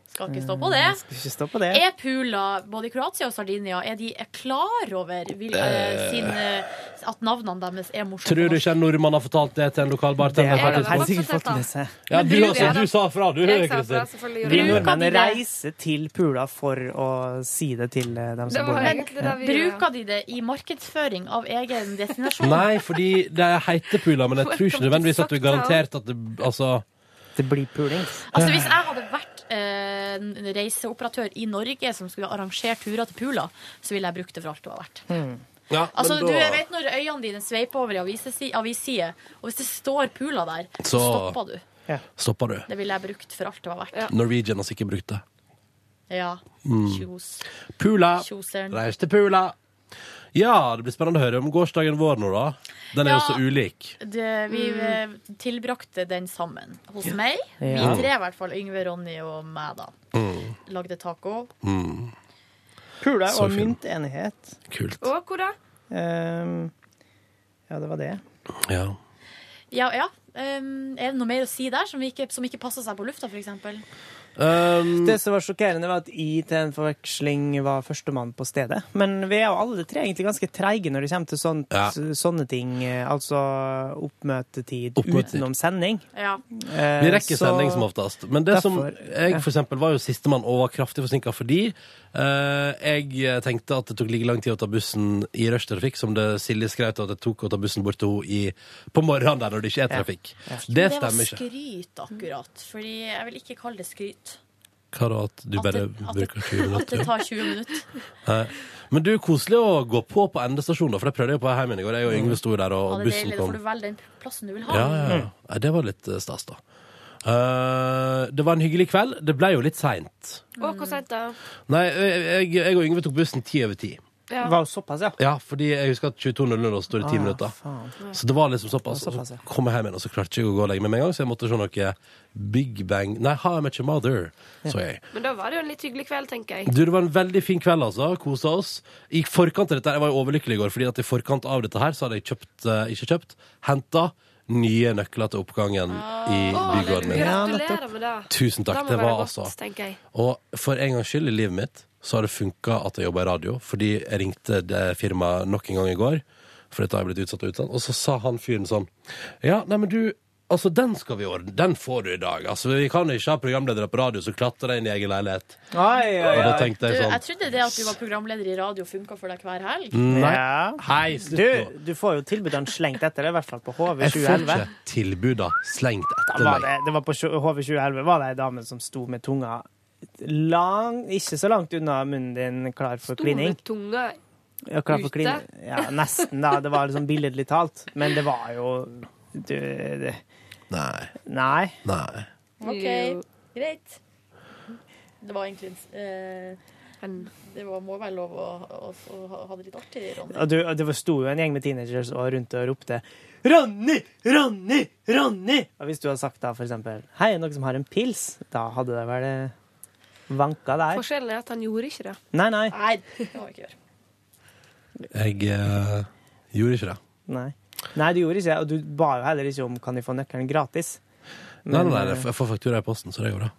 Speaker 3: Skal ikke stå på det.
Speaker 2: Skal ikke stå på det.
Speaker 3: Er Pula, både i Kroatia og Sardinia, er de klar over vil, eh, sin, eh, at navnene deres er morsomme?
Speaker 1: Tror du ikke en nordmann har fortalt det til en lokal
Speaker 2: Det
Speaker 1: bartender? på
Speaker 2: har
Speaker 1: et
Speaker 2: de
Speaker 5: Jeg har
Speaker 2: helt
Speaker 1: tidspunkt?
Speaker 5: fått
Speaker 2: sikkert fått
Speaker 5: dette.
Speaker 2: med seg.
Speaker 1: Ja, du,
Speaker 5: Bruker
Speaker 1: altså,
Speaker 5: det.
Speaker 1: du sa fra, du,
Speaker 5: Jeg sa fra,
Speaker 1: Kristin.
Speaker 5: selvfølgelig
Speaker 2: Vi
Speaker 5: gjorde jeg det.
Speaker 3: Bruker
Speaker 2: nordmenn
Speaker 3: de det?
Speaker 2: reiser til Pula for å si det til eh, dem
Speaker 5: Det
Speaker 2: som bor
Speaker 5: var
Speaker 2: der.
Speaker 5: egentlig det vi
Speaker 3: Bruker de det i markedsføring av egen destinasjon?
Speaker 1: Nei, fordi det er heite pula, men jeg tror ikke nødvendigvis at du er garantert at det Altså,
Speaker 2: Det blir pulings.
Speaker 3: Altså Hvis jeg hadde vært eh, en reiseoperatør i Norge som skulle arrangert turer til Pula, så ville jeg brukt det for alt det var verdt.
Speaker 1: ja,
Speaker 3: Altså,
Speaker 1: men
Speaker 3: du
Speaker 1: da-
Speaker 3: jeg vet når øynene dine sveiper over i avisside, avisside, og hvis det står Pula der, så
Speaker 1: Så-
Speaker 3: stopper du.
Speaker 1: Stopper du.
Speaker 3: Det ville jeg brukt for alt det var verdt.
Speaker 1: Norwegian har sikkert brukt det.
Speaker 3: Ja. Kjos.
Speaker 1: Pula.
Speaker 3: Kjoseren.
Speaker 1: Reis til Pula. Ja, det blir spennende å høre om gårsdagen vår nå, da. Den er jo
Speaker 3: Ja.
Speaker 1: så ulik.
Speaker 3: Det, vi eh, tilbrakte den sammen hos meg.
Speaker 2: Ja.
Speaker 3: Vi tre, i hvert fall. Yngve, Ronny og meg, da. Lagde taco.
Speaker 2: Pula
Speaker 1: Så
Speaker 2: og
Speaker 1: fin.
Speaker 2: myntenighet.
Speaker 1: Kult.
Speaker 5: Og hvor da?
Speaker 2: Ehm, ja, det var det.
Speaker 1: Ja.
Speaker 3: Ja, ja. Um, er det noe mer å si der som ikke, som ikke passer seg på lufta, f.eks.?
Speaker 1: Um,
Speaker 2: Det som var sjokkerende, var at jeg til en forveksling var førstemann på stedet. Men vi er jo alle tre egentlig ganske treige når det kommer til sånt,
Speaker 1: Ja.
Speaker 2: sånne ting. eh, Altså oppmøtetid
Speaker 1: Oppmøtetid.
Speaker 2: utenom sending.
Speaker 3: Ja.
Speaker 2: Eh,
Speaker 1: Vi rekker
Speaker 2: så-
Speaker 1: sending som oftest. Men det
Speaker 2: Derfor,
Speaker 1: som jeg for eksempel var jo sistemann og var kraftig forsinka fordi eh, jeg tenkte at det tok like lang tid å ta bussen i rushtrafikk som det Silje skrev til at det tok å ta bussen bort til henne i- på morgenen der når det ikke er trafikk. Det
Speaker 3: Det var
Speaker 1: stemmer ikke.
Speaker 3: skryt, akkurat. Fordi jeg vil ikke kalle det skryt.
Speaker 1: Hva da, at du
Speaker 3: At
Speaker 1: bare
Speaker 3: det- at det-
Speaker 1: bruker 20
Speaker 3: At det
Speaker 1: minutter?
Speaker 3: tar 20 minutter.
Speaker 1: Men du, koselig å gå på på endestasjonen, da, for det prøvde jeg på hjem igjen i går. Jeg og Yngve sto der,
Speaker 3: Mm. Ja,
Speaker 1: og
Speaker 3: det er
Speaker 1: bussen
Speaker 3: deilig. Da får
Speaker 1: kom.
Speaker 3: du velge den plassen du vil ha.
Speaker 1: Ja, ja,
Speaker 2: Mm.
Speaker 1: ja. Nei, Det var litt eh, stas, da. Eh, det var en hyggelig kveld. Det ble jo litt seint.
Speaker 5: Og hvor sent da?
Speaker 1: Nei, jeg, jeg og Yngve tok bussen ti over ti.
Speaker 5: Ja.
Speaker 2: Var jo såpass, ja.
Speaker 1: Ja, fordi jeg husker at 22.00 da står det 10
Speaker 2: Ah,
Speaker 1: minutter.
Speaker 2: faen.
Speaker 1: Så det var liksom såpass.
Speaker 2: Det var såpass,
Speaker 1: og så kom jeg hjem igjen, og så klarte jeg ikke å gå og legge meg med en gang, så jeg måtte se noe Big Bang Nei, How I Met Your Mother, så jeg.
Speaker 5: Men da var det jo en litt hyggelig kveld, tenker jeg.
Speaker 1: Du, det var en veldig fin kveld, altså. Kosa oss. I forkant av dette, Jeg var jo overlykkelig i går, fordi at i forkant av dette her så hadde jeg kjøpt, eh, ikke kjøpt, henta nye nøkler til oppgangen i bygården min.
Speaker 2: Ja,
Speaker 5: Gratulerer med det.
Speaker 1: Tusen
Speaker 5: Da
Speaker 1: takk.
Speaker 5: må
Speaker 1: Det
Speaker 5: være
Speaker 1: var
Speaker 5: godt,
Speaker 1: altså
Speaker 5: tenker jeg.
Speaker 1: Og for en gangs skyld i livet mitt så har det funka at jeg jobber i radio, fordi jeg ringte det firmaet nok en gang i går, for dette har jeg blitt utsatt og utsatt, og så sa han fyren sånn Ja, nei, men du Altså, Den skal vi ordne. Den får du i dag. Altså, Vi kan ikke ha programledere på radio som klatrer inn i egen leilighet.
Speaker 2: Oi,
Speaker 1: Og
Speaker 2: oi,
Speaker 1: da
Speaker 2: oi.
Speaker 1: tenkte
Speaker 3: Du,
Speaker 1: jeg
Speaker 3: jeg
Speaker 1: sånn
Speaker 3: trodde det at du var programleder i radio funka for deg hver helg.
Speaker 1: Nei,
Speaker 2: Ja.
Speaker 1: hei, slutt nå.
Speaker 2: Du, du får jo tilbudene slengt etter deg, i hvert fall på HV
Speaker 1: Jeg får
Speaker 2: 2011.
Speaker 1: ikke tilbuda slengt etter meg.
Speaker 2: Var det, det var på tjo- HV 2011 var det ei dame som sto med tunga lang, ikke så langt unna munnen din, klar for klining.
Speaker 5: Store tunga.
Speaker 2: Ja, klar for
Speaker 5: Ute?
Speaker 2: klin ja, nesten, da. Det var liksom billedlig talt. Men det var jo du, det,
Speaker 1: Nei.
Speaker 2: Nei.
Speaker 1: nei.
Speaker 3: OK, greit. Det var egentlig en eh,
Speaker 5: Men
Speaker 3: Det var, må være lov å, å, å ha- ha det litt artig, Ronny.
Speaker 2: Og, du, og det var- sto jo en gjeng med teenagers og rundt og ropte 'Ronny! Ronny! Ronny!' Og hvis du hadde sagt da for eksempel 'Hei, er det noen som har en pils?' Da hadde det vel eh, vanka der.
Speaker 5: Forskjellen er at han gjorde ikke det.
Speaker 2: Nei, nei.
Speaker 3: Nei, det må vi ikke gjøre.
Speaker 1: Jeg eh, gjorde ikke det.
Speaker 2: Nei, nei du gjorde ikke det. Og du ba jo heller ikke om 'Kan de få nøkkelen gratis?'
Speaker 1: Nei,
Speaker 2: Men
Speaker 1: nei, nei,
Speaker 2: eh,
Speaker 1: jeg får faktura i posten, så det går bra.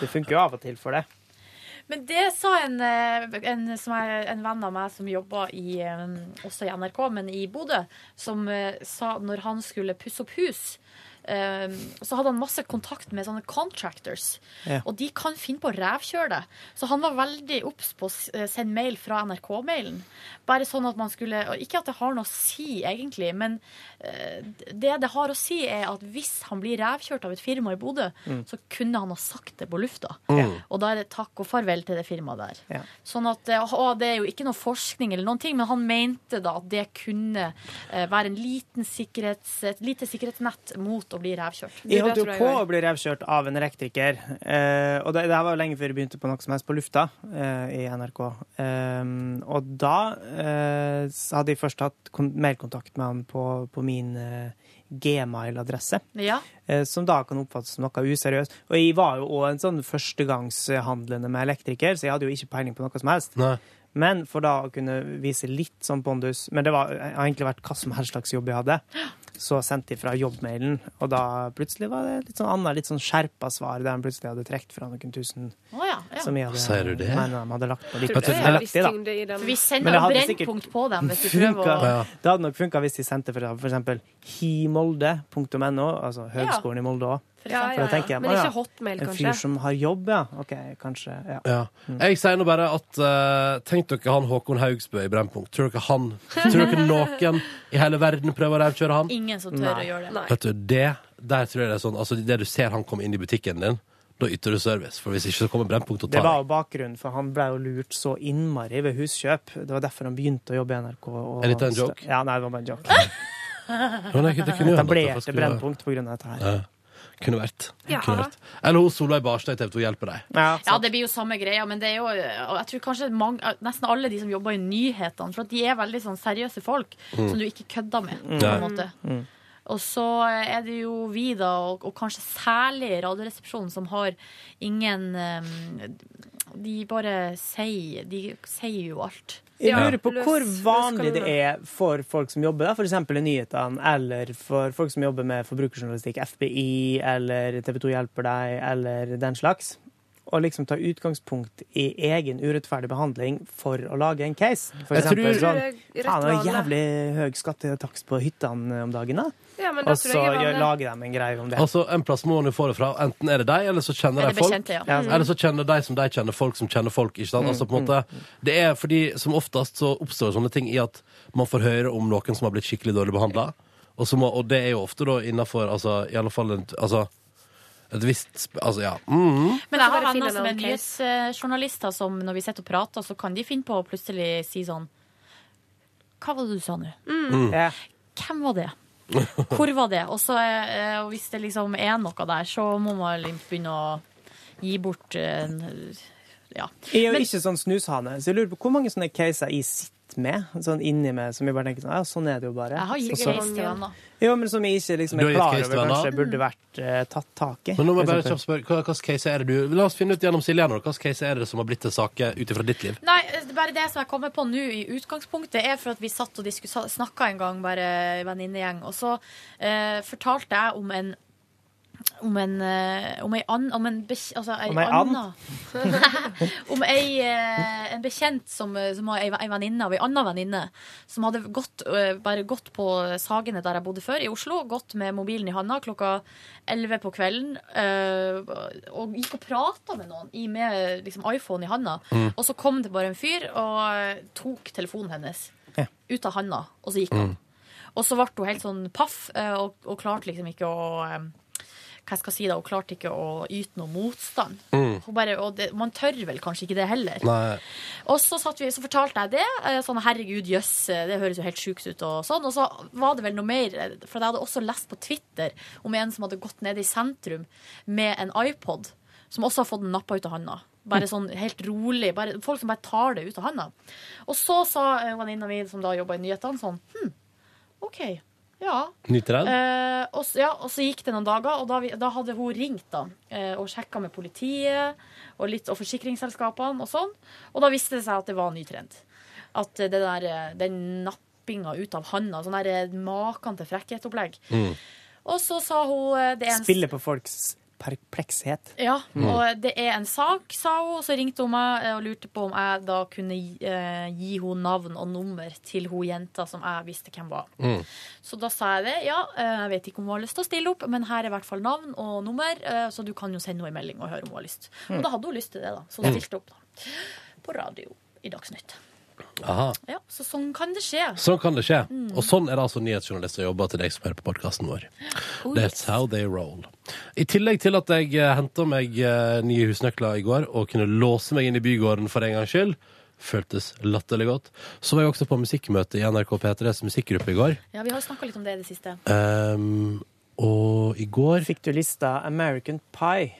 Speaker 2: det funker jo av og til for det.
Speaker 3: Men det sa en, eh, en, som er, en venn av meg som jobba i, eh, også i NRK, men i Bodø, som eh, sa at når han skulle pusse opp hus, eh, så hadde han masse kontakt med sånne contractors.
Speaker 2: Ja.
Speaker 3: Og de kan finne på å rævkjøre det. Så han var veldig obs på å s- eh, sende mail fra NRK-mailen. Bare sånn at man skulle og Ikke at det har noe å si, egentlig, men eh, det det har å si, er at hvis han blir rævkjørt av et firma i Bodø,
Speaker 2: Mm.
Speaker 3: så kunne han ha sagt det på lufta. Og da er det takk og farvel til det firmaet der.
Speaker 2: Ja.
Speaker 3: Sånn at, eh, og det er jo ikke noe forskning eller noen ting, men han mente da at det kunne eh, være en liten sikkerhets, et lite sikkerhetsnett mot å bli rævkjørt.
Speaker 2: Jeg
Speaker 5: Det
Speaker 2: holdt jo
Speaker 5: tror jeg
Speaker 2: på
Speaker 5: jeg
Speaker 2: å bli revkjørt av en elektriker. eh, og det, det her var jo lenge før jeg begynte på noe som helst på lufta eh, i NRK. Eh, og da eh, så hadde jeg først hatt kon- mailkontakt med han på, på min eh, gmail-adresse.
Speaker 3: Ja,
Speaker 2: eh, Som da kan oppfattes som noe useriøst. Og jeg var jo òg en sånn førstegangshandlende med elektriker, så jeg hadde jo ikke peiling på noe som helst.
Speaker 1: Nei.
Speaker 2: Men for da å kunne vise litt sånn pondus Men det var, har egentlig vært hva som helst slags jobb jeg hadde. Så sendte jeg fra jobbmailen, og da plutselig var det litt sånn annet, litt sånn skjerpa svar, der han plutselig hadde trukket fra noen tusen
Speaker 3: å ja, ja.
Speaker 2: som jeg hadde,
Speaker 1: Sier du det?
Speaker 2: mener de hadde lagt på. Litt,
Speaker 5: Tror du det
Speaker 2: eller
Speaker 5: er en
Speaker 2: lagt
Speaker 5: viss
Speaker 2: i, da.
Speaker 5: tyngde
Speaker 3: Så
Speaker 5: i den?
Speaker 3: vi
Speaker 2: Men
Speaker 3: sender
Speaker 2: det
Speaker 3: jo
Speaker 2: hadde
Speaker 3: brennpunkt på dem hvis vi prøver å
Speaker 2: Funka. Det hadde nok funka hvis de sendte fra f.eks. himolde.no, altså Høgskolen i Molde òg.
Speaker 3: for eksempel.
Speaker 2: For da tenker jeg,
Speaker 5: Men
Speaker 2: «Å ja,
Speaker 5: ikke hotmail,
Speaker 2: En fyr
Speaker 5: kanskje.
Speaker 2: som har jobb, ja. OK, kanskje. Ja.
Speaker 1: Ja. Jeg sier nå bare at eh, Tenk dere han Håkon Haugsbø i Brennpunkt. Tror dere han Tror dere noen i hele verden prøver å rævkjøre han?
Speaker 3: Ingen som tør å gjøre det.
Speaker 5: Nei.
Speaker 1: Vet du, det Der tror jeg det er sånn Altså, det du ser han komme inn i butikken din, da yter du service. For hvis ikke så kommer Brennpunkt og
Speaker 2: Det
Speaker 1: tar
Speaker 2: var jo
Speaker 1: deg.
Speaker 2: bakgrunnen, for han ble jo lurt så innmari ved huskjøp. Det var derfor han begynte å jobbe i NRK. Og
Speaker 1: Er dette en joke?
Speaker 2: Ja, nei, det var bare en joke.
Speaker 1: Ja, nei, det kunne jo hende at det
Speaker 2: Etablerte
Speaker 1: skulle-
Speaker 2: Brennpunkt på grunn av dette her.
Speaker 1: Kunne vært.
Speaker 5: Ja.
Speaker 1: Kunne vært. Eller hun Solveig Barstad i TV 2 hjelper deg.
Speaker 2: Ja,
Speaker 3: Ja,
Speaker 2: så-
Speaker 3: det blir jo samme greia, men det er jo og Jeg tror kanskje mange, nesten alle de som jobber i nyhetene, for at de er veldig sånn seriøse folk
Speaker 1: Mm.
Speaker 3: som du ikke kødder med, på en måte. Og så er det jo vi, da, og, og kanskje særlig Radioresepsjonen, som har ingen eh, De bare sier De sier jo alt.
Speaker 2: Jeg
Speaker 5: Ja.
Speaker 2: lurer på
Speaker 5: Løs-
Speaker 2: hvor
Speaker 5: løs
Speaker 2: vanlig det
Speaker 5: kanoner.
Speaker 2: er for folk som jobber der, f.eks. i nyhetene, eller for folk som jobber med forbrukerjournalistikk, FBI eller TV 2 hjelper deg, eller den slags, å liksom ta utgangspunkt i egen urettferdig behandling for å lage en case. For
Speaker 1: Jeg
Speaker 2: eksempel
Speaker 1: tror-
Speaker 2: sånn
Speaker 5: Rett
Speaker 2: Faen, det er
Speaker 5: vanlig.
Speaker 2: jævlig høy skattetaks på hyttene om dagen, da.
Speaker 5: Ja, men
Speaker 2: Og
Speaker 5: da
Speaker 2: så
Speaker 5: tror
Speaker 2: gjør-
Speaker 5: jeg jeg vanlig.
Speaker 2: lager de en greie om det.
Speaker 1: Altså, En plass må hun jo få det fra. Enten er det deg, eller så kjenner
Speaker 3: Eller
Speaker 1: de folk.
Speaker 3: bekjente, ja.
Speaker 2: Ja,
Speaker 1: Eller så kjenner de som de kjenner folk som kjenner folk. ikke sant? Altså på en måte, Det er fordi som oftest så oppstår sånne ting i at man får høre om noen som har blitt skikkelig dårlig behandla. Og, så må- og det er jo ofte da innafor altså, i alle fall en, altså, et visst sp- Altså, ja. Mm.
Speaker 3: Men jeg
Speaker 5: Bare
Speaker 3: har venner
Speaker 5: finne
Speaker 3: som er
Speaker 5: noen case.
Speaker 3: nyhetsjournalister som når vi sitter og prater, så kan de finne på å plutselig si sånn Hva var det du sa nå?
Speaker 1: mm.
Speaker 2: Ja.
Speaker 3: hvem var det? Hvor var det? Og så, eh, og hvis det liksom er noe der, så må man liksom begynne å gi bort eh, en- Ja.
Speaker 2: Jeg er jo
Speaker 3: Men-
Speaker 2: ikke sånn snushane, så jeg lurer på hvor mange sånne caser jeg sitter med, sånn inni meg, som jeg bare tenker sånn, ja, sånn er det jo bare.
Speaker 3: Jeg har gitt
Speaker 2: Og så-
Speaker 3: case til venner.
Speaker 2: Jo, men som jeg ikke liksom
Speaker 1: Du har
Speaker 2: er
Speaker 1: gitt
Speaker 2: klar
Speaker 1: case til
Speaker 2: over
Speaker 1: venner?
Speaker 2: kanskje burde vært eh, tatt tak i.
Speaker 1: Men nå må jeg bare
Speaker 2: for
Speaker 1: kjapt
Speaker 2: eksempel.
Speaker 1: spørre, hva, hvilken case er det du La oss finne ut gjennom Silje nå. Hvilken case er det som har blitt til sake ut ifra ditt liv?
Speaker 3: Nei, eh, bare det som jeg kommer på nå i utgangspunktet, er for at vi satt og snakka en gang, bare venninnegjeng, og så eh, fortalte jeg om en om en eh, om ei and... Om en, bekj- altså, ei
Speaker 2: Om ei and?
Speaker 3: anna Om ei, eh, en bekjent som, eh, som var ei, ei venninne av ei anna venninne, som hadde gått, eh, bare gått på Sagene, der jeg bodde før, i Oslo, gått med mobilen i handa klokka 11 på kvelden, eh, og gikk og prata med noen i, med liksom, iPhone i handa. Og så kom det bare en fyr og eh, tok telefonen hennes
Speaker 2: Ja.
Speaker 3: ut av handa, og så gikk han. Og så ble hun helt sånn paff, eh, og, og klarte liksom ikke å eh, hva jeg skal si da, hun klarte ikke å yte noe motstand.
Speaker 2: Mm.
Speaker 3: Hun bare, og det, man tør vel kanskje ikke det heller.
Speaker 1: Nei.
Speaker 3: Og så, satt vi, så fortalte jeg det. eh, Sånn, herregud, jøss, eh, det høres jo helt sjukt ut. Og sånn. Og så var det vel noe mer, eh, for jeg hadde også lest på Twitter om en som hadde gått nede i sentrum med en iPod, som også har fått den nappa ut av handa. Bare sånn helt rolig. Bare, folk som bare tar det ut av handa. Og så sa eh, venninna mi, som da jobba i nyhetene, sånn hm, OK. Ja,
Speaker 1: Nyter den?
Speaker 3: Eh, og, så, ja, og så gikk det noen dager, og da, vi, da hadde hun ringt da, eh, og sjekka med politiet og, litt, og forsikringsselskapene og sånn. Og da viste det seg at det var en ny trend. At eh, det der, eh, den nappinga ut av handa, sånn der eh, maken til frekkhetsopplegg. Og så sa hun eh, det eneste
Speaker 2: Spille på folks perplekshet.
Speaker 3: Ja, og det er en sak, sa hun, og så ringte hun meg eh, og lurte på om jeg da kunne gi, eh, gi henne navn og nummer til hun jenta som jeg visste hvem var.
Speaker 1: Mm.
Speaker 3: Så da sa jeg det. Ja, eh, jeg vet ikke om hun har lyst til å stille opp, men her er i hvert fall navn og nummer, eh, så du kan jo sende henne en melding og høre om hun har lyst. Og da hadde hun lyst til det, da.
Speaker 1: Mm.
Speaker 3: Så hun stilte opp da. på radio i Dagsnytt.
Speaker 1: Aha.
Speaker 3: Ja, så sånn kan det skje.
Speaker 1: Sånn kan det skje. Og sånn er det altså nyhetsjournalister jobber til deg som hører på podkasten vår.
Speaker 3: Oh,
Speaker 1: That's
Speaker 3: yes.
Speaker 1: how they roll. I tillegg til at jeg eh, henta meg eh, nye husnøkler i går og kunne låse meg inn i bygården for en gangs skyld, føltes latterlig godt, så var jeg også på musikkmøte i NRK P3s musikkgruppe i går.
Speaker 3: Ja, vi har jo snakka litt om det i det siste.
Speaker 1: Ehm, og i går
Speaker 2: Fikk du lista American Pie?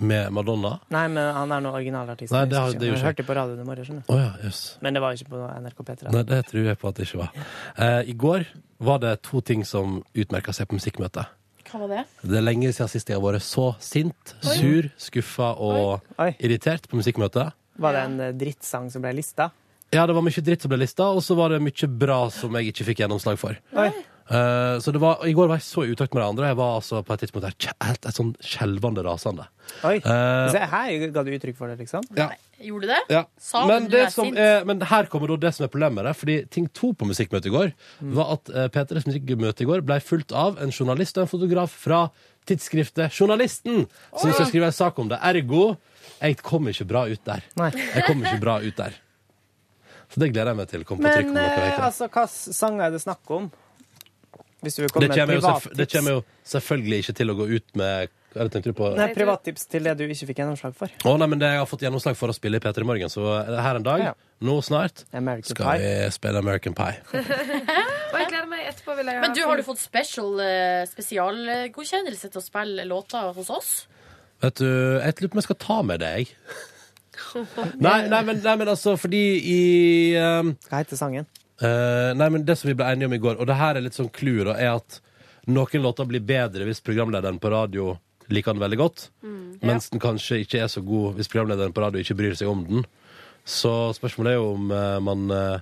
Speaker 1: med Madonna
Speaker 2: Nei, men han er nå originalartisten.
Speaker 1: Nei, det har-
Speaker 2: jeg husker
Speaker 1: det er jo
Speaker 2: Jeg
Speaker 1: ikke-
Speaker 2: hørte på radioen i morgen, skjønner du.
Speaker 1: Å ja, jøss.
Speaker 2: Men det var jo ikke på NRK P3.
Speaker 1: Nei, det tror jeg på at det ikke var. Eh, I går var det to ting som utmerka seg på musikkmøtet.
Speaker 3: Hva var det?
Speaker 1: Det er lenge siden sist jeg har vært så sint, sur, skuffa og
Speaker 2: Oi.
Speaker 1: irritert på musikkmøtet.
Speaker 2: Var det en eh, drittsang som ble lista?
Speaker 1: Ja, det var mye dritt som ble lista, og så var det mye bra som jeg ikke fikk gjennomslag for.
Speaker 2: Oi.
Speaker 1: Eh, så det var, I går var jeg så i utakt med de andre, og jeg var altså på et tidspunkt der kje- helt et sånn skjelvende rasende.
Speaker 2: Oi.
Speaker 1: Eh,
Speaker 2: Se, her ga du uttrykk for det, liksom.
Speaker 1: ja.
Speaker 3: Gjorde du det?
Speaker 1: Ja.
Speaker 3: Sa hun
Speaker 1: Men,
Speaker 3: du
Speaker 1: det
Speaker 3: er
Speaker 1: som
Speaker 3: sint?
Speaker 1: er, men her kommer da det som er problemet. Der, fordi ting to på musikkmøtet i går var at eh, P3s musikkmøte i går ble fulgt av en journalist og en fotograf fra tidsskriftet Journalisten, som skal skrive en sak om det. Ergo, jeg kom ikke bra ut der.
Speaker 2: Nei.
Speaker 1: Jeg kom ikke bra ut der. Så det gleder jeg meg til. Kom på trykk om
Speaker 2: Men
Speaker 1: dere vet
Speaker 2: eh,
Speaker 1: det.
Speaker 2: altså, hva s- sanger er det snakk om? Hvis du vil
Speaker 1: Det
Speaker 2: komme med
Speaker 1: kommer, jo
Speaker 2: privattips.
Speaker 1: selvf- det kommer jo selvfølgelig ikke til å gå ut med Eller tenkte du på
Speaker 2: Nei, privattips til det du ikke fikk gjennomslag for.
Speaker 1: Å nei, men det jeg har fått gjennomslag for å spille i P3 Morgen, så her en dag,
Speaker 2: Ja.
Speaker 1: nå snart,
Speaker 2: American
Speaker 1: skal
Speaker 2: Pie.
Speaker 1: vi spille American Pie.
Speaker 5: Og jeg gleder meg etterpå. Vil jeg
Speaker 3: Men du, har du fått special, eh, spesialgodkjennelse til å spille låter hos oss?
Speaker 1: Vet du, jeg lurer på om jeg skal ta med det, jeg. Nei, nei, men, nei, men altså, fordi i ehm,
Speaker 2: Hva heter sangen?
Speaker 1: Eh, nei, men Det som vi ble enige om i går, og det her er litt sånn clouet, da, er at noen låter blir bedre hvis programlederen på radio liker den veldig godt, mens den kanskje ikke er så god hvis programlederen på radio ikke bryr seg om den. Så spørsmålet er jo om eh, man eh,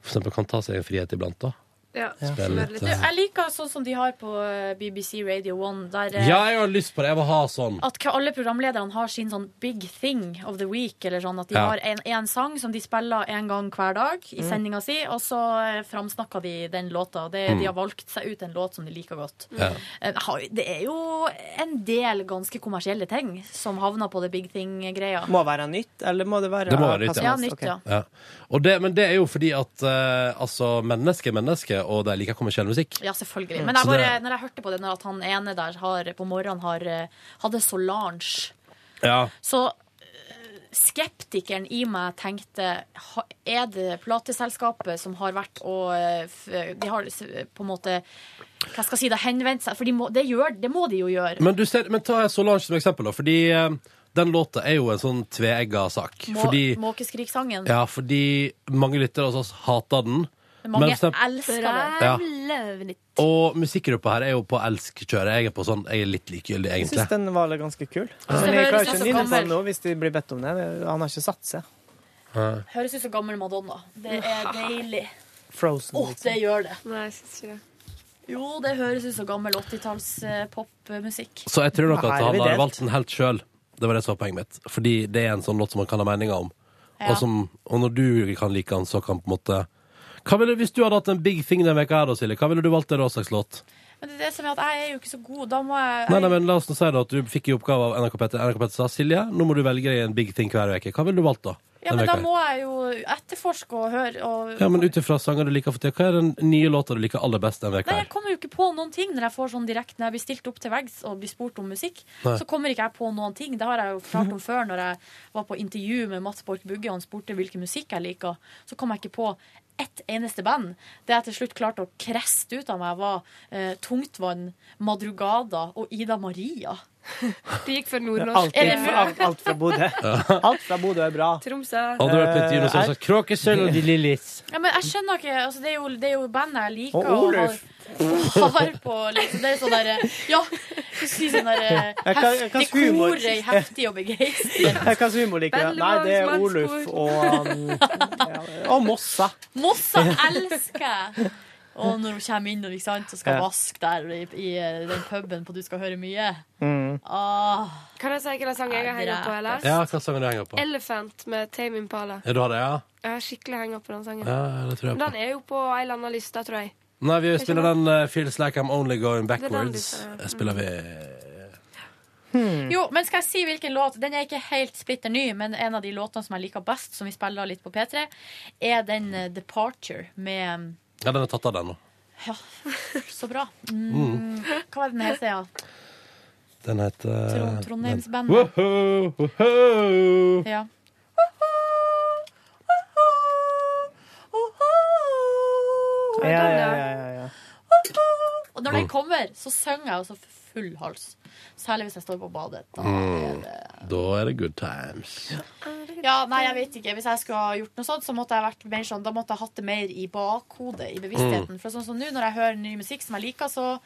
Speaker 1: for eksempel kan ta seg en frihet iblant, da.
Speaker 5: sånn- Ja.
Speaker 1: Spille litt,
Speaker 5: Litt,
Speaker 1: eh.
Speaker 3: Jeg liker sånn som de har på eh, BBC Radio 1, der eh,
Speaker 1: Ja, jeg har lyst på det! Jeg vil ha sånn.
Speaker 3: at hva- alle programlederne har sin sånn big thing of the week. Eller sånn at de
Speaker 1: Ja. Mm.
Speaker 3: har en, en sang som de spiller en gang hver dag i sendinga si, og så eh, framsnakker de den låta. Det, De har valgt seg ut en låt som de liker godt.
Speaker 1: Mm. Ja.
Speaker 3: Eh, har- Det er jo en del ganske kommersielle ting som havner på det big thing-greia.
Speaker 2: Må være nytt, eller må det være
Speaker 1: Det må være
Speaker 2: hva
Speaker 1: nytt,
Speaker 2: som
Speaker 3: Ja,
Speaker 2: helst?
Speaker 3: nytt,
Speaker 2: Ok.
Speaker 3: ja.
Speaker 1: Ja. Og det, men det er jo fordi at eh, altså, mennesker er mennesker, og de liker kommersiell musikk.
Speaker 3: Ja, selvfølgelig. Men
Speaker 1: Mm.
Speaker 3: jeg
Speaker 1: Så
Speaker 3: bare,
Speaker 1: det-
Speaker 3: når jeg hørte på det, når at han ene der har, på morgenen har, eh, hadde Solange,
Speaker 1: Ja.
Speaker 3: så eh, skeptikeren i meg tenkte ha- Er det plateselskapet som har vært og eh, f- De har s- på en måte Hva skal jeg si, det henvendt seg For de må, det, gjør, det må de jo gjøre.
Speaker 1: Men, du ser, men ta Solange som eksempel, da. Fordi eh, den låta er jo en sånn tveegga sak.
Speaker 3: Må,
Speaker 1: fordi,
Speaker 3: Måkeskriksangen.
Speaker 1: ja, fordi mange lyttere hos oss hater den.
Speaker 3: Mange
Speaker 1: men for eksempel-
Speaker 3: elsker den.
Speaker 1: Ja. Og musikkgruppa her er jo på elsk-kjøret. Jeg er på sånn, jeg er litt likegyldig,
Speaker 2: Jeg syns
Speaker 1: egentlig.
Speaker 2: den var ganske kul.
Speaker 3: det
Speaker 2: Men jeg
Speaker 3: høres
Speaker 2: klarer
Speaker 3: ut
Speaker 2: ikke å
Speaker 3: som
Speaker 2: nynne på
Speaker 3: gammel.
Speaker 2: den nå hvis de blir bedt om det. Det- Han har ikke satt seg.
Speaker 3: Høres ut som gammel Madonna. Det er deilig.
Speaker 2: Frozen.
Speaker 3: Åh,
Speaker 2: liksom.
Speaker 3: det gjør det.
Speaker 5: Nei, jeg synes ikke det.
Speaker 3: Jo, det høres ut som gammel 80-talls eh, popmusikk.
Speaker 1: Så jeg tror nok at
Speaker 2: Her er
Speaker 1: han
Speaker 2: vi
Speaker 1: har
Speaker 2: delt.
Speaker 1: valgt den helt sjøl. Det var det som var poenget mitt. Fordi det er en sånn låt som man kan ha meninger om.
Speaker 3: Ja.
Speaker 1: Og, som, og når du kan like den, så kan på en måte hva ville, Hvis du hadde hatt en big thing denne veka her da, Silje, hva ville du valgt der da slags låt?
Speaker 3: Men det er det som er at jeg er jo ikke så god. Da må jeg,
Speaker 1: Nei, nei, men la oss nå si da at du fikk i oppgave av NRK Petter. NRK Petter sa Silje, nå må du velge deg en big thing hver uke. Hva ville du valgt da?
Speaker 3: Ja,
Speaker 1: Den
Speaker 3: men da
Speaker 1: veka her?
Speaker 3: må jeg jo etterforske og høre og
Speaker 1: ja, men ut ifra sanger du liker for tida, hva er den nye låta du liker aller best den veka
Speaker 3: Nei, jeg
Speaker 1: her?
Speaker 3: kommer jo ikke på noen ting når jeg får sånn direkte Når jeg blir stilt opp til veggs og blir spurt om musikk.
Speaker 1: Nei.
Speaker 3: Så kommer ikke jeg på noen ting. Det har jeg jo fortalt om før når jeg var på intervju med Mats Borch Bugge og han spurte hvilken musikk jeg liker. Så kom jeg ikke på ett eneste band. Det jeg til slutt klarte å kreste ut av meg, var eh, Tungtvann, Madrugada og Ida Maria.
Speaker 5: Det gikk for nordnorsk.
Speaker 2: Alt,
Speaker 3: Er det
Speaker 2: fra- alt, alt fra Bodø. Alt fra Bodø er bra.
Speaker 5: Tromsø.
Speaker 1: Hadde du vært litt Jonas
Speaker 2: Eh,
Speaker 1: og sagt Kråkesølv og de Lillits?
Speaker 3: Ja, men jeg skjønner ikke altså, det, er jo, det er jo bandet jeg liker
Speaker 2: Og
Speaker 3: og har,
Speaker 2: Oluf.
Speaker 3: har på liksom, Det er sånn derre Ja, hva skal jeg si sånn derre
Speaker 2: Jeg kan- jeg kan
Speaker 3: heftig
Speaker 2: humor.
Speaker 3: koret i heftig og begeistring.
Speaker 2: Hva slags humor liker jeg? Nei, det er Oluf og, um, ja, og Mossa.
Speaker 3: Mossa elsker jeg! Og når hun kommer inn og ikke sant, så skal
Speaker 2: Ja.
Speaker 3: eh, vaske der i, i den puben på Du skal høre mye. Ah.
Speaker 2: Mm.
Speaker 3: Åh,
Speaker 5: Kan jeg si hvilken sang jeg har hengt opp på, eller?
Speaker 1: Ja, hva sang er det du henger på?
Speaker 5: Elephant med Tame Impala.
Speaker 1: Ja, du har det, ja?
Speaker 5: Jeg har skikkelig hengt opp på den sangen.
Speaker 1: ja? Det tror jeg på.
Speaker 5: Den er jo på ei eller annen liste, tror jeg.
Speaker 1: Nei, vi spiller den eh, 'Feels Like I'm Only Going
Speaker 5: er den
Speaker 1: Backwards'.
Speaker 5: du sa, ja.
Speaker 1: Eh, Spiller vi
Speaker 3: Jo, men skal jeg si hvilken låt? Den er ikke helt splitter ny, men en av de låtene som jeg liker best, som vi spiller litt på P3, er den eh, 'Departure' med
Speaker 1: Ja, den er tatt av, den nå.
Speaker 3: Ja, så bra. Mm. Hva var det den heter, ja?
Speaker 1: Eh, Den heter
Speaker 3: Tron- Trondheimsbandet.
Speaker 1: Woho, woho.
Speaker 3: Ja.
Speaker 2: Ja, ja, ja, ja, ja.
Speaker 3: Og når den kommer, så synger jeg altså for full hals. Særlig hvis jeg står på badet. Da
Speaker 2: Mm.
Speaker 3: er det
Speaker 1: Da er det good times.
Speaker 3: Ja, nei, jeg vet ikke. Hvis jeg skulle ha gjort noe sånt, så måtte jeg vært mer sånn, da måtte jeg hatt det mer i bakhodet, i bevisstheten. For sånn som nå, når jeg hører ny musikk som jeg liker, så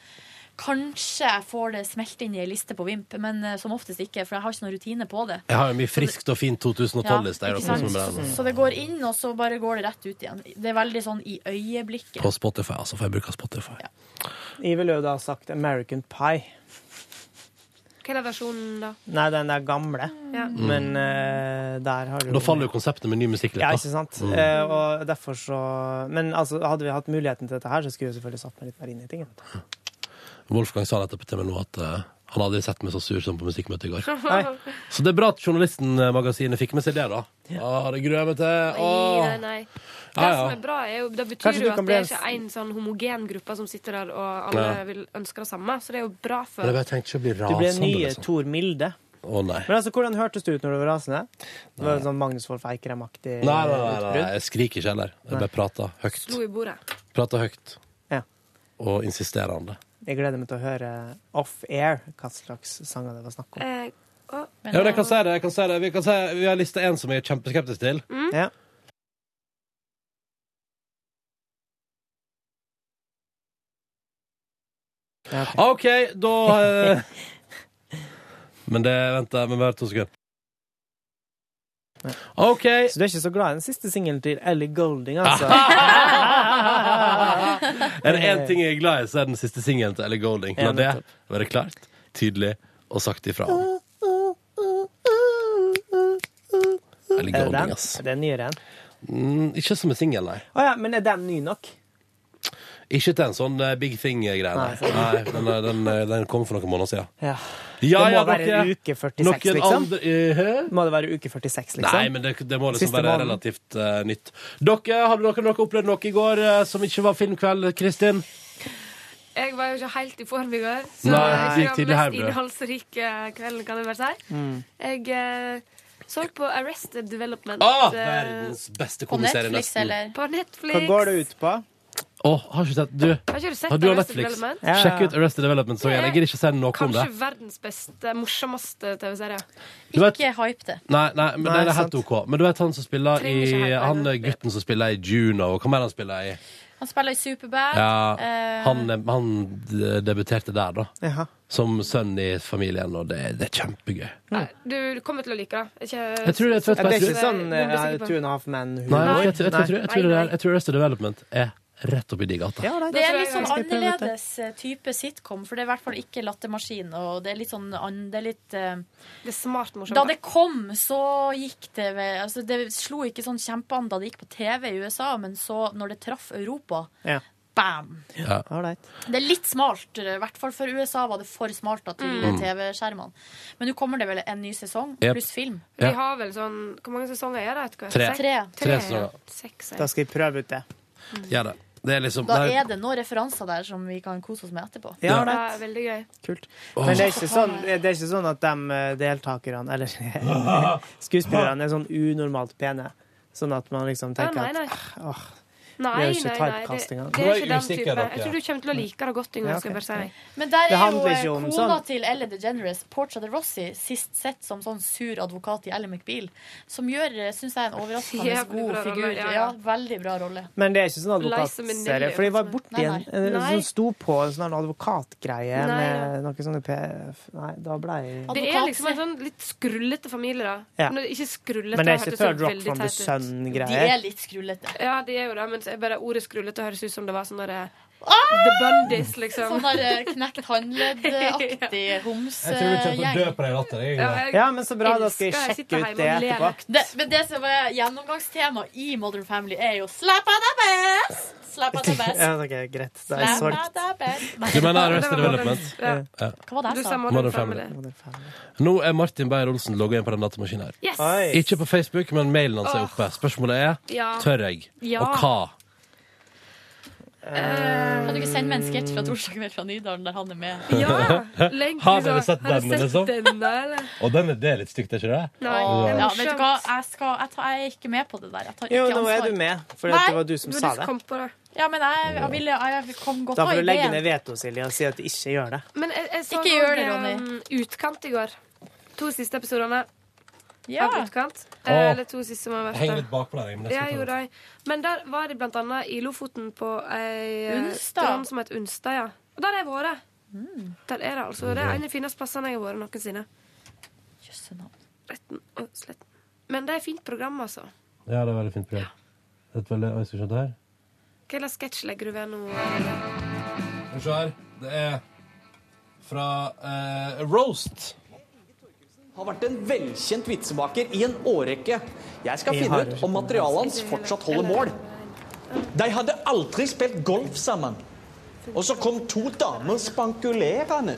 Speaker 3: kanskje jeg får det smelt inn i ei liste på Vimp, men eh, som oftest ikke, for jeg har ikke noen rutine på det.
Speaker 1: Jeg har jo mye friskt og fint
Speaker 3: Ja,
Speaker 1: 2012-liste.
Speaker 3: ikke sant? Så, så det går inn, og så bare går det rett ut igjen. Det er veldig sånn i øyeblikket.
Speaker 1: På Spotify, altså, for jeg bruker Spotify.
Speaker 2: Jeg ville jo da sagt American Pie.
Speaker 5: Hva er versjonen, da?
Speaker 2: Nei, den der gamle.
Speaker 5: Ja.
Speaker 2: Men eh, der har du
Speaker 1: Da faller jo konseptet med ny musikk litt.
Speaker 2: Ja,
Speaker 1: da. Mm.
Speaker 2: ikke sant? Eh, og derfor så Men altså, hadde vi hatt muligheten til dette her, så skulle vi selvfølgelig satt meg litt mer inn i ting. vet du.
Speaker 1: Wolfgang sa nettopp til meg nå at eh, han hadde aldri sett meg så sur som på musikkmøtet i går.
Speaker 2: Nei,
Speaker 1: Så det er bra at Journalisten-magasinet fikk med seg det, da. Ah, det gruer jeg meg til. Ah.
Speaker 5: Nei,
Speaker 1: Åh.
Speaker 5: nei, nei. Det
Speaker 1: Ja,
Speaker 5: som
Speaker 1: ja.
Speaker 5: er bra, er jo Det betyr
Speaker 2: Kanskje du
Speaker 5: jo
Speaker 2: kan
Speaker 5: at
Speaker 2: bli
Speaker 5: det er
Speaker 2: en-
Speaker 5: ikke én sånn homogen gruppe som sitter der, og alle
Speaker 1: Ja.
Speaker 5: vil ønsker det samme. Så det er jo bra
Speaker 1: Men
Speaker 5: for
Speaker 1: jeg bare tenkte ikke å bli
Speaker 2: Du ble
Speaker 1: rasende.
Speaker 2: nye
Speaker 1: liksom.
Speaker 2: Tor Milde.
Speaker 1: Å nei.
Speaker 2: Men altså, hvordan hørtes det ut når du var rasende? Det var sånn Magnus Wolff Eikrem-aktig
Speaker 1: Nei, nei, nei, nei,
Speaker 2: utbrudd?
Speaker 1: jeg skriker ikke heller. Jeg bare prater høyt.
Speaker 5: slo i bordet.
Speaker 1: Prater høyt
Speaker 2: Ja.
Speaker 1: og insisterende.
Speaker 2: Jeg gleder meg til å høre off-air hva slags sanger det var snakk om.
Speaker 5: Eh, å,
Speaker 1: Ja, men jeg kan si det. Jeg kan si det. Vi, kan si, vi har lista én som jeg er kjempeskeptisk til.
Speaker 2: Ja. Ja, ok.
Speaker 1: OK, da eh. Men det Vent, da. Men bare to sekunder. OK.
Speaker 2: Så du er ikke så glad i den siste singelen til Ellie Golding, altså?
Speaker 1: Er det én ting jeg er glad i, så er den siste singelen til Ellie Golding. La
Speaker 2: Ja,
Speaker 1: det
Speaker 2: nettopp.
Speaker 1: være klart, tydelig og sagt ifra om. Ellie
Speaker 2: Er det
Speaker 1: Golding,
Speaker 2: den?
Speaker 1: ass.
Speaker 2: Er det en nyere en?
Speaker 1: Mm, ikke som en singel, nei.
Speaker 2: Å ja, men er den ny nok?
Speaker 1: Ikke til en sånn eh, big thing-greie. Nei,
Speaker 2: Nei,
Speaker 5: sånn.
Speaker 1: nei den, eh, den, eh, den kom for noen måneder siden.
Speaker 2: Ja.
Speaker 1: Ja,
Speaker 2: det må
Speaker 1: ja,
Speaker 2: være
Speaker 1: dere-
Speaker 2: uke 46,
Speaker 1: noen
Speaker 2: liksom?
Speaker 1: andre eh, hæ?
Speaker 2: Må det være uke 46, liksom?
Speaker 1: Nei, men det, det må liksom
Speaker 2: Siste
Speaker 1: være
Speaker 2: måneden.
Speaker 1: relativt eh, nytt. Dere, Hadde dere noe opplevd noe i går eh, som ikke var filmkveld, Kristin?
Speaker 5: Jeg var jo ikke helt i form i går, så
Speaker 1: Nei, du
Speaker 5: jeg
Speaker 1: gikk
Speaker 5: var
Speaker 1: tidlig
Speaker 5: den
Speaker 1: hjem,
Speaker 5: mest
Speaker 1: du.
Speaker 5: innholdsrike kvelden, kan jeg bare si.
Speaker 2: Mm.
Speaker 5: Jeg eh, så på Arrested Development
Speaker 1: Ah,
Speaker 5: eh,
Speaker 1: verdens beste
Speaker 3: På
Speaker 1: komiserie,
Speaker 3: Netflix,
Speaker 1: nesten.
Speaker 3: eller?
Speaker 5: på Netflix.
Speaker 2: Hva går det ut på?
Speaker 1: Åh, har ikke sett Du,
Speaker 5: Har ikke du sett
Speaker 1: har du har
Speaker 5: Arrested
Speaker 1: Netflix?
Speaker 5: Development?
Speaker 2: Ja, ja.
Speaker 1: Sjekk ut Arrested Development. Så jeg jeg gidder ikke si noe om det.
Speaker 5: Kanskje verdens beste, morsomste TV-serie.
Speaker 1: Du vet-
Speaker 3: Ikke hype det.
Speaker 1: Nei, nei, men
Speaker 2: Nei,
Speaker 1: det er helt
Speaker 2: sant.
Speaker 1: OK. Men du vet han som spiller i
Speaker 5: Trenger ikke helt
Speaker 1: Han
Speaker 5: være
Speaker 1: gutten som spiller i Juno, og hva mer han spiller i?
Speaker 3: Han spiller i Superbad.
Speaker 1: Ja,
Speaker 3: Eh,
Speaker 1: han, han d- debuterte der, da.
Speaker 2: Jaha.
Speaker 1: Som sønn i familien, og det, det er kjempegøy.
Speaker 2: Mm.
Speaker 5: Nei, Eh, Du kommer til å like det. Ikke,
Speaker 1: Jeg tror det, jeg tror,
Speaker 2: Ja, det er
Speaker 1: jeg
Speaker 2: ikke
Speaker 1: tror,
Speaker 2: sånn eh,
Speaker 5: Bombesikker på.
Speaker 2: Two and a Half Men-humor?
Speaker 1: nei, jeg, tror, jeg, tror, jeg, tror, jeg, tror, det
Speaker 5: Nei,
Speaker 1: er- jeg tror Arrested Development er rett oppi de gata.
Speaker 2: Ja, nei,
Speaker 3: Det
Speaker 2: da
Speaker 3: er
Speaker 2: tror jeg
Speaker 3: litt sånn
Speaker 2: jeg skal prøve ut det.
Speaker 3: annerledes type sitcom, for det er i hvert fall ikke Lattermaskin. Og det er litt sånn an- det er litt, eh,
Speaker 5: det er smart morsomt.
Speaker 3: Da det kom, Mm, så gikk det ved, altså Det slo ikke sånn kjempean da det gikk på TV i USA, men så, når det traff Europa,
Speaker 2: Ja.
Speaker 3: bam!
Speaker 2: All right.
Speaker 3: Det er litt smalt. eh, I hvert fall for USA var det for smalt da, til TV-skjermene. Men nå kommer det vel en ny sesong
Speaker 1: Yep.
Speaker 3: pluss film.
Speaker 1: Ja.
Speaker 5: Vi har vel sånn Hvor mange sesonger er det? vet du hva?
Speaker 1: Tre.
Speaker 5: Seks?
Speaker 3: Tre.
Speaker 1: Tre
Speaker 5: Tre,
Speaker 1: sesonger.
Speaker 5: ja. Seks,
Speaker 2: Da
Speaker 5: ja.
Speaker 2: skal jeg prøve ut det.
Speaker 1: Gjør det. Det er liksom
Speaker 3: Da
Speaker 1: nei,
Speaker 3: er det noen referanser der som vi kan kose oss med etterpå.
Speaker 2: Ja,
Speaker 1: Ja.
Speaker 2: all
Speaker 5: Det
Speaker 2: right.
Speaker 5: er veldig gøy.
Speaker 2: Kult. Men det er ikke sånn, det er ikke sånn at de eh, deltakerne, eller skuespillerne, er sånn unormalt pene. Sånn at man liksom
Speaker 5: Ja,
Speaker 2: tenker
Speaker 5: nei, nei.
Speaker 2: at åh,
Speaker 5: Nei,
Speaker 2: Vi er
Speaker 5: nei,
Speaker 2: jo ikke
Speaker 5: nei. Det,
Speaker 2: typecasting, da.
Speaker 5: det
Speaker 1: Nå
Speaker 5: er
Speaker 1: er
Speaker 5: ikke den
Speaker 1: usikker,
Speaker 5: type.
Speaker 1: dere.
Speaker 5: Jeg tror du kommer til å like det godt, Yngve.
Speaker 2: Ja,
Speaker 5: skal jeg
Speaker 2: ok,
Speaker 5: bare si
Speaker 2: ok.
Speaker 5: deg.
Speaker 3: Men
Speaker 2: Det
Speaker 3: der er jo
Speaker 2: handler
Speaker 3: eh,
Speaker 2: ikke om
Speaker 3: kona
Speaker 2: sånn.
Speaker 3: til Elle DeGeneres, Portia de Rossi, sist sett som sånn sur advokat i Elle McBeal, som gjør, syns jeg, en overraskende
Speaker 5: Jævlig
Speaker 3: god
Speaker 5: bra rolle,
Speaker 3: figur.
Speaker 5: ja,
Speaker 3: Ja,
Speaker 5: ja.
Speaker 3: Veldig bra rolle.
Speaker 2: Men det er ikke sånn
Speaker 5: Liza
Speaker 2: advokatserie.
Speaker 5: Minnelli,
Speaker 2: For jeg var
Speaker 5: liksom.
Speaker 2: borti
Speaker 3: Nei,
Speaker 2: en
Speaker 3: nei.
Speaker 2: en
Speaker 5: Nei.
Speaker 2: som sto på en sånn advokatgreie
Speaker 5: Nei,
Speaker 2: med noen sånne P... Nei, da ble jeg
Speaker 5: Det er liksom en sånn litt skrullete familie, da.
Speaker 2: Ja.
Speaker 5: Nå, Ikke skrullete,
Speaker 2: Men det er
Speaker 5: hørtes
Speaker 2: ikke
Speaker 5: så
Speaker 2: Third Rock
Speaker 5: veldig
Speaker 2: from the
Speaker 5: teit ut.
Speaker 3: De er
Speaker 2: Sun-greier.
Speaker 3: litt skrullete.
Speaker 5: Ja, det er jo det, men så er bare ordet skrullete høres ut som det var sånn der The Bundies, liksom.
Speaker 11: Ah! Sånn der eh, knekt håndledd-aktig
Speaker 1: Jeg tror du kommer til å dø
Speaker 11: homsegjeng.
Speaker 1: på deg i latter. jeg.
Speaker 5: Ja, jeg
Speaker 2: Ja, men så bra. Da skal jeg
Speaker 5: elsker å sitte
Speaker 2: sjekke ut
Speaker 5: hjemme
Speaker 2: det
Speaker 5: og le
Speaker 2: etterpå.
Speaker 5: vekk.
Speaker 11: Det, men det som er gjennomgangstema i Modern Family, er jo 'Slap av deg best'! Slap av deg best.
Speaker 2: Ja, ok, greit. Det er
Speaker 11: Slap
Speaker 2: svart.
Speaker 11: av deg best.
Speaker 1: Du mener
Speaker 5: Det
Speaker 1: Arrested
Speaker 5: var
Speaker 1: Development?
Speaker 5: Modern- Ja.
Speaker 11: Hva var det
Speaker 5: Du
Speaker 11: jeg
Speaker 5: sa
Speaker 11: sa?
Speaker 1: Modern
Speaker 5: Modern
Speaker 1: Family.
Speaker 5: Family.
Speaker 1: Nå er Martin Beyer-Olsen logga inn på den datamaskinen her.
Speaker 5: Yes.
Speaker 2: Oi.
Speaker 1: Ikke på Facebook, men mailen hans er oppe. Spørsmålet er
Speaker 5: Ja.
Speaker 1: tør jeg,
Speaker 5: Ja.
Speaker 1: og hva?
Speaker 5: eh,
Speaker 11: Kan du ikke sende meg en sketsj
Speaker 2: Mm.
Speaker 11: fra torsdag kveld fra Nydalen der han er med?
Speaker 5: Ja! Legg,
Speaker 1: Har dere
Speaker 5: liksom,
Speaker 1: sett
Speaker 5: har
Speaker 1: den,
Speaker 5: dere sett
Speaker 1: liksom?
Speaker 5: denne, eller?
Speaker 1: Og den er det litt stygt, er ikke det?
Speaker 5: Nei, det er
Speaker 11: Ja, vet du hva?
Speaker 5: morsomt.
Speaker 11: Jeg, skal, jeg, tar, jeg er ikke med på det der. Jeg tar
Speaker 2: Jo,
Speaker 11: ikke
Speaker 2: nå er
Speaker 11: ansvar.
Speaker 2: du med, for
Speaker 11: Nei,
Speaker 2: det var du som
Speaker 5: Du
Speaker 2: sa
Speaker 5: som
Speaker 2: det.
Speaker 5: kom på det.
Speaker 11: Ja, men jeg, jeg, ville, jeg kom godt
Speaker 2: Da
Speaker 11: av
Speaker 2: får du legge
Speaker 11: ideen.
Speaker 2: ned veto, Silje, og si at du ikke gjør det.
Speaker 5: Men jeg, jeg så
Speaker 11: Ikke gjør det,
Speaker 5: også,
Speaker 11: Ronny.
Speaker 5: um, Utkant i går. To siste episodene
Speaker 11: Ja.
Speaker 5: av Utkant. Eh,
Speaker 1: Åh.
Speaker 5: Eller to siste som har
Speaker 1: Jeg henger
Speaker 5: vært
Speaker 1: litt bakpå der. jeg, Men
Speaker 5: det
Speaker 1: jeg skal
Speaker 5: gjorde
Speaker 1: ta det.
Speaker 5: jeg. Men der var de blant annet i Lofoten på ei eh,
Speaker 11: Unstad. Mm.
Speaker 5: strand som het Unstad. Ja. Og der har jeg vært. Der er det altså. Det er en av de fineste plassene jeg har vært noensinne.
Speaker 11: Jøsse navn.
Speaker 5: Retten og sletten. Men det er et fint program, altså.
Speaker 1: Ja, det er veldig fint program. Det er et veldig... Oi, skal vi se det her?
Speaker 5: Hva slags sketsj legger du ved nå? eh,
Speaker 1: Skal vi se her. Det er fra eh, Roast.
Speaker 12: har vært en velkjent vitsebaker i en årrekke. Jeg skal
Speaker 2: Vi
Speaker 12: finne
Speaker 2: har
Speaker 12: ut
Speaker 2: ikke-
Speaker 12: om materialet hans fortsatt holder mål. De hadde aldri spilt golf sammen. Og så kom to damer spankulerende.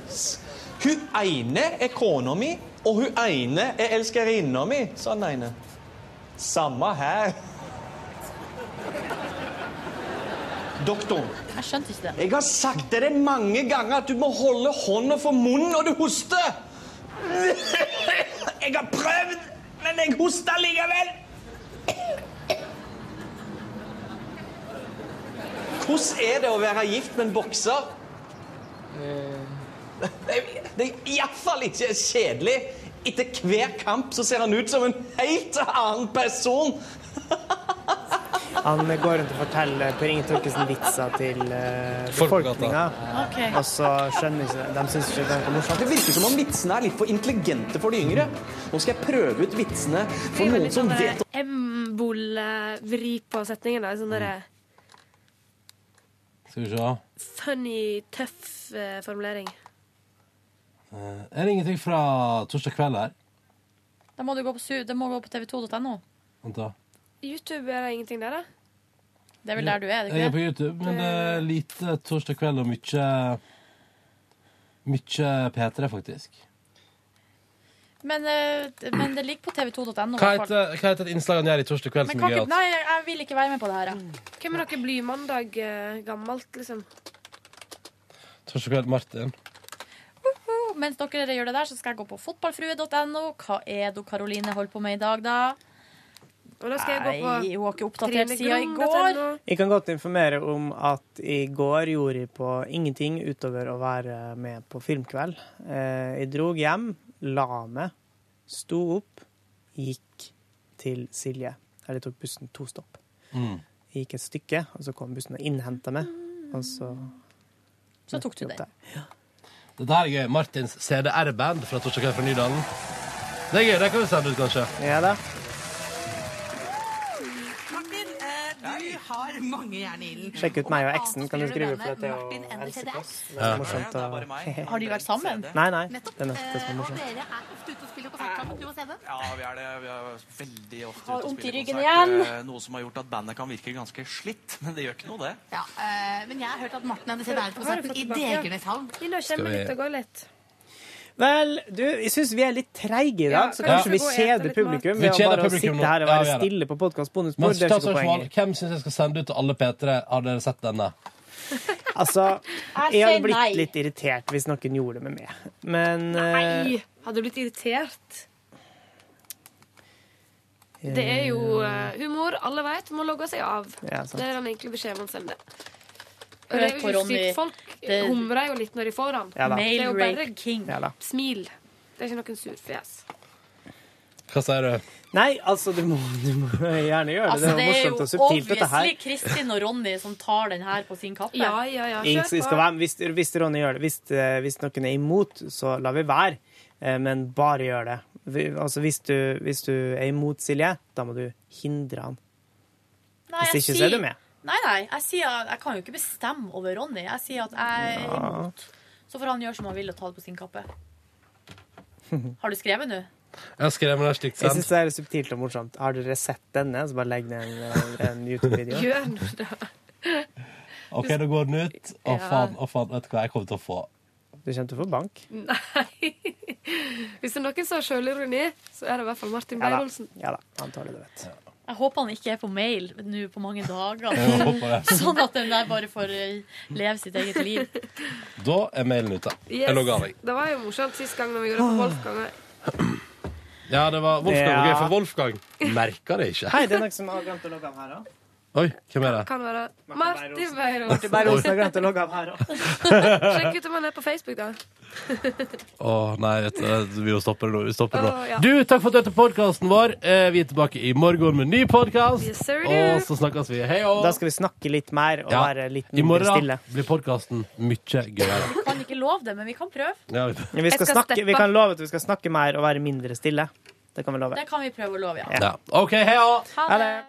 Speaker 12: Hun ene er kona mi, og hun ene er elskerinna mi, sa den ene. Samme her. Doktoren,
Speaker 11: Jeg skjønte ikke det.
Speaker 12: jeg har sagt til deg mange ganger at du må holde hånda for munnen når du hoster. Jeg har prøvd, men jeg hoster likevel. Hvordan er det å være gift med en bokser? Det er iallfall ikke kjedelig. Etter hver kamp så ser han ut som en helt annen person.
Speaker 2: Han går rundt og forteller Per Inge Torkesen vitser til eh,
Speaker 1: Folk på gata.
Speaker 2: befolkninga,
Speaker 11: Ok.
Speaker 2: og så skjønner ikke de syns ikke det er noe morsomt.
Speaker 12: Det virker som om vitsene er litt for intelligente for de yngre. Nå skal jeg prøve ut vitsene for noen som vet
Speaker 5: sånn Embol-vri på setningen. Da. Sånn derre
Speaker 1: Skal vi se.
Speaker 5: funny, tøff eh, formulering.
Speaker 1: Er det ingenting fra torsdag kveld her?
Speaker 11: Da må du gå på, su- det må gå på tv2.no.
Speaker 1: Vent da.
Speaker 5: YouTube er det ingenting der, da?
Speaker 11: Det er vel der du er, er det
Speaker 1: Jeg er
Speaker 11: ikke det?
Speaker 1: på YouTube, men det er lite torsdag kveld og mye Mye P3, faktisk.
Speaker 11: Men, eh, det- men det ligger på tv2.no. i
Speaker 1: Hva
Speaker 11: hvert fall.
Speaker 1: heter, hva heter et innslag han gjør i Torsdag kveld
Speaker 11: Men
Speaker 1: som er
Speaker 11: kan ikke,
Speaker 1: gøyalt?
Speaker 11: nei, jeg jeg vil ikke være med på det her. jeg.
Speaker 5: Hvem er dere Blymandag eh, gammelt, liksom?
Speaker 1: Torsdag kveld, Martin.
Speaker 11: Woho! Mens dere gjør det der, så skal jeg gå på fotballfrue.no. Hva er det Karoline holder på med i dag, da?
Speaker 5: Og da skal jeg gå
Speaker 11: Nei, hun har ikke
Speaker 5: på
Speaker 11: oppdatert sida i går.
Speaker 2: Jeg kan godt informere om at i går gjorde jeg på ingenting utover å være med på filmkveld. Eh, Jeg drog hjem, la meg, sto opp, gikk til Silje. Eller tok bussen to stopp. Jeg gikk et stykke, og så kom bussen og innhenta meg. Og så
Speaker 11: Så tok du det.
Speaker 1: Dette her er gøy. Martins CDR-band fra Torsdag kveld fra Nydalen. Det er gøy. Det kan vi sende ut, kanskje.
Speaker 2: Ja da.
Speaker 4: Martin, eh, du har mange jern i ilden.
Speaker 2: Sjekk ut meg og eksen, kan du skrive for at det er jo helsekost. Det er morsomt å
Speaker 11: Har de vært sammen?
Speaker 2: Nei, nei. Det er nettopp det som er morsomt.
Speaker 4: Dere er ofte ute og spiller konsert sammen, du og Steven.
Speaker 12: Ja, vi er det. Vi er veldig ofte
Speaker 11: Har
Speaker 12: ute
Speaker 11: vondt
Speaker 12: og
Speaker 11: i
Speaker 12: spiller
Speaker 11: ryggen
Speaker 12: konsert.
Speaker 11: igjen.
Speaker 12: eh, Noe som har gjort at bandet kan virke ganske slitt, men det gjør ikke noe, det.
Speaker 4: Ja, eh, men jeg har hørt at Martin hadde sett Erlend-konserten i Degerneshallen.
Speaker 5: Inn og kjenne
Speaker 1: vi-
Speaker 5: litt og gå litt.
Speaker 2: Vel, du, jeg syns vi er litt treige i dag,
Speaker 5: Ja,
Speaker 2: så kanskje
Speaker 5: kanskje
Speaker 2: vi
Speaker 5: gå og ete
Speaker 2: kjeder
Speaker 5: litt
Speaker 2: publikum
Speaker 1: mat.
Speaker 2: ved å
Speaker 1: Vi kjeder
Speaker 2: bare å
Speaker 1: publikum nå.
Speaker 2: sitte her og
Speaker 1: Ja,
Speaker 2: være
Speaker 1: vi gjør det.
Speaker 2: stille på podkastbonus.
Speaker 1: Men
Speaker 2: Det er
Speaker 1: ta
Speaker 2: ikke noe
Speaker 1: spørsmål.
Speaker 2: poeng. i.
Speaker 1: Hvem syns jeg skal sende ut til alle P3? Har dere sett denne?
Speaker 2: Altså,
Speaker 11: Jeg
Speaker 2: jeg hadde
Speaker 11: sier nei.
Speaker 2: blitt litt irritert hvis noen gjorde det med meg. Men eh,
Speaker 5: Nei! Hadde du blitt irritert? Det er jo eh, humor. Alle vet må logge seg av.
Speaker 2: Ja, sant.
Speaker 5: det er den enkle beskjeden man sender. Og
Speaker 11: Hør
Speaker 5: det er
Speaker 11: på
Speaker 5: jo
Speaker 11: Ronny.
Speaker 5: sykt. Folk
Speaker 11: Det-
Speaker 5: humrer jo litt når de får den.
Speaker 2: Ja da.
Speaker 5: Det
Speaker 11: Male
Speaker 5: er jo bare
Speaker 11: rape king.
Speaker 2: ja da.
Speaker 5: smil. Det er ikke noen surfjes.
Speaker 1: Hva sier du?
Speaker 2: Nei, altså, du må, du må gjerne gjøre det.
Speaker 11: Altså,
Speaker 2: det er
Speaker 11: det er
Speaker 2: jo morsomt og
Speaker 11: jo
Speaker 2: subtilt, dette her.
Speaker 11: obviously Kristin og Ronny som tar den her på sin kappe.
Speaker 5: Ja, ja, ja.
Speaker 2: Ingen som skal være med. Hvis, hvis Ronny gjør det, hvis, eh, hvis noen er imot, så la vi være. Eh, Men bare gjør det. Vi- Altså, hvis, du, hvis du er imot Silje, da må du hindre han.
Speaker 11: Nei,
Speaker 2: Hvis
Speaker 11: jeg
Speaker 2: ikke, så
Speaker 11: sier-
Speaker 2: er du med.
Speaker 11: Nei, nei. Jeg, sier, at- jeg kan jo ikke bestemme over Ronny. Jeg sier at jeg er
Speaker 2: Ja.
Speaker 11: imot. Så får han gjøre som han vil og ta det på sin kappe. Har du skrevet nå?
Speaker 1: Jeg skrev meg slikt
Speaker 2: Jeg
Speaker 1: sent.
Speaker 2: syns det er morsomt. og morsomt. Har dere sett denne? Så bare legg ned en, en YouTube-video.
Speaker 5: Gjør nå det.
Speaker 1: OK, da går den ut. Å,
Speaker 5: Ja.
Speaker 1: faen, å, faen. Vet du hva jeg kommer til å få?
Speaker 2: Du kommer til å få bank.
Speaker 5: Nei. Hvis det er noen som har sjølironi, så er det i hvert fall
Speaker 2: Ja
Speaker 5: Martin
Speaker 2: da.
Speaker 5: Beyrolsen.
Speaker 2: Ja da, han tåler det, vet du.
Speaker 11: Jeg håper han ikke er på mail nå på mange dager.
Speaker 1: Jeg håper det.
Speaker 11: Sånn at den der bare får eh, leve sitt eget liv.
Speaker 1: Da er mailen ute.
Speaker 5: Yes.
Speaker 1: Jeg logger av, jeg.
Speaker 5: Det var jo morsomt sist gang når vi gjorde det på Wolfgang.
Speaker 1: Ja, det var Wolfgang.
Speaker 2: Ja.
Speaker 1: var Gøy, for Wolfgang merka det ikke.
Speaker 2: Hei, det er noen som har glemt å logge av her òg.
Speaker 1: Oi, hvem er det?
Speaker 5: Kan være Martin Beyrolsen.
Speaker 2: Martin Beyer-Olsen har glemt å logge av her òg.
Speaker 5: Sjekk ut om han er på Facebook, da.
Speaker 1: Å nei, vet du, vi må stoppe det nå. Vi stopper det nå.
Speaker 5: Å, ja.
Speaker 1: Du, takk for at du hørte podkasten vår. Eh, Vi er tilbake i morgen med en ny podkast.
Speaker 5: Yes, sir,
Speaker 1: og
Speaker 5: du.
Speaker 1: så snakkes vi. Hei og
Speaker 2: Da skal vi snakke litt mer og
Speaker 1: Ja.
Speaker 2: være litt
Speaker 1: I
Speaker 2: mindre
Speaker 1: morgen
Speaker 2: stille.
Speaker 1: blir podkasten mye gøyere.
Speaker 11: Vi kan ikke love det, men vi kan prøve.
Speaker 1: Ja, vi-
Speaker 2: Vi, skal
Speaker 11: Jeg skal
Speaker 2: snakke, vi
Speaker 11: steppe.
Speaker 2: kan love at vi skal snakke mer og være mindre stille. Det kan vi love.
Speaker 11: Det kan vi prøve å love, ja.
Speaker 1: ja. OK, hei og
Speaker 11: Ha det.